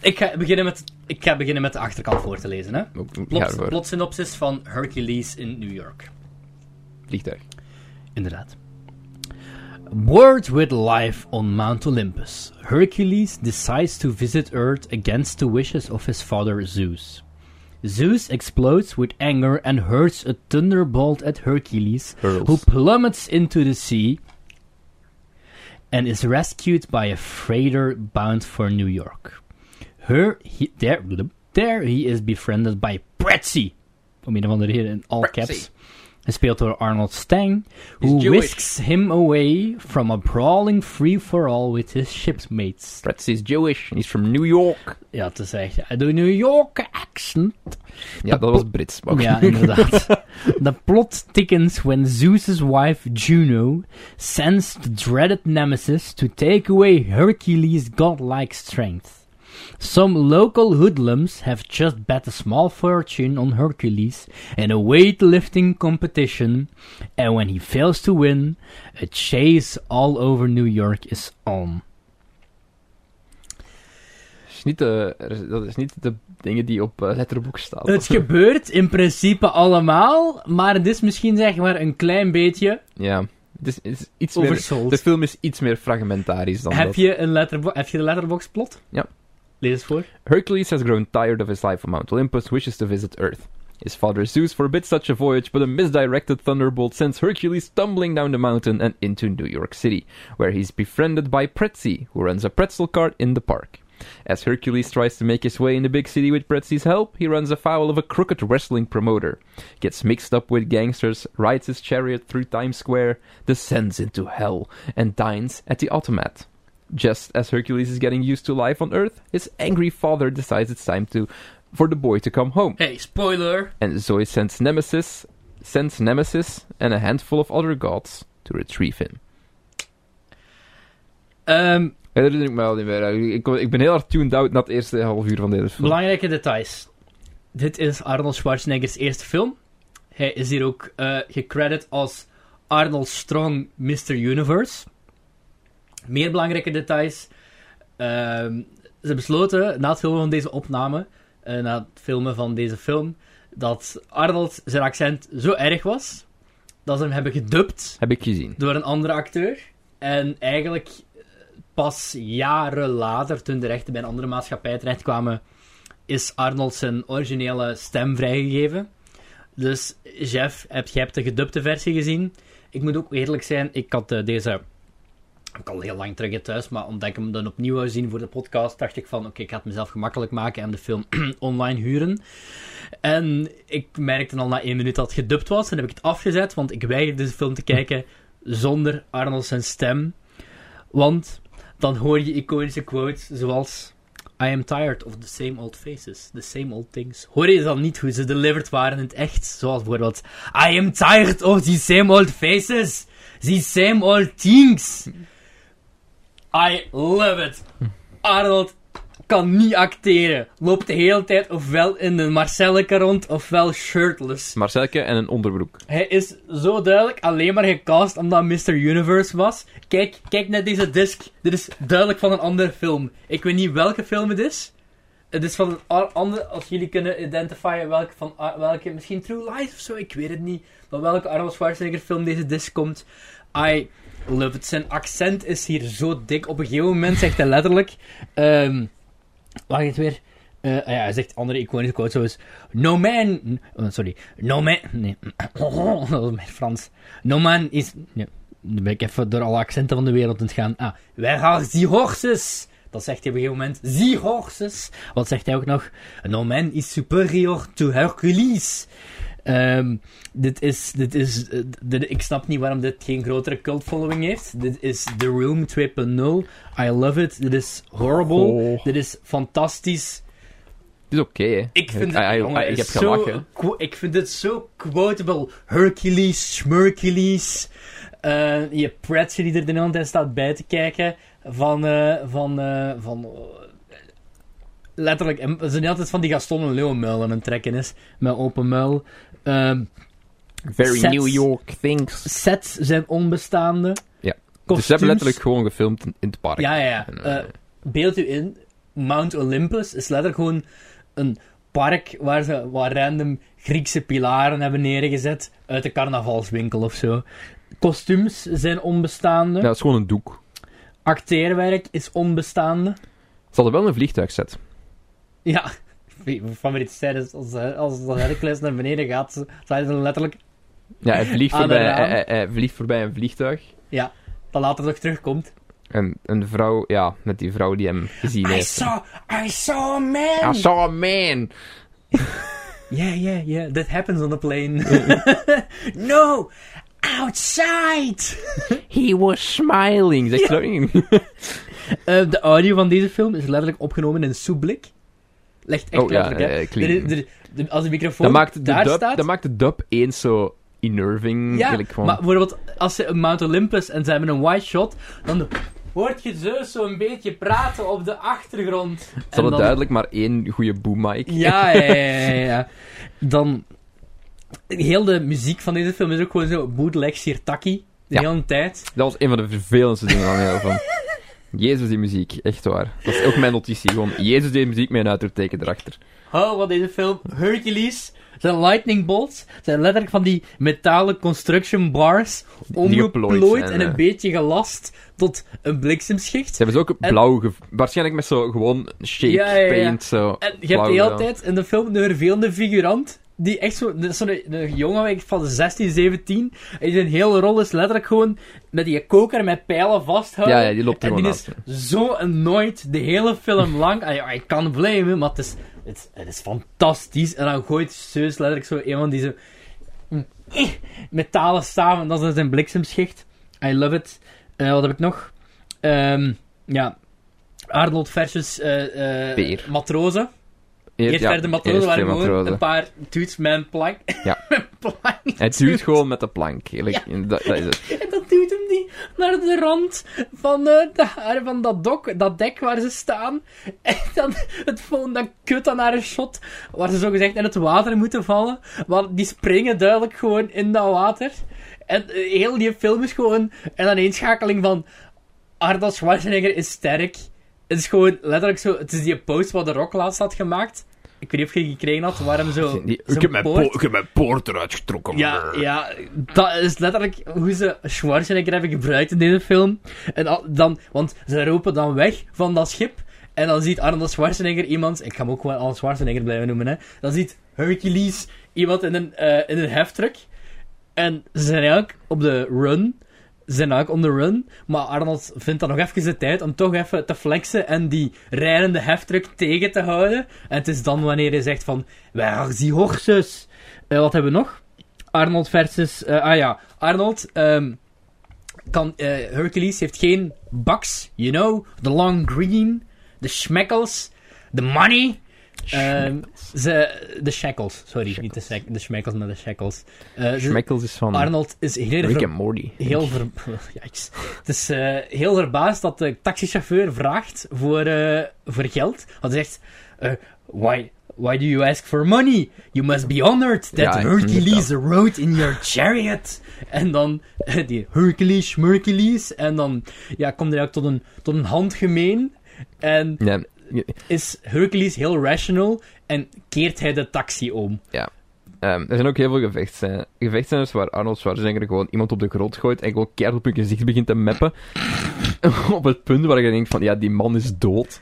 Speaker 2: Ik ga beginnen met, ik ga beginnen met de achterkant voor te lezen. Hè?
Speaker 1: Ja,
Speaker 2: Plot,
Speaker 1: voor
Speaker 2: plot synopsis van Hercules in New York.
Speaker 1: vliegtuig.
Speaker 2: Inderdaad. Bored with life on Mount Olympus, Hercules decides to visit Earth against the wishes of his father Zeus. Zeus explodes with anger and hurls a thunderbolt at Hercules,
Speaker 1: Hurls.
Speaker 2: who plummets into the sea and is rescued by a freighter bound for New York. Her, he, there, there he is befriended by Pretzi, om een of andere reden in all caps. Gespeeld door Arnold Stang, who
Speaker 1: Jewish.
Speaker 2: whisks him away from a brawling free-for-all with his shipmates.
Speaker 1: Pretz is Jewish. He's from New York.
Speaker 2: Ja, het is echt de New York accent.
Speaker 1: Ja, dat was Brits. maar-
Speaker 2: Ja, inderdaad. the plot thickens when Zeus's wife Juno sends the dreaded nemesis to take away Hercules' godlike strength. Some local hoodlums have just bet a small fortune on Hercules in a weightlifting competition, and when he fails to win, a chase all over New York is on.
Speaker 1: is niet de, er is- dat is niet de dingen die op eh, letterboek staan.
Speaker 2: Het gebeurt in principe allemaal, maar het is misschien zeg maar een klein beetje
Speaker 1: Ja. Het is, het is iets meer,
Speaker 2: Oversold.
Speaker 1: de film is iets meer fragmentarisch dan
Speaker 2: Heb
Speaker 1: dat.
Speaker 2: je, een letterbo- heb je de letterbox plot?
Speaker 1: Ja.
Speaker 2: Lees eens voor.
Speaker 1: Hercules has grown tired of his life on Mount Olympus, wishes to visit Earth. His father Zeus forbids such a voyage, but a misdirected thunderbolt sends Hercules tumbling down the mountain and into New York City, where he's befriended by Pretzi, who runs a pretzel cart in the park. As Hercules tries to make his way in the big city with Pretzi's help, he runs afoul of a crooked wrestling promoter, gets mixed up with gangsters, rides his chariot through Times Square, descends into hell, and dines at the automat. Just as Hercules is getting used to life on Earth, his angry father decides it's time to for the boy to come home.
Speaker 2: Hey, spoiler!
Speaker 1: And Zoe sends Nemesis, sends Nemesis and a handful of other gods to retrieve him.
Speaker 2: Ehm,
Speaker 1: Ja, Dat herinner ik me al niet meer. Ik, ik ben heel hard tuned out na het eerste half uur van deze film.
Speaker 2: belangrijke details. Dit is Arnold Schwarzenegger's eerste film. Hij is hier ook eh gecredit als Arnold Strong Mr. Universe. Meer belangrijke details. Ehm, ze besloten na het filmen van deze opname, eh, na het filmen van deze film, dat Arnold zijn accent zo erg was, dat ze hem hebben gedubt.
Speaker 1: Heb ik gezien.
Speaker 2: door een andere acteur. En eigenlijk eh, pas jaren later, toen de rechten bij een andere maatschappij terechtkwamen, is Arnold zijn originele stem vrijgegeven. Dus Jeff, heb, jij hebt de gedubte versie gezien. Ik moet ook eerlijk zijn, ik had eh, deze ik al heel lang terug in thuis, maar omdat ik hem dan opnieuw wou zien voor de podcast, dacht ik van, oké, ik ga het mezelf gemakkelijk maken en de film online huren. En ik merkte al na één minuut dat het gedubt was, en heb ik het afgezet, want ik weigerde de film te kijken zonder Arnold zijn stem. Want dan hoor je iconische quotes zoals... I am tired of the same old faces, the same old things. Hoor je dan niet hoe ze delivered waren in het echt? Zoals bijvoorbeeld... I am tired of the same old faces, the same old things. I love it. Arnold kan niet acteren. Loopt de hele tijd ofwel in een Marcelleke rond, ofwel shirtless.
Speaker 1: Marcelke en een onderbroek.
Speaker 2: Hij is zo duidelijk alleen maar gecast omdat Mr. Universe was. Kijk, kijk naar deze disc. Dit is duidelijk van een andere film. Ik weet niet welke film het is. Het is van een a- andere, als jullie kunnen identifieren welke van a- welke, misschien True Lies of zo, ik weet het niet. Maar welke Arnold Schwarzenegger film deze disc komt. I love it. Zijn accent is hier zo dik. Op een gegeven moment zegt hij letterlijk... ehm waar is het weer? Eh, ah ja, hij zegt andere iconische quote zoals... No man... oh, sorry. No man... Nee. dat was mijn Frans. No man is... Nee. Nu ben ik even door alle accenten van de wereld aan het gaan. Ah, where are the horses? Dat zegt hij op een gegeven moment. The horses. Wat zegt hij ook nog? No man is superior to Hercules. Ehm, dit is, dit is, eh, dit- ik snap niet waarom dit geen grotere cult following heeft. Dit is The Room 2.0. I love it. Dit is horrible.
Speaker 1: Oh.
Speaker 2: Dit is fantastisch.
Speaker 1: Het is oké, hè.
Speaker 2: Ik vind
Speaker 1: I- I-
Speaker 2: het,
Speaker 1: I-
Speaker 2: jongen,
Speaker 1: ik heb
Speaker 2: zo
Speaker 1: gelachen.
Speaker 2: qu- ik vind het zo quotable. Hercules, Schmercules. eh, je pretje die er de hele tijd staat bij te kijken. Van, eh, van, eh, van eh, letterlijk, en ze zijn altijd van die Gaston en Leeuwenmuil aan het trekken is. Met open muil. Ehm,
Speaker 1: Very
Speaker 2: sets.
Speaker 1: New York things.
Speaker 2: sets zijn onbestaande.
Speaker 1: Ja. Dus
Speaker 2: Kostuums-
Speaker 1: ze hebben letterlijk gewoon gefilmd in, in het park.
Speaker 2: Ja, ja, ja.
Speaker 1: En,
Speaker 2: Eh, beeld u in, Mount Olympus is letterlijk gewoon een park waar ze wat random Griekse pilaren hebben neergezet uit de carnavalswinkel of zo. Kostuums zijn onbestaande.
Speaker 1: ja, dat is gewoon een doek.
Speaker 2: Acteerwerk is onbestaande.
Speaker 1: Ze hadden wel een vliegtuigset.
Speaker 2: Ja, mijn favoriete scène is als, eh, als de Hercules naar beneden gaat, ze- zijn ze letterlijk...
Speaker 1: Ja, hij vliegt,
Speaker 2: Aan een
Speaker 1: voorbij, hij,
Speaker 2: raam.
Speaker 1: hij- hij vliegt voorbij een vliegtuig.
Speaker 2: Ja, dat later nog terugkomt.
Speaker 1: En, en de vrouw, ja, met die vrouw die hem gezien
Speaker 2: I
Speaker 1: heeft.
Speaker 2: saw, I saw a
Speaker 1: I
Speaker 2: man!
Speaker 1: saw a man!
Speaker 2: Yeah, yeah, yeah. That happens on the plane. no! Outside!
Speaker 1: He was smiling! Zegt ze dat niet?
Speaker 2: Eh, de audio van deze film is letterlijk opgenomen in soeblik. Legt echt
Speaker 1: Oh, ja,
Speaker 2: letterlijk, hè.
Speaker 1: eh, clean.
Speaker 2: Er is- er is- de- als de microfoon
Speaker 1: Dat maakt de
Speaker 2: daar
Speaker 1: dub,
Speaker 2: staat...
Speaker 1: dat maakt de dub eens zo unnerving.
Speaker 2: ja,
Speaker 1: eigenlijk gewoon.
Speaker 2: maar bijvoorbeeld als ze een Mount Olympus en ze hebben een wide shot, dan hoort je zeus zo'n beetje praten op de achtergrond.
Speaker 1: Ze hadden
Speaker 2: dan-
Speaker 1: duidelijk maar één goede boom mic.
Speaker 2: Ja, ja, ja, ja, ja. Dan... Heel de muziek van deze film is ook gewoon zo bootleg Sirtaki. De
Speaker 1: Ja.
Speaker 2: hele tijd.
Speaker 1: Dat was een van de vervelendste dingen van heel van. Jezus, die muziek, echt waar. Dat is ook mijn notitie, gewoon. Jezus, die muziek met een uitroepteken erachter.
Speaker 2: Oh, wat deze film. Hercules. Zijn lightning bolts zijn letterlijk van die metalen construction bars. Omgeplooid
Speaker 1: geplooid
Speaker 2: en,
Speaker 1: en,
Speaker 2: een
Speaker 1: eh,
Speaker 2: beetje gelast tot een bliksemschicht.
Speaker 1: Ze hebben ze ook
Speaker 2: En-
Speaker 1: blauw ge... Waarschijnlijk met zo gewoon shake
Speaker 2: Ja, ja, ja.
Speaker 1: paint, zo.
Speaker 2: En je hebt
Speaker 1: blauw
Speaker 2: de hele
Speaker 1: gedaan.
Speaker 2: tijd in de film de vervelende figurant. Die echt zo, dat is zo'n een jongen ik- van 16, 17. En zijn hele rol is letterlijk gewoon met die koker met pijlen vasthouden.
Speaker 1: Ja, ja, die loopt er
Speaker 2: En die
Speaker 1: gewoon
Speaker 2: is zo annoyed de hele film lang. Ah ja, ik kan blamen, maar het is, het, is- het is fantastisch. En dan gooit Zeus letterlijk zo een van die zo... eh, metalen staven. en Dat is zijn bliksemschicht. I love it. Eh, wat heb ik nog? Ehm, ja... Arnold versus eh, eh,
Speaker 1: Beer.
Speaker 2: matrozen.
Speaker 1: Eer-
Speaker 2: Eerst
Speaker 1: ja,
Speaker 2: werden de matrozen
Speaker 1: eerst
Speaker 2: waren
Speaker 1: twee
Speaker 2: gewoon
Speaker 1: matrozen.
Speaker 2: een paar dudes met een plank.
Speaker 1: Ja.
Speaker 2: Met een plank.
Speaker 1: Hij duwt gewoon met de plank. Like, dat, dat is het.
Speaker 2: En dat duwt hem die naar de rand van, eh, de- van dat, dok, dat dek waar ze staan. En dan het volgende dan kut aan haar shot, waar ze zogezegd in het water moeten vallen. Want die springen duidelijk gewoon in dat water. En eh, heel die film is gewoon een aaneenschakeling van Arnold Schwarzenegger is sterk. Het is gewoon letterlijk zo, het is die post wat de Rock laatst had gemaakt. Ik weet niet of je die gekregen had, waarom zo...
Speaker 1: Oh, Die-
Speaker 2: zo'n
Speaker 1: ik, heb mijn
Speaker 2: poort-
Speaker 1: po- ik heb mijn poort eruit getrokken.
Speaker 2: ja, ja, dat is letterlijk hoe ze Schwarzenegger hebben gebruikt in deze film. En al- dan, want ze roepen dan weg van dat schip. En dan ziet Arnold Schwarzenegger iemand... Ik ga hem ook gewoon Arnold Schwarzenegger blijven noemen, hè. Dan ziet Hercules iemand in een, eh, in een heftruck. En ze zijn eigenlijk op de run. Ze zijn eigenlijk on the run. Maar Arnold vindt dan nog even de tijd om toch even te flexen en die rijdende heftruck tegen te houden. En het is dan wanneer hij zegt van... Waar are die horses? Eh, wat hebben we nog? Arnold versus... eh, ah ja, Arnold... ehm, kan, eh, Hercules heeft geen bucks, you know. The long green, the schmeckels, the money. Ehm, ze, de shackles, sorry. Niet de, shack- de schmeckels, maar de shackles. Eh, ze-
Speaker 1: Schmeckels is van
Speaker 2: Arnold is heel,
Speaker 1: Rick
Speaker 2: ver-
Speaker 1: en Morty.
Speaker 2: heel, ver- Yikes. Het is, eh, heel verbaasd dat de taxichauffeur vraagt voor, eh, voor geld. Want hij zegt: eh, why, why do you ask for money? You must be honored that
Speaker 1: Ja,
Speaker 2: Hercules
Speaker 1: inderdaad.
Speaker 2: rode in your chariot. En dan eh, die Hercules, Mercules. En dan ja, komt hij ook tot een, tot een handgemeen. En
Speaker 1: Ja,
Speaker 2: is Hercules heel rational en keert hij de taxi om.
Speaker 1: ja. Ehm, er zijn ook heel veel gevechtscènes, gevechtscènes waar Arnold Schwarzenegger gewoon iemand op de grond gooit en gewoon keihard op hun gezicht begint te meppen. op het punt waar je denkt van, ja, die man is dood.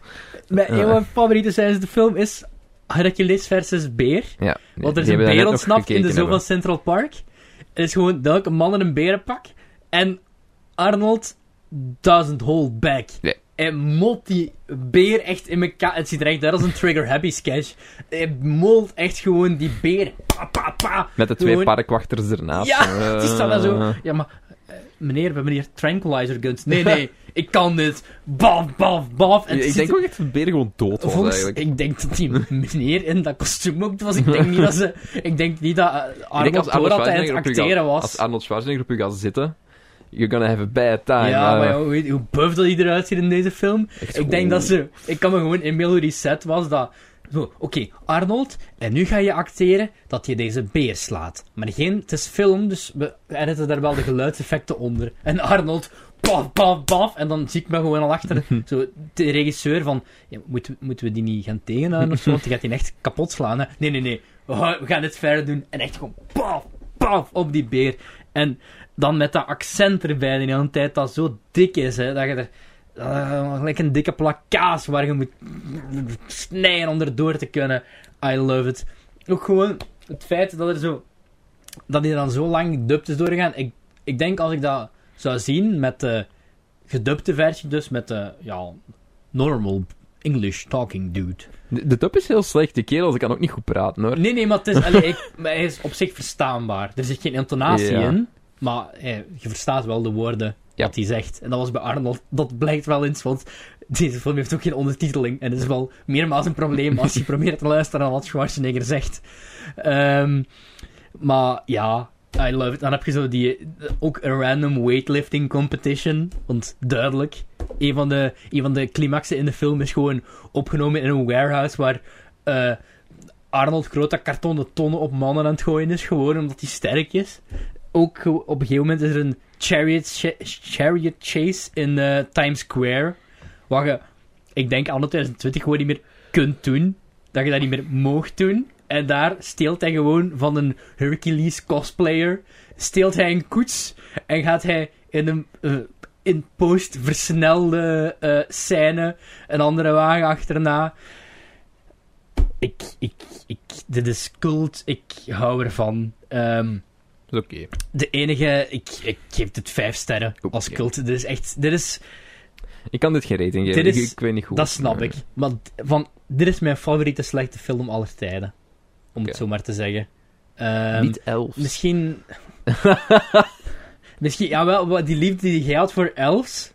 Speaker 2: Mijn, een
Speaker 1: Ja.
Speaker 2: van mijn favoriete scènes in de film is Hercules versus Beer.
Speaker 1: Ja,
Speaker 2: Want er is
Speaker 1: die
Speaker 2: een
Speaker 1: hebben we daarnet
Speaker 2: beer
Speaker 1: nog
Speaker 2: ontsnapt in de
Speaker 1: gekeken
Speaker 2: zoo van
Speaker 1: hebben.
Speaker 2: Central Park. Het is gewoon duidelijk een man in een berenpak. En Arnold doesn't hold back.
Speaker 1: Nee.
Speaker 2: Hij molt die beer echt in elkaar. Het ziet er echt uit als een Trigger Happy sketch. Hij molt echt gewoon die beer. Pa, pa, pa.
Speaker 1: Met de twee
Speaker 2: Gewoon-
Speaker 1: parkwachters ernaast.
Speaker 2: Ja, het is dan wel zo.
Speaker 1: Eh,
Speaker 2: Ja, maar eh, meneer, we hebben hier tranquilizer guns. Nee, nee, ik kan dit. Baf, baf, baf. En het
Speaker 1: ik
Speaker 2: ziet
Speaker 1: denk ook echt dat Beer gewoon dood was,
Speaker 2: Volgens,
Speaker 1: eigenlijk.
Speaker 2: ik denk dat die meneer in dat kostuum ook was. Ik denk niet dat ze... Ik denk niet dat eh,
Speaker 1: Ik denk
Speaker 2: Arnold door dat hij aan het
Speaker 1: op u gaat-
Speaker 2: acteren was.
Speaker 1: als Arnold Schwarzenegger op u gaat zitten, you're gonna have a bad time.
Speaker 2: ja,
Speaker 1: Eh,
Speaker 2: maar ja, hoe, hoe buff dat hij eruit ziet in deze film.
Speaker 1: Echt
Speaker 2: ik denk
Speaker 1: gewoon-
Speaker 2: dat ze... Ik kan me gewoon inbeelden hoe die set was dat... zo, Oké, Arnold, en nu ga je acteren dat je deze beer slaat. Maar geen... Het is film, dus we editen daar wel de geluidseffecten onder. En Arnold... Paf, paf, paf. En dan zie ik me gewoon al achter zo, de regisseur van... Ja, moeten, moeten we die niet gaan tegenhouden of zo? Want die gaat die echt kapot slaan. Hè? Nee, nee, nee. We gaan- we gaan het verder doen. En echt gewoon... Paf, paf. Op die beer. En dan met dat accent erbij die de hele tijd dat zo dik is, hè, dat je er eh, gelijk een dikke plak kaas waar je moet snijden om erdoor te kunnen. I love it. Ook gewoon het feit dat er zo dat die dan zo lang dubbed is doorgegaan. Ik, ik denk als ik dat zou zien met de gedubte versie, dus met de ja, normal English talking dude.
Speaker 1: De, de dub is heel slecht. Die kerel die kan ook niet goed praten, hoor.
Speaker 2: Nee, nee, maar het is, allee, ik, maar hij is op zich verstaanbaar. Er zit geen intonatie
Speaker 1: Ja.
Speaker 2: in, maar eh, je verstaat wel de woorden
Speaker 1: Ja.
Speaker 2: wat hij zegt. En dat was bij Arnold, dat blijkt wel eens, want deze film heeft ook geen ondertiteling. En dat is wel meermaals een probleem als je probeert te luisteren naar wat Schwarzenegger zegt. Ehm, maar ja, I love it. Dan heb je zo die, ook een random weightlifting competition. Want duidelijk, een van de, een van de climaxen in de film is gewoon opgenomen in een warehouse waar eh, Arnold Groot dat kartonnen tonnen op mannen aan het gooien is, gewoon omdat hij sterk is. Ook ge- op een gegeven moment is er een chariot, cha- chariot chase in eh, Times Square. Wat je, ik denk, anno 2020 gewoon niet meer kunt doen. Dat je dat niet meer moogt doen. En daar steelt hij gewoon van een Hercules cosplayer. Steelt hij een koets en gaat hij in een eh, in post versnelde eh, scène een andere wagen achterna. Ik, ik, ik, dit is cult. Ik hou ervan. Ehm,
Speaker 1: Dat is Dus oké.
Speaker 2: de enige, ik, ik geef dit vijf sterren
Speaker 1: Oké.
Speaker 2: als cult. Dit is echt, dit is,
Speaker 1: Ik kan dit geen rating geven.
Speaker 2: Dit is-
Speaker 1: ik, ik weet niet goed.
Speaker 2: dat snap ik. Maar d- van, dit is mijn favoriete slechte film aller tijden. Om
Speaker 1: Oké.
Speaker 2: het zo maar te zeggen. Ehm,
Speaker 1: niet elf.
Speaker 2: Misschien. misschien, ja, wel, wat die liefde die jij had voor elves.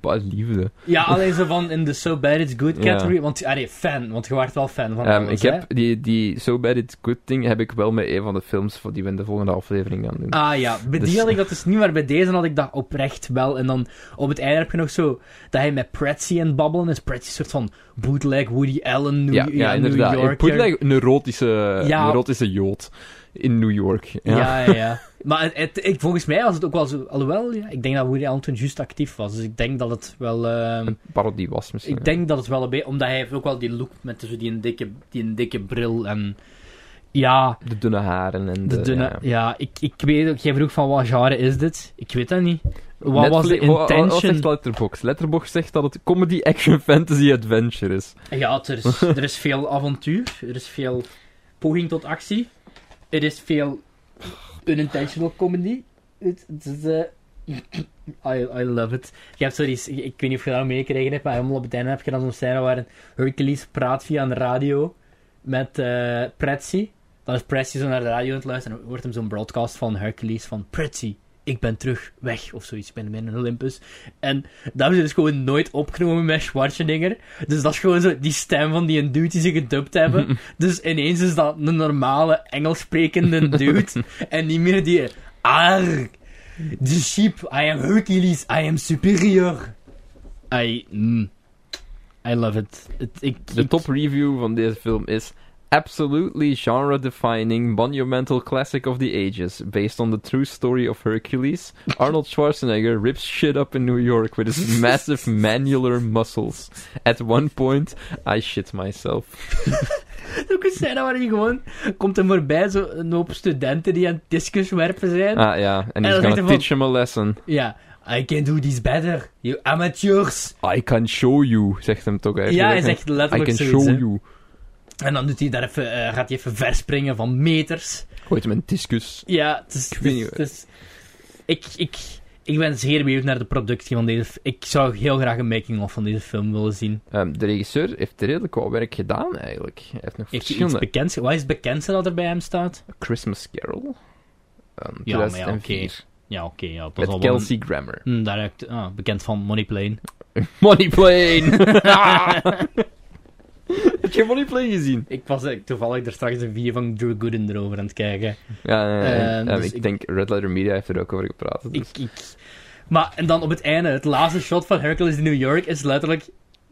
Speaker 1: Wat liefde.
Speaker 2: Ja, alleen zo van in de So Bad It's Good
Speaker 1: Ja.
Speaker 2: category. Want, allee, fan, want je werd wel fan van
Speaker 1: Ehm,
Speaker 2: elves,
Speaker 1: ik
Speaker 2: hè?
Speaker 1: heb die, die So Bad It's Good Thing heb ik wel met een van de films voor die we in de volgende aflevering gaan doen.
Speaker 2: Ah ja, bij die
Speaker 1: Dus-
Speaker 2: had ik dat dus niet, maar bij deze had ik dat oprecht wel. En dan op het einde heb je nog zo dat hij met Pretzi aan het babbelen is. Pretzi een soort van bootleg Woody Allen, New,
Speaker 1: ja,
Speaker 2: ja,
Speaker 1: ja,
Speaker 2: New
Speaker 1: inderdaad.
Speaker 2: Yorker.
Speaker 1: Een bootleg- een erotische,
Speaker 2: Ja.
Speaker 1: een erotische jood in New York. Ja.
Speaker 2: Ja, ja, ja. Maar het, het- ik, volgens mij was het ook wel zo... Alhoewel, ja, ik denk dat Woody Allen toen juist actief was. Dus ik denk dat het wel... ehm,
Speaker 1: Een parodie was misschien.
Speaker 2: Ik denk dat het wel een beetje... Omdat hij heeft ook wel die look met zo die, een dikke, die een dikke bril en... Ja,
Speaker 1: De dunne haren en de...
Speaker 2: de dunne... Ja,
Speaker 1: ja.
Speaker 2: ik, ik weet ook... Jij vroeg van wat genre is dit? Ik weet dat niet. Wat was de
Speaker 1: Netflix- wa- wa- wat zegt
Speaker 2: intention?
Speaker 1: Letterboxd? Letterboxd zegt dat het comedy, action, fantasy, adventure is.
Speaker 2: Ja, er is, er is veel avontuur. Er is veel poging tot actie. Er is veel unintentional comedy. Het, het is, eh, I, I love it. Je hebt zo die, ik weet niet of je dat meegekregen hebt, maar helemaal op het einde heb je dan zo'n scène waarin Hercules praat via een radio met eh Pretzi. Dan is Pretzi zo naar de radio aan het luisteren en dan hoort hem zo'n broadcast van Hercules van Pretzi. Ik ben terug, weg, of zoiets. Ik ben in Olympus. En dat hebben ze dus gewoon nooit opgenomen met Schwarzenegger. Dus dat is gewoon zo die stem van die dude die ze gedubt hebben. dus ineens is dat een normale Engels sprekende dude. en niet meer die... Arr, the sheep, I am Hercules, I am superior. I... mm, I love it. Het- ik,
Speaker 1: De
Speaker 2: ik-
Speaker 1: top review van deze film is... absolutely genre defining monumental classic of the ages, based on the true story of Hercules. Arnold Schwarzenegger rips shit up in New York with his massive manular muscles. At one point, I shit myself.
Speaker 2: Ook een scène waar hij gewoon komt hem voorbij, zo een hoop studenten die aan het discus werpen zijn.
Speaker 1: Ah ja, and he's
Speaker 2: dan denk
Speaker 1: gonna
Speaker 2: ik
Speaker 1: teach him a lesson.
Speaker 2: Ja, I can do this better, you amateurs.
Speaker 1: I can show you, zegt hem toch eigenlijk.
Speaker 2: Ja, hij zegt
Speaker 1: I
Speaker 2: letterlijk
Speaker 1: can
Speaker 2: zoiets,
Speaker 1: show
Speaker 2: hè.
Speaker 1: you.
Speaker 2: En dan doet hij daar even, eh, gaat hij even verspringen van meters.
Speaker 1: Gooit hem een discus.
Speaker 2: Ja, het is... Ik,
Speaker 1: weet niet,
Speaker 2: ik, ik, ik ben zeer benieuwd naar de productie van deze... f- Ik zou heel graag een making-of van deze film willen zien.
Speaker 1: Ehm, de regisseur heeft redelijk wat werk gedaan, eigenlijk. Hij heeft nog
Speaker 2: Heeft hij iets
Speaker 1: verschillende...
Speaker 2: bekends? Wat is het bekendste dat er bij hem staat?
Speaker 1: Christmas Carol. Ehm,
Speaker 2: Ja, maar ja,
Speaker 1: 2004.
Speaker 2: oké. Ja, oké, ja. Dat is
Speaker 1: Met
Speaker 2: al wel een-
Speaker 1: Kelsey Grammer.
Speaker 2: Hm, daar heb ik- ah, bekend van Money Plane.
Speaker 1: Money Plane! Heb je Money Plane gezien?
Speaker 2: Ik was eh, toevallig er straks een video van Drew Gooden erover aan het kijken.
Speaker 1: Ja, nee, nee, nee.
Speaker 2: Ehm,
Speaker 1: Ehm,
Speaker 2: dus
Speaker 1: ik
Speaker 2: ik-
Speaker 1: denk Red Letter Media heeft er ook over gepraat. Dus.
Speaker 2: Ik, ik... Maar, en dan op het einde, het laatste shot van Hercules in New York is letterlijk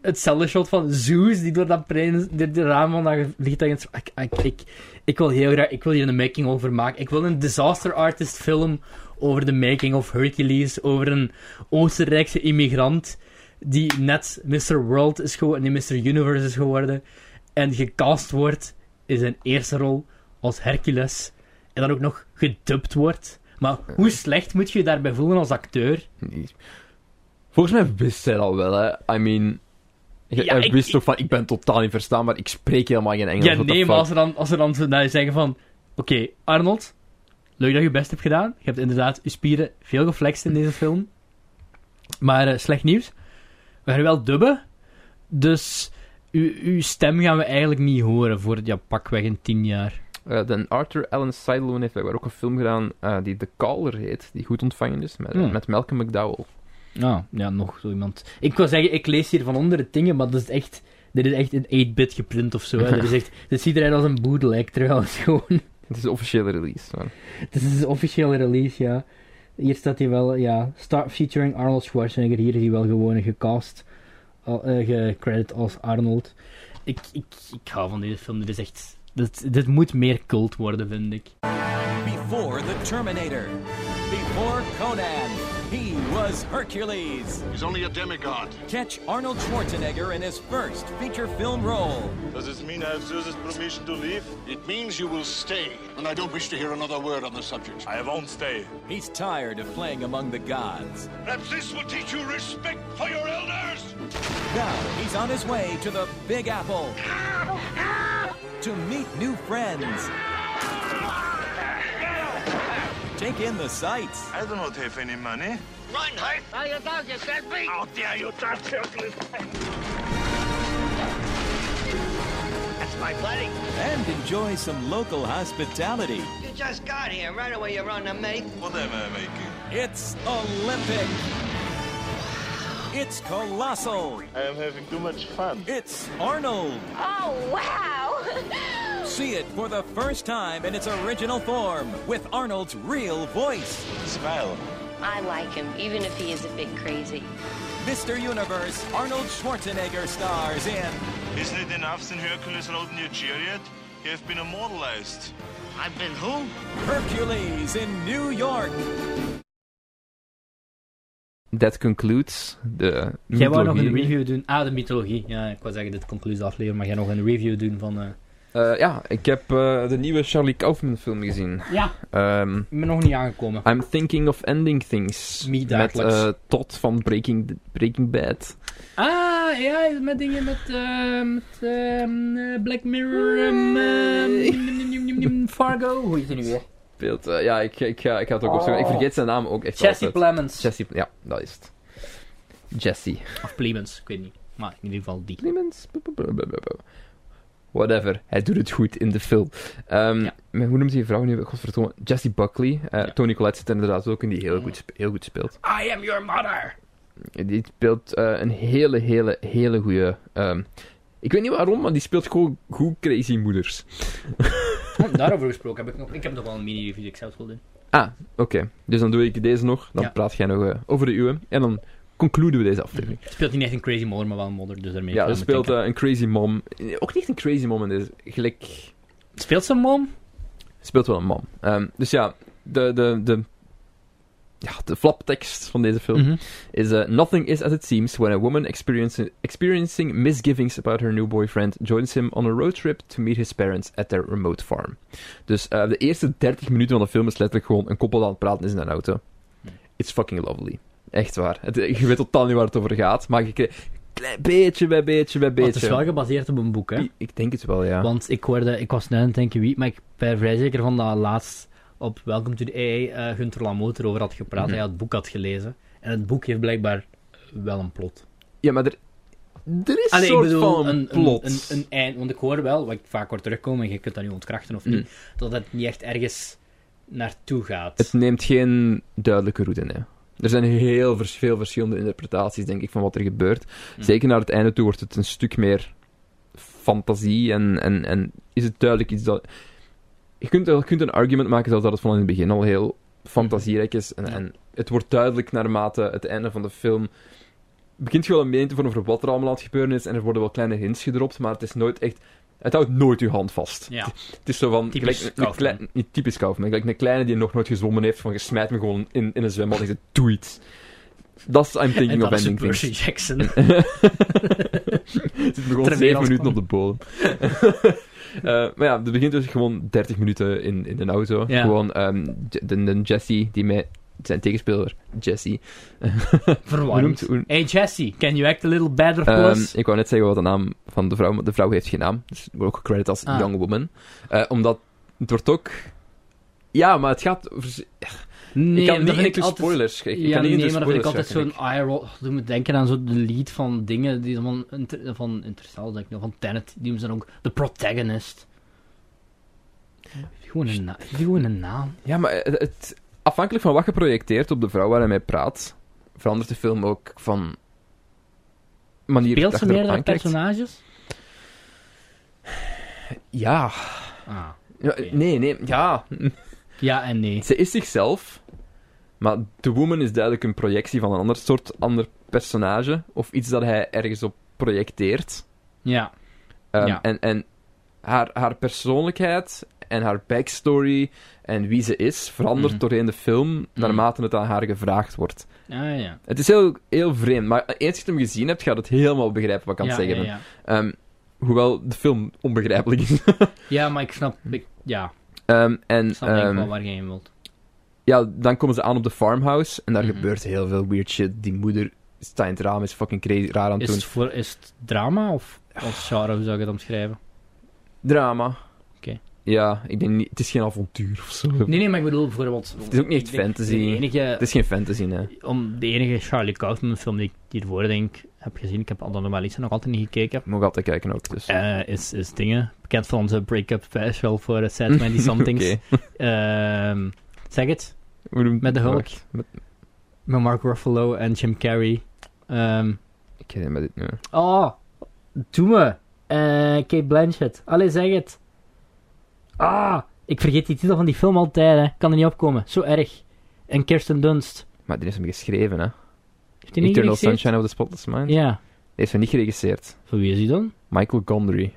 Speaker 2: hetzelfde shot van Zeus die door dat prins, door de raam van dat vliegtuig... is- Ik, ik, ik, ik wil heel graag, ik wil hier een making over maken. Ik wil een disaster artist film over de making of Hercules, over een Oostenrijkse immigrant die net Mr. World is geworden, nee, Mr. Universe is geworden en gecast wordt in zijn eerste rol als Hercules en dan ook nog gedubt wordt. Maar hoe slecht moet je je daarbij voelen als acteur?
Speaker 1: Nee. Volgens mij wist hij dat al wel, hè. I mean... Hij
Speaker 2: Ja,
Speaker 1: hij
Speaker 2: ik-
Speaker 1: wist
Speaker 2: ik-
Speaker 1: toch van, ik ben totaal niet verstaanbaar, ik spreek helemaal geen Engels.
Speaker 2: Ja,
Speaker 1: what the
Speaker 2: nee, maar
Speaker 1: fuck?
Speaker 2: als ze dan, als ze dan zo naar je zeggen van... Oké, Arnold, leuk dat je je best hebt gedaan. Je hebt inderdaad je spieren veel geflext in deze film. Maar eh, slecht nieuws. We gaan wel dubben. Dus uw, uw stem gaan we eigenlijk niet horen voor ja, pakweg in tien jaar.
Speaker 1: Eh, dan Arthur Allen Sidloon heeft blijkbaar ook een film gedaan eh, die The Caller heet, die goed ontvangen is, met,
Speaker 2: Hmm.
Speaker 1: met Malcolm McDowell.
Speaker 2: Ah, ja, nog zo iemand. Ik wil zeggen, ik lees hier van onder de dingen, maar dat is echt... Dit is echt een 8-bit geprint of zo. Hè. Dit, is echt, dit ziet eruit als een bootleg trouwens, gewoon.
Speaker 1: Het is de officiële release. maar-
Speaker 2: Dit Dus is de officiële release, ja. Hier staat hij wel, ja. Start featuring Arnold Schwarzenegger. Hier is hij wel gewoon gecast. al- eh, gecredit als Arnold. Ik, ik, ik hou van deze film. Dit is echt... Dit, dit moet meer cult worden, vind ik.
Speaker 10: Before the Terminator, before Conan, he was Hercules.
Speaker 5: He's only a demigod.
Speaker 10: Catch Arnold Schwarzenegger in his first feature film role.
Speaker 5: Does this mean I have Zeus's permission to leave? It means you will stay. And I don't wish to hear another word on the subject. I won't stay.
Speaker 10: He's tired of playing among the gods.
Speaker 5: Perhaps this will teach you respect for your elders!
Speaker 10: Now he's on his way to the Big Apple to meet new friends. Take in the sights.
Speaker 5: I do not have any money. Reinhardt! How you dog, you selfie? How dare you touch Hercules? That's my buddy.
Speaker 10: and enjoy some local hospitality.
Speaker 4: You just got here. Right away, you're on the make.
Speaker 5: What am I making?
Speaker 10: It's Olympic. It's colossal.
Speaker 5: I am having too much fun.
Speaker 10: It's Arnold.
Speaker 6: Oh, wow!
Speaker 10: See it for the first time in its original form with Arnold's real voice.
Speaker 5: Smile.
Speaker 6: I like him, even if he is a bit crazy.
Speaker 10: Mr. Universe, Arnold Schwarzenegger stars in
Speaker 5: Isn't it enough that Hercules rode in your chariot? You have been immortalized. I've been who?
Speaker 10: Hercules in New York.
Speaker 1: That concludes de
Speaker 2: Jij wou nog een
Speaker 1: mythologie.
Speaker 2: review doen. Ah, de mythologie. Ja, ik wou zeggen, dit conclusie de aflevering. Maar jij nog een review doen van... eh,
Speaker 1: Eh, ja, ik heb eh, de nieuwe Charlie Kaufman film gezien.
Speaker 2: Ja,
Speaker 1: Ehm,
Speaker 2: ik ben nog niet aangekomen.
Speaker 1: I'm Thinking of Ending Things.
Speaker 2: Niet
Speaker 1: met
Speaker 2: dagelijks.
Speaker 1: eh, Todd van Breaking, Breaking Bad.
Speaker 2: Ah, ja, met dingen met... eh, met eh, eh, Black Mirror... ehm, ehm, Fargo. Hoe heet die nu weer?
Speaker 1: Speelt, eh, ja, ik, ik, ga ik ga het ook opzoeken. Ik vergeet zijn naam ook echt
Speaker 2: Oh. Jesse
Speaker 1: altijd.
Speaker 2: Plemons.
Speaker 1: Jesse, ja, dat is het. Jesse.
Speaker 2: Of Plemons, ik weet niet. Maar in ieder geval die.
Speaker 1: Clemens. Whatever. Hij doet het goed in de film. Ehm,
Speaker 2: Ja.
Speaker 1: maar Hoe noemt die vrouw nu? Godverdomme. Jessie Buckley. Eh,
Speaker 2: Ja.
Speaker 1: Tony Collette zit er inderdaad ook in die heel goed, spe- heel goed speelt.
Speaker 2: I am your mother!
Speaker 1: Die speelt eh, een hele, hele, hele goede. ik weet niet waarom, maar die speelt gewoon goed crazy moeders.
Speaker 2: Oh, daarover gesproken heb ik nog... Ik heb nog wel een mini-review die ik zelf wil doen.
Speaker 1: Ah, oké. Dus dan doe ik deze nog. Dan
Speaker 2: Ja.
Speaker 1: praat jij nog eh, over de uwe. En dan concluden we deze aflevering.
Speaker 2: Het speelt niet echt een crazy modder, maar wel een modder, dus daarmee
Speaker 1: Ja,
Speaker 2: kan
Speaker 1: er
Speaker 2: je
Speaker 1: speelt
Speaker 2: meteen-
Speaker 1: eh, een crazy mom. Eh, Ook niet echt een crazy mom in deze. Gelijk...
Speaker 2: Speelt zijn mom?
Speaker 1: speelt wel een man. Ehm, dus ja, de, de, de, ja, de flaptekst van deze film
Speaker 2: Mhm.
Speaker 1: is... eh, Nothing is as it seems when a woman experiencing, experiencing misgivings about her new boyfriend... joins him on a road trip to meet his parents at their remote farm. Dus eh, de eerste 30 minuten van de film is letterlijk gewoon een koppel aan het praten is in een auto.
Speaker 2: Mhm.
Speaker 1: It's fucking lovely. Echt waar. Het, je weet totaal niet waar het over gaat, maar je krijgt... Klein beetje bij beetje bij
Speaker 2: Maar
Speaker 1: beetje.
Speaker 2: het is wel gebaseerd op een boek, hè?
Speaker 1: Ik- Ik denk het wel, ja.
Speaker 2: Want ik, hoorde, ik was net aan het denken wie, maar ik ben vrij zeker van dat laatst op Welcome to the AA eh Gunther Lamoot erover had gepraat.
Speaker 1: Mhm.
Speaker 2: Hij het boek had gelezen. En het boek heeft blijkbaar wel een plot.
Speaker 1: Ja, maar er, er is
Speaker 2: Allee,
Speaker 1: soort
Speaker 2: ik bedoel,
Speaker 1: van
Speaker 2: een,
Speaker 1: plot.
Speaker 2: Een, een, een eind. Want ik hoor wel, wat ik vaak hoor terugkomen, en je kunt dat nu ontkrachten of niet, dat het niet echt ergens naartoe gaat.
Speaker 1: Het neemt geen duidelijke route in. Hè. Er zijn heel vers- veel verschillende interpretaties, denk ik, van wat er gebeurt.
Speaker 2: Hmm.
Speaker 1: Zeker naar het einde toe wordt het een stuk meer fantasie en, en, en is het duidelijk iets dat... Je kunt, je kunt een argument maken zelfs dat het van in het begin al heel fantasierijk is. En,
Speaker 2: Ja.
Speaker 1: en het wordt duidelijk naarmate het einde van de film... Begint je wel een mening te vormen voor wat er allemaal aan het gebeuren is. En er worden wel kleine hints gedropt, maar het is nooit echt... Het houdt nooit je hand vast.
Speaker 2: Ja.
Speaker 1: Het is zo van...
Speaker 2: Typisch
Speaker 1: gelijk een- een
Speaker 2: Kaufman.
Speaker 1: klein- Niet typisch Kaufman. Gelijk een kleine die nog nooit gezwommen heeft, van je smijt me gewoon in, in een zwembad en je zegt, doe iets. That's I'm
Speaker 2: en
Speaker 1: thinking
Speaker 2: dat
Speaker 1: of
Speaker 2: is
Speaker 1: ending
Speaker 2: Percy
Speaker 1: things.
Speaker 2: Jackson.
Speaker 1: Het zit me gewoon
Speaker 2: Terwijl
Speaker 1: zeven
Speaker 2: als-
Speaker 1: minuten op de bodem. Eh, maar ja, het begint dus gewoon 30 minuten in, in een auto.
Speaker 2: Ja.
Speaker 1: Gewoon ehm, J- de, de Jesse, die met zijn tegenspeler, Jesse. Hoe noemt-
Speaker 2: Verwarmd.
Speaker 1: hoe-
Speaker 2: Hey Jesse, can you act a little better
Speaker 1: Ehm,
Speaker 2: plus?
Speaker 1: ik wou net zeggen wat de naam van de vrouw, maar de vrouw heeft geen naam. Dus wordt ook gecredit als
Speaker 2: Ah.
Speaker 1: Young Woman. Eh, omdat het wordt ook. Ja, maar het gaat. over-
Speaker 2: nee,
Speaker 1: ik kan
Speaker 2: dat
Speaker 1: niet
Speaker 2: vind
Speaker 1: into
Speaker 2: altijd-
Speaker 1: spoilers. Ik, ik
Speaker 2: ja,
Speaker 1: kan niet
Speaker 2: nee,
Speaker 1: into
Speaker 2: maar dat vind ik
Speaker 1: spoilers
Speaker 2: altijd
Speaker 1: gaan,
Speaker 2: zo'n
Speaker 1: ik.
Speaker 2: eye roll. Dat doet me denken aan zo de lead van dingen die van, inter- van interessant denk ik nog, van Tenet. Die noemen ze dan ook de protagonist. Gewoon een, na- gewoon een naam.
Speaker 1: Ja, maar het, het- afhankelijk van wat je projecteert op de vrouw waar hij mee praat, verandert de film ook van. manier
Speaker 2: Speelt
Speaker 1: dat
Speaker 2: ze
Speaker 1: je erop
Speaker 2: meerdere
Speaker 1: aankijkt.
Speaker 2: personages?
Speaker 1: Ja.
Speaker 2: Ah.
Speaker 1: Ja, Nee, nee, ja.
Speaker 2: Ja en nee.
Speaker 1: Ze is zichzelf, maar The Woman is duidelijk een projectie van een ander soort, ander personage, of iets dat hij ergens op projecteert.
Speaker 2: Ja.
Speaker 1: Ehm,
Speaker 2: Ja.
Speaker 1: En, en haar, haar persoonlijkheid en haar backstory en wie ze is verandert
Speaker 2: Mhm.
Speaker 1: doorheen de film naarmate het aan haar gevraagd wordt.
Speaker 2: Ah ja.
Speaker 1: Het is heel, heel vreemd, maar eens je hem gezien hebt, gaat het helemaal begrijpen wat ik aan
Speaker 2: ja,
Speaker 1: het zeggen
Speaker 2: ja,
Speaker 1: ben.
Speaker 2: ja.
Speaker 1: Ehm, hoewel de film onbegrijpelijk is.
Speaker 2: Ja, maar ik snap... Ik, ja,
Speaker 1: Ehm, en
Speaker 2: ik snap denk ik
Speaker 1: ehm,
Speaker 2: wel waar je heen wilt.
Speaker 1: ja, dan komen ze aan op de farmhouse en daar
Speaker 2: Mhm.
Speaker 1: gebeurt heel veel weird shit. Die moeder staat in het raam, is fucking crazy, raar aan het
Speaker 2: Is het,
Speaker 1: doen.
Speaker 2: voor, is het drama of als genre, hoe zou ik het omschrijven?
Speaker 1: Drama.
Speaker 2: Oké.
Speaker 1: Ja, ik denk niet... Het is geen avontuur of zo.
Speaker 2: Nee, nee, maar ik bedoel bijvoorbeeld...
Speaker 1: Het is ook niet echt
Speaker 2: ik denk
Speaker 1: fantasy.
Speaker 2: De enige
Speaker 1: Het is geen fantasy, nee.
Speaker 2: om de enige Charlie Kaufman film die ik hiervoor denk heb gezien, ik heb Anomalies nog altijd niet gekeken,
Speaker 1: Ik mag altijd kijken ook, dus...
Speaker 2: eh, is, is dingen. Bekend van onze break-up special voor het Sad Many Somethings.
Speaker 1: Oké.
Speaker 2: Ehm, zeg het,
Speaker 1: We doen-
Speaker 2: met de Hulk.
Speaker 1: Wacht, met-
Speaker 2: Met Mark Ruffalo en Jim Carrey. Ehm,
Speaker 1: Ik ken hem met dit nummer.
Speaker 2: oh, doe me. Eh, Kate Blanchett. Allee, zeg het. Ah, ik vergeet die titel van die film altijd, hè. Kan er niet opkomen. Zo erg. En Kirsten Dunst.
Speaker 1: Maar die is hem geschreven, hè.
Speaker 2: Heeft die niet
Speaker 1: Eternal
Speaker 2: geregisseerd?
Speaker 1: Sunshine of the Spotless Mind.
Speaker 2: Ja.
Speaker 1: Die is hem niet geregisseerd.
Speaker 2: Voor wie is die dan?
Speaker 1: Michael Gondry.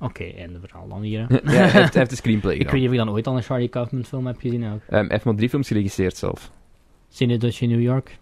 Speaker 2: Oké, einde verhaal dan hier, hè.
Speaker 1: ja, hij heeft, hij heeft de screenplay
Speaker 2: Ik weet
Speaker 1: gedaan.
Speaker 2: niet of ik dan ooit al een Charlie Kaufman film heb gezien ook.
Speaker 1: Ehm, hij heeft maar drie films geregisseerd zelf.
Speaker 2: Synecdoche in New York.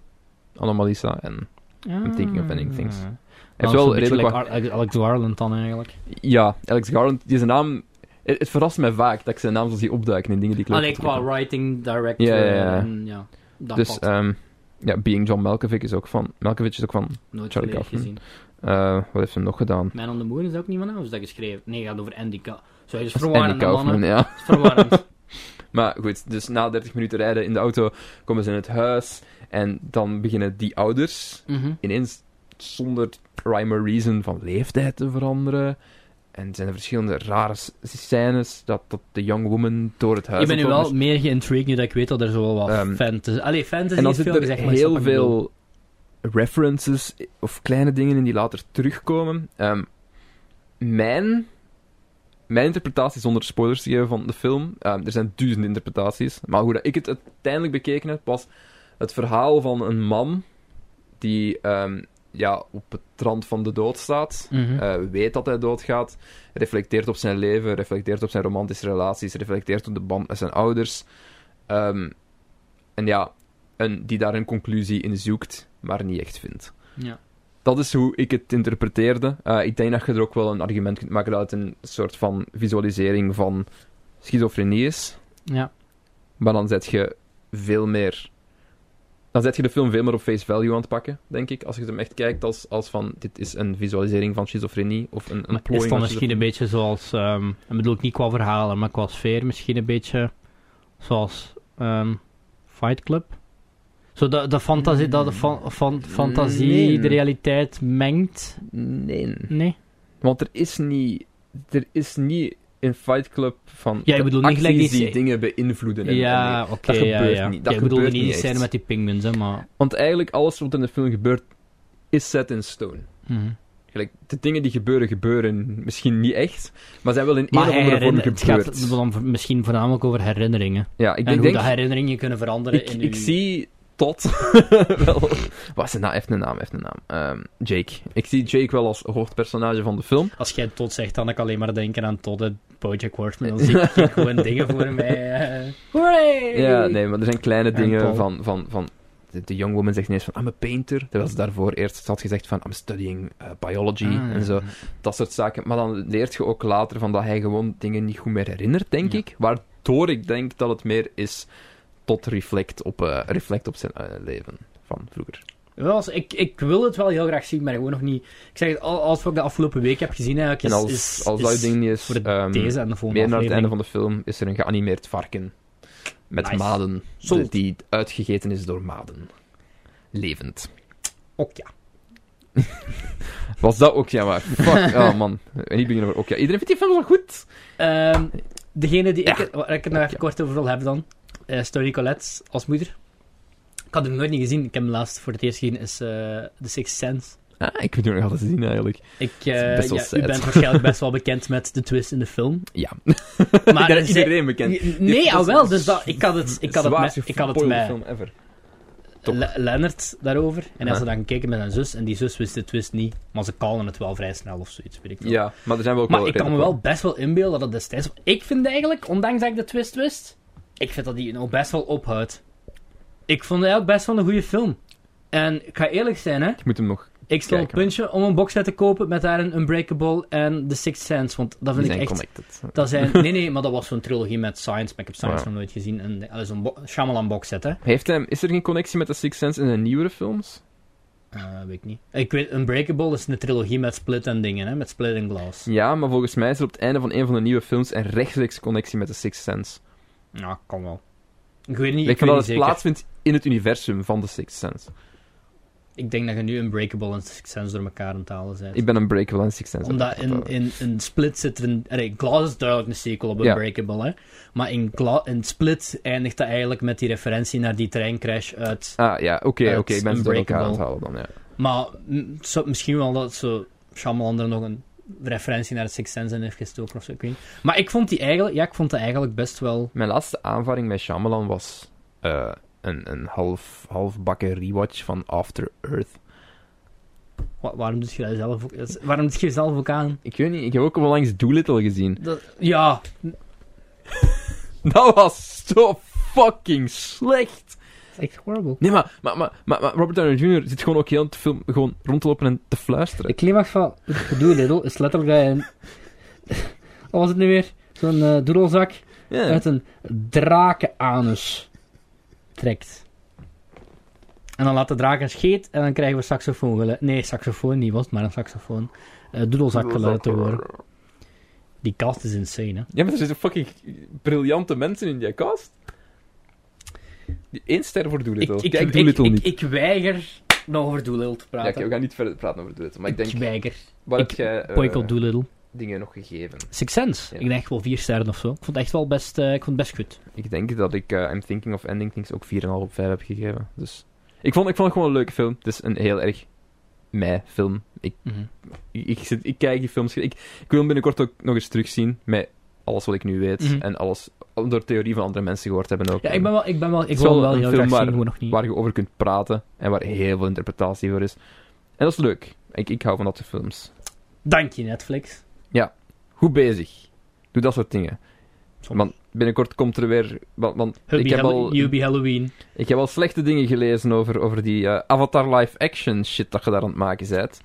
Speaker 1: Anomalisa en... I'm thinking of ending things.
Speaker 2: Ah.
Speaker 1: Hij
Speaker 2: Dat
Speaker 1: heeft
Speaker 2: is
Speaker 1: wel
Speaker 2: een beetje
Speaker 1: redelijk wat...
Speaker 2: like Ar- Alex Garland dan eigenlijk.
Speaker 1: Ja, Alex Garland, die zijn naam... Het, het verrast mij vaak dat ik zijn naam zo zie opduiken in dingen die ik leuk
Speaker 2: Allee,
Speaker 1: vind.
Speaker 2: Ah, qua writing, director
Speaker 1: Ja, ja, ja.
Speaker 2: en ja. Dat
Speaker 1: Dus,
Speaker 2: pad.
Speaker 1: ehm, ja, Being John Malkovich is ook van... Malkovich is ook van...
Speaker 2: Nooit
Speaker 1: Charlie
Speaker 2: volledig
Speaker 1: Kaufman.
Speaker 2: gezien.
Speaker 1: eh, wat heeft hij nog gedaan?
Speaker 2: Man on the Moon is dat ook niet van hem, of is dat geschreven? Nee, het gaat over Andy Ka... Zo, hij is
Speaker 1: Dat is Andy
Speaker 2: verwarrend, hè,
Speaker 1: Kaufman,
Speaker 2: mannen.
Speaker 1: ja.
Speaker 2: Het is verwarrend.
Speaker 1: Maar goed, dus na 30 minuten rijden in de auto komen ze in het huis. En dan beginnen die ouders
Speaker 2: Mhm.
Speaker 1: ineens zonder rhyme or reason van leeftijd te veranderen. En er zijn er verschillende rare s- scènes dat, dat de young woman door het huis...
Speaker 2: Ik ben nu
Speaker 1: aan het
Speaker 2: wel meer geïntrigued nu dat ik weet dat er zo wel wat
Speaker 1: Ehm,
Speaker 2: fantasy... Allee, fantasy
Speaker 1: En dan
Speaker 2: is veel
Speaker 1: zitten er
Speaker 2: gezegd, maar ik snap
Speaker 1: heel
Speaker 2: wat je bedoelt.
Speaker 1: veel references of kleine dingen in die later terugkomen. Ehm, mijn, mijn interpretatie, zonder spoilers te geven van de film, ehm, er zijn duizenden interpretaties, maar hoe dat ik het uiteindelijk bekeken heb, was het verhaal van een man die ehm, ja, op het rand van de dood staat.
Speaker 2: Mhm.
Speaker 1: eh, weet dat hij doodgaat. Reflecteert op zijn leven, reflecteert op zijn romantische relaties, reflecteert op de band met zijn ouders. Ehm, en ja, en die daar een conclusie in zoekt, maar niet echt vindt.
Speaker 2: Ja.
Speaker 1: Dat is hoe ik het interpreteerde. Eh, ik denk dat je er ook wel een argument kunt maken dat het een soort van visualisering van schizofrenie is.
Speaker 2: Ja.
Speaker 1: Maar dan zet je veel meer. Dan zet je de film veel meer op face value aan het pakken, denk ik. Als je hem echt kijkt als, als van dit is een visualisering van schizofrenie of een, een
Speaker 2: Maar is
Speaker 1: plooiing
Speaker 2: dan
Speaker 1: van
Speaker 2: misschien
Speaker 1: schizofrenie.
Speaker 2: een beetje zoals... ehm ik bedoel, ik niet qua verhalen, maar qua sfeer misschien een beetje zoals ehm, Fight Club. Zo dat, dat, fantasie, dat de fan- fan- fantasie
Speaker 1: Mm. Nee.
Speaker 2: de realiteit mengt.
Speaker 1: Nee.
Speaker 2: Nee.
Speaker 1: Want er is niet. Er is niet in Fight Club van.
Speaker 2: Ja, ik bedoel, niet
Speaker 1: acties
Speaker 2: gelijk die
Speaker 1: die
Speaker 2: scè-
Speaker 1: dingen beïnvloeden. en- en-
Speaker 2: ja, oké.
Speaker 1: dat
Speaker 2: ja,
Speaker 1: gebeurt
Speaker 2: ja.
Speaker 1: niet. Dat
Speaker 2: Ja, ik bedoelde
Speaker 1: gebeurt
Speaker 2: niet
Speaker 1: niet
Speaker 2: die
Speaker 1: echt.
Speaker 2: scène met die penguins, hè, maar...
Speaker 1: Want eigenlijk alles wat in de film gebeurt is set in stone.
Speaker 2: mhm.
Speaker 1: Gelijk, de dingen die gebeuren, gebeuren misschien niet echt, maar zijn wel in
Speaker 2: Maar
Speaker 1: een of
Speaker 2: hij
Speaker 1: andere vorm
Speaker 2: herinner- het gaat
Speaker 1: gebeurd.
Speaker 2: dan voor- misschien voornamelijk over herinneringen.
Speaker 1: Ja, ik
Speaker 2: en
Speaker 1: denk,
Speaker 2: hoe
Speaker 1: denk-
Speaker 2: dat herinneringen kunnen veranderen
Speaker 1: ik,
Speaker 2: in
Speaker 1: ik
Speaker 2: uw-
Speaker 1: zie tot wel... Wat is zijn naam? Even een naam, even een naam. Ehm, Jake. Ik zie Jake wel als hoofdpersonage van de film.
Speaker 2: Als jij tot zegt, dan kan ik alleen maar denken aan Todd en Bojack Horseman. Dan zie ik ik gewoon dingen voor mij. eh. Hooray!
Speaker 1: Ja, nee, maar er zijn kleine
Speaker 2: En
Speaker 1: dingen
Speaker 2: Paul.
Speaker 1: van... van, van de, de young woman zegt ineens van, I'm a painter. Terwijl ze daarvoor eerst had gezegd van, I'm studying eh, biology
Speaker 2: Ah,
Speaker 1: en zo. Dat soort zaken. Maar dan leert je ook later van dat hij gewoon dingen niet goed meer herinnert, denk
Speaker 2: Ja.
Speaker 1: ik. Waardoor ik denk dat het meer is tot reflect op, eh, reflect op zijn eh, leven van vroeger.
Speaker 2: Wel, als- ik, ik wil het wel heel graag zien, maar gewoon nog niet. Ik zeg het, al- alles wat ik de afgelopen week heb gezien, eigenlijk is,
Speaker 1: en als,
Speaker 2: is,
Speaker 1: als
Speaker 2: is
Speaker 1: dat ding niet is,
Speaker 2: voor
Speaker 1: ehm,
Speaker 2: deze en de volgende
Speaker 1: meer naar het
Speaker 2: aflevering.
Speaker 1: einde van de film is er een geanimeerd varken met
Speaker 2: Nice.
Speaker 1: maden,
Speaker 2: Sold.
Speaker 1: de- die uitgegeten is door maden. Levend.
Speaker 2: Ook ja.
Speaker 1: Was dat ook ja maar? Fuck, oh man. En ik begin over ook ja. Iedereen vindt die film wel goed.
Speaker 2: Ehm, degene die ik, waar ik het nog even kort over wil hebben dan. eh Story Colette als moeder. Ik had hem nooit niet gezien. Ik heb hem laatst voor het eerst gezien. is eh The Sixth Sense.
Speaker 1: Ah, ik weet het nog altijd zien eigenlijk.
Speaker 2: Ik,
Speaker 1: is
Speaker 2: eh
Speaker 1: best wel
Speaker 2: ja,
Speaker 1: sad.
Speaker 2: U bent waarschijnlijk best wel bekend met de twist in de film.
Speaker 1: Ja.
Speaker 2: Maar
Speaker 1: Daar is
Speaker 2: zij-
Speaker 1: iedereen bekend.
Speaker 2: Nee,
Speaker 1: al
Speaker 2: al wel. Dus dat, ik had het, ik had het, met- ik had het met
Speaker 1: film ever. Top.
Speaker 2: Le- Leonard daarover. En als
Speaker 1: Huh?
Speaker 2: ze dan keken met zijn zus. En die zus wist de twist niet. Maar ze kalden het wel vrij snel of zoiets. Weet ik veel.
Speaker 1: Ja, maar er zijn wel ook
Speaker 2: Maar
Speaker 1: wel
Speaker 2: ik kan me
Speaker 1: redelijk
Speaker 2: wel best wel inbeelden dat het destijds... Ik vind eigenlijk, ondanks dat ik de twist wist... Ik vind dat die nou best wel ophoudt. Ik vond het eigenlijk best wel een goede film. En ik ga eerlijk zijn, hè.
Speaker 1: Ik moet hem nog...
Speaker 2: Ik stel een
Speaker 1: Kijken.
Speaker 2: puntje om een box set te kopen met daarin Unbreakable en The Sixth Sense. Want dat
Speaker 1: Die
Speaker 2: vind ik
Speaker 1: zijn
Speaker 2: echt...
Speaker 1: connected.
Speaker 2: Dat zijn... Nee, nee, maar dat was zo'n trilogie met Science. Maar ik heb Science
Speaker 1: Ja.
Speaker 2: nog nooit gezien. En dat is een bo- Shyamalan box set, hè.
Speaker 1: Heeft hem, is er geen connectie met de Sixth Sense in zijn nieuwere films?
Speaker 2: Eh, weet ik niet. Ik weet, Unbreakable is een trilogie met Split en dingen, hè. Met Split en Glass.
Speaker 1: Ja, maar volgens mij is er op het einde van een van de nieuwe films een rechtstreeks connectie met de Sixth Sense.
Speaker 2: Ja, kan wel. Ik weet niet,
Speaker 1: Ik, vind
Speaker 2: ik, weet
Speaker 1: dat
Speaker 2: niet
Speaker 1: het
Speaker 2: zeker.
Speaker 1: plaatsvindt in het universum van de Sixth Sense.
Speaker 2: Ik denk dat je nu Unbreakable en Sixth Sense door elkaar aan het halen bent.
Speaker 1: Ik ben een Breakable en Sixth Sense.
Speaker 2: Omdat in, in, in Split zit er een... Allee, Glass is duidelijk een sequel op
Speaker 1: eh, Ja.
Speaker 2: Unbreakable, hè. Maar in, Gla- in Split eindigt dat eigenlijk met die referentie naar die treincrash uit...
Speaker 1: Ah ja, oké, oké.
Speaker 2: Het
Speaker 1: ik ben ze door elkaar aan het
Speaker 2: Unbreakable.
Speaker 1: halen dan, ja.
Speaker 2: Maar mm, zo- misschien wel dat zo Shyamalan er nog een referentie naar Sixth Sense in heeft gestoken of zo, ik weet niet. Maar ik vond die eigenlijk... Ja, ik vond dat eigenlijk best wel...
Speaker 1: Mijn laatste aanvaring met Shyamalan was eh, een, een half, halfbakken rewatch van After Earth.
Speaker 2: Wa- waarom doet je dat zelf ook... dat is- Waarom doet je zelf ook aan?
Speaker 1: Ik weet niet, ik heb ook al langs Doolittle gezien.
Speaker 2: Dat, ja,
Speaker 1: Dat was zo fucking slecht!
Speaker 2: dat is echt horrible.
Speaker 1: Nee, maar, maar, maar, maar, maar Robert Downey Jr. zit gewoon ook heel de film gewoon rond te lopen en te fluisteren.
Speaker 2: De climax van Doolittle is letterlijk dat je een... Wat was het nu weer? Zo'n eh doedelzak
Speaker 1: Ja.
Speaker 2: uit een drakenanus trekt. En dan laat de draak een scheet en dan krijgen we saxofoon. eh, Nee, saxofoon niet was het, maar een saxofoon. Eh doedelzakgeluid te horen. Die cast is insane, hè.
Speaker 1: Ja, maar er zitten fucking briljante mensen in die cast. Die één ster voor Doolittle. Kijk Doolittle niet.
Speaker 2: ik weiger nog over Doolittle te
Speaker 1: ja, oké, we gaan niet verder praten over Doolittle. Maar ik denk,
Speaker 2: weiger.
Speaker 1: waar
Speaker 2: ik-
Speaker 1: heb jij eh,
Speaker 2: Boycott Doolittle.
Speaker 1: dingen nog gegeven?
Speaker 2: Six Sense.
Speaker 1: Ja.
Speaker 2: Ik denk wel vier sterren of zo. Ik vond het echt wel best, eh, ik vond het best goed.
Speaker 1: Ik denk dat ik eh, I'm Thinking of Ending Things ook 4,5 op 5 heb gegeven. Dus ik vond, ik vond het gewoon een leuke film. Het is een heel erg mij
Speaker 2: Mhm.
Speaker 1: film. Ik, ik, ik zit, ik kijk die films. Ik, ik wil hem binnenkort ook nog eens terugzien. Met alles wat ik nu weet
Speaker 2: Mhm.
Speaker 1: en alles door theorie van andere mensen gehoord hebben ook.
Speaker 2: Ja, ik ben wel, ik ben wel, ik
Speaker 1: Het is
Speaker 2: wil hem
Speaker 1: wel
Speaker 2: wel
Speaker 1: een
Speaker 2: heel
Speaker 1: film
Speaker 2: graag zien, gewoon nog niet.
Speaker 1: waar je over kunt praten en waar heel veel interpretatie voor is. En dat is leuk. Ik, ik hou van dat soort films.
Speaker 2: Dank je, Netflix.
Speaker 1: Goed bezig. Doe dat soort dingen.
Speaker 2: Soms.
Speaker 1: Want binnenkort komt er weer... Want, want
Speaker 2: Hubby
Speaker 1: ik, heb
Speaker 2: Hall-
Speaker 1: al,
Speaker 2: Hubby Halloween.
Speaker 1: ik heb al slechte dingen gelezen over, over die eh, Avatar live action shit dat je daar aan het maken bent.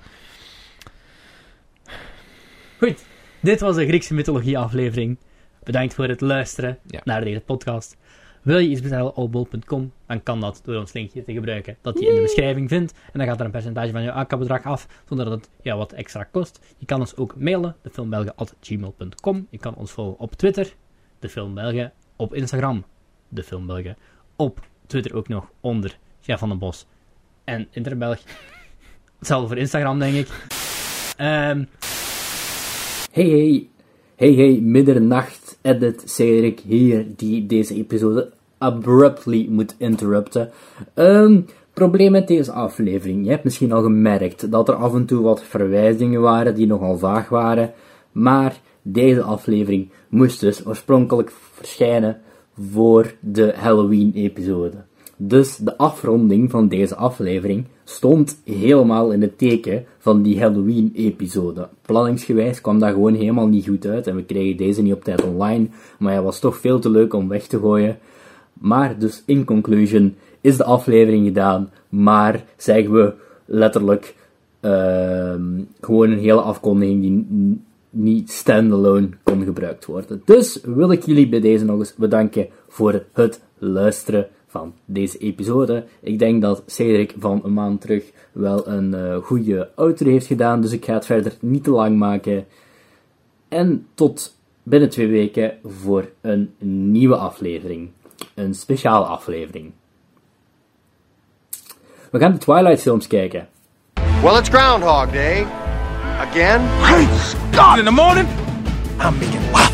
Speaker 2: Dit was de Griekse mythologie aflevering. Bedankt voor het luisteren
Speaker 1: Ja.
Speaker 2: naar deze podcast. Wil je iets bestellen op bol.com, dan kan dat door ons linkje te gebruiken dat je in de beschrijving vindt. En dan gaat er een percentage van je aankoopbedrag af, zonder dat het jou wat extra kost. Je kan ons ook mailen, defilmbelgen.gmail.com. Je kan ons volgen op Twitter, de Film Belgen, op Instagram, de Film Belgen, op Twitter ook nog onder Jeff van den Bos en Interbelg. Hetzelfde voor Instagram, denk ik. Ehm,
Speaker 11: Hey hey, hey hey, middernacht edit Cedric hier, die deze episode abruptly moet interrupten. Ehm, probleem met deze aflevering. Je hebt misschien al gemerkt dat er af en toe wat verwijzingen waren die nogal vaag waren, maar deze aflevering moest dus oorspronkelijk verschijnen voor de Halloween-episode. Dus de afronding van deze aflevering stond helemaal in het teken van die Halloween-episode. Planningsgewijs kwam dat gewoon helemaal niet goed uit en we kregen deze niet op tijd online, maar hij was toch veel te leuk om weg te gooien. Maar dus in conclusion is de aflevering gedaan, maar zeggen we letterlijk ehm, gewoon een hele afkondiging die n- niet standalone kon gebruikt worden. Dus wil ik jullie bij deze nog eens bedanken voor het luisteren van deze episode. Ik denk dat Cedric van een maand terug wel een eh, goede outro heeft gedaan, dus ik ga het verder niet te lang maken. En tot binnen twee weken voor een nieuwe aflevering. Een speciale aflevering. We gaan de Twilight films kijken.
Speaker 12: Well, it's Groundhog Day. Again? Great Scott! In the morning, I'm making love.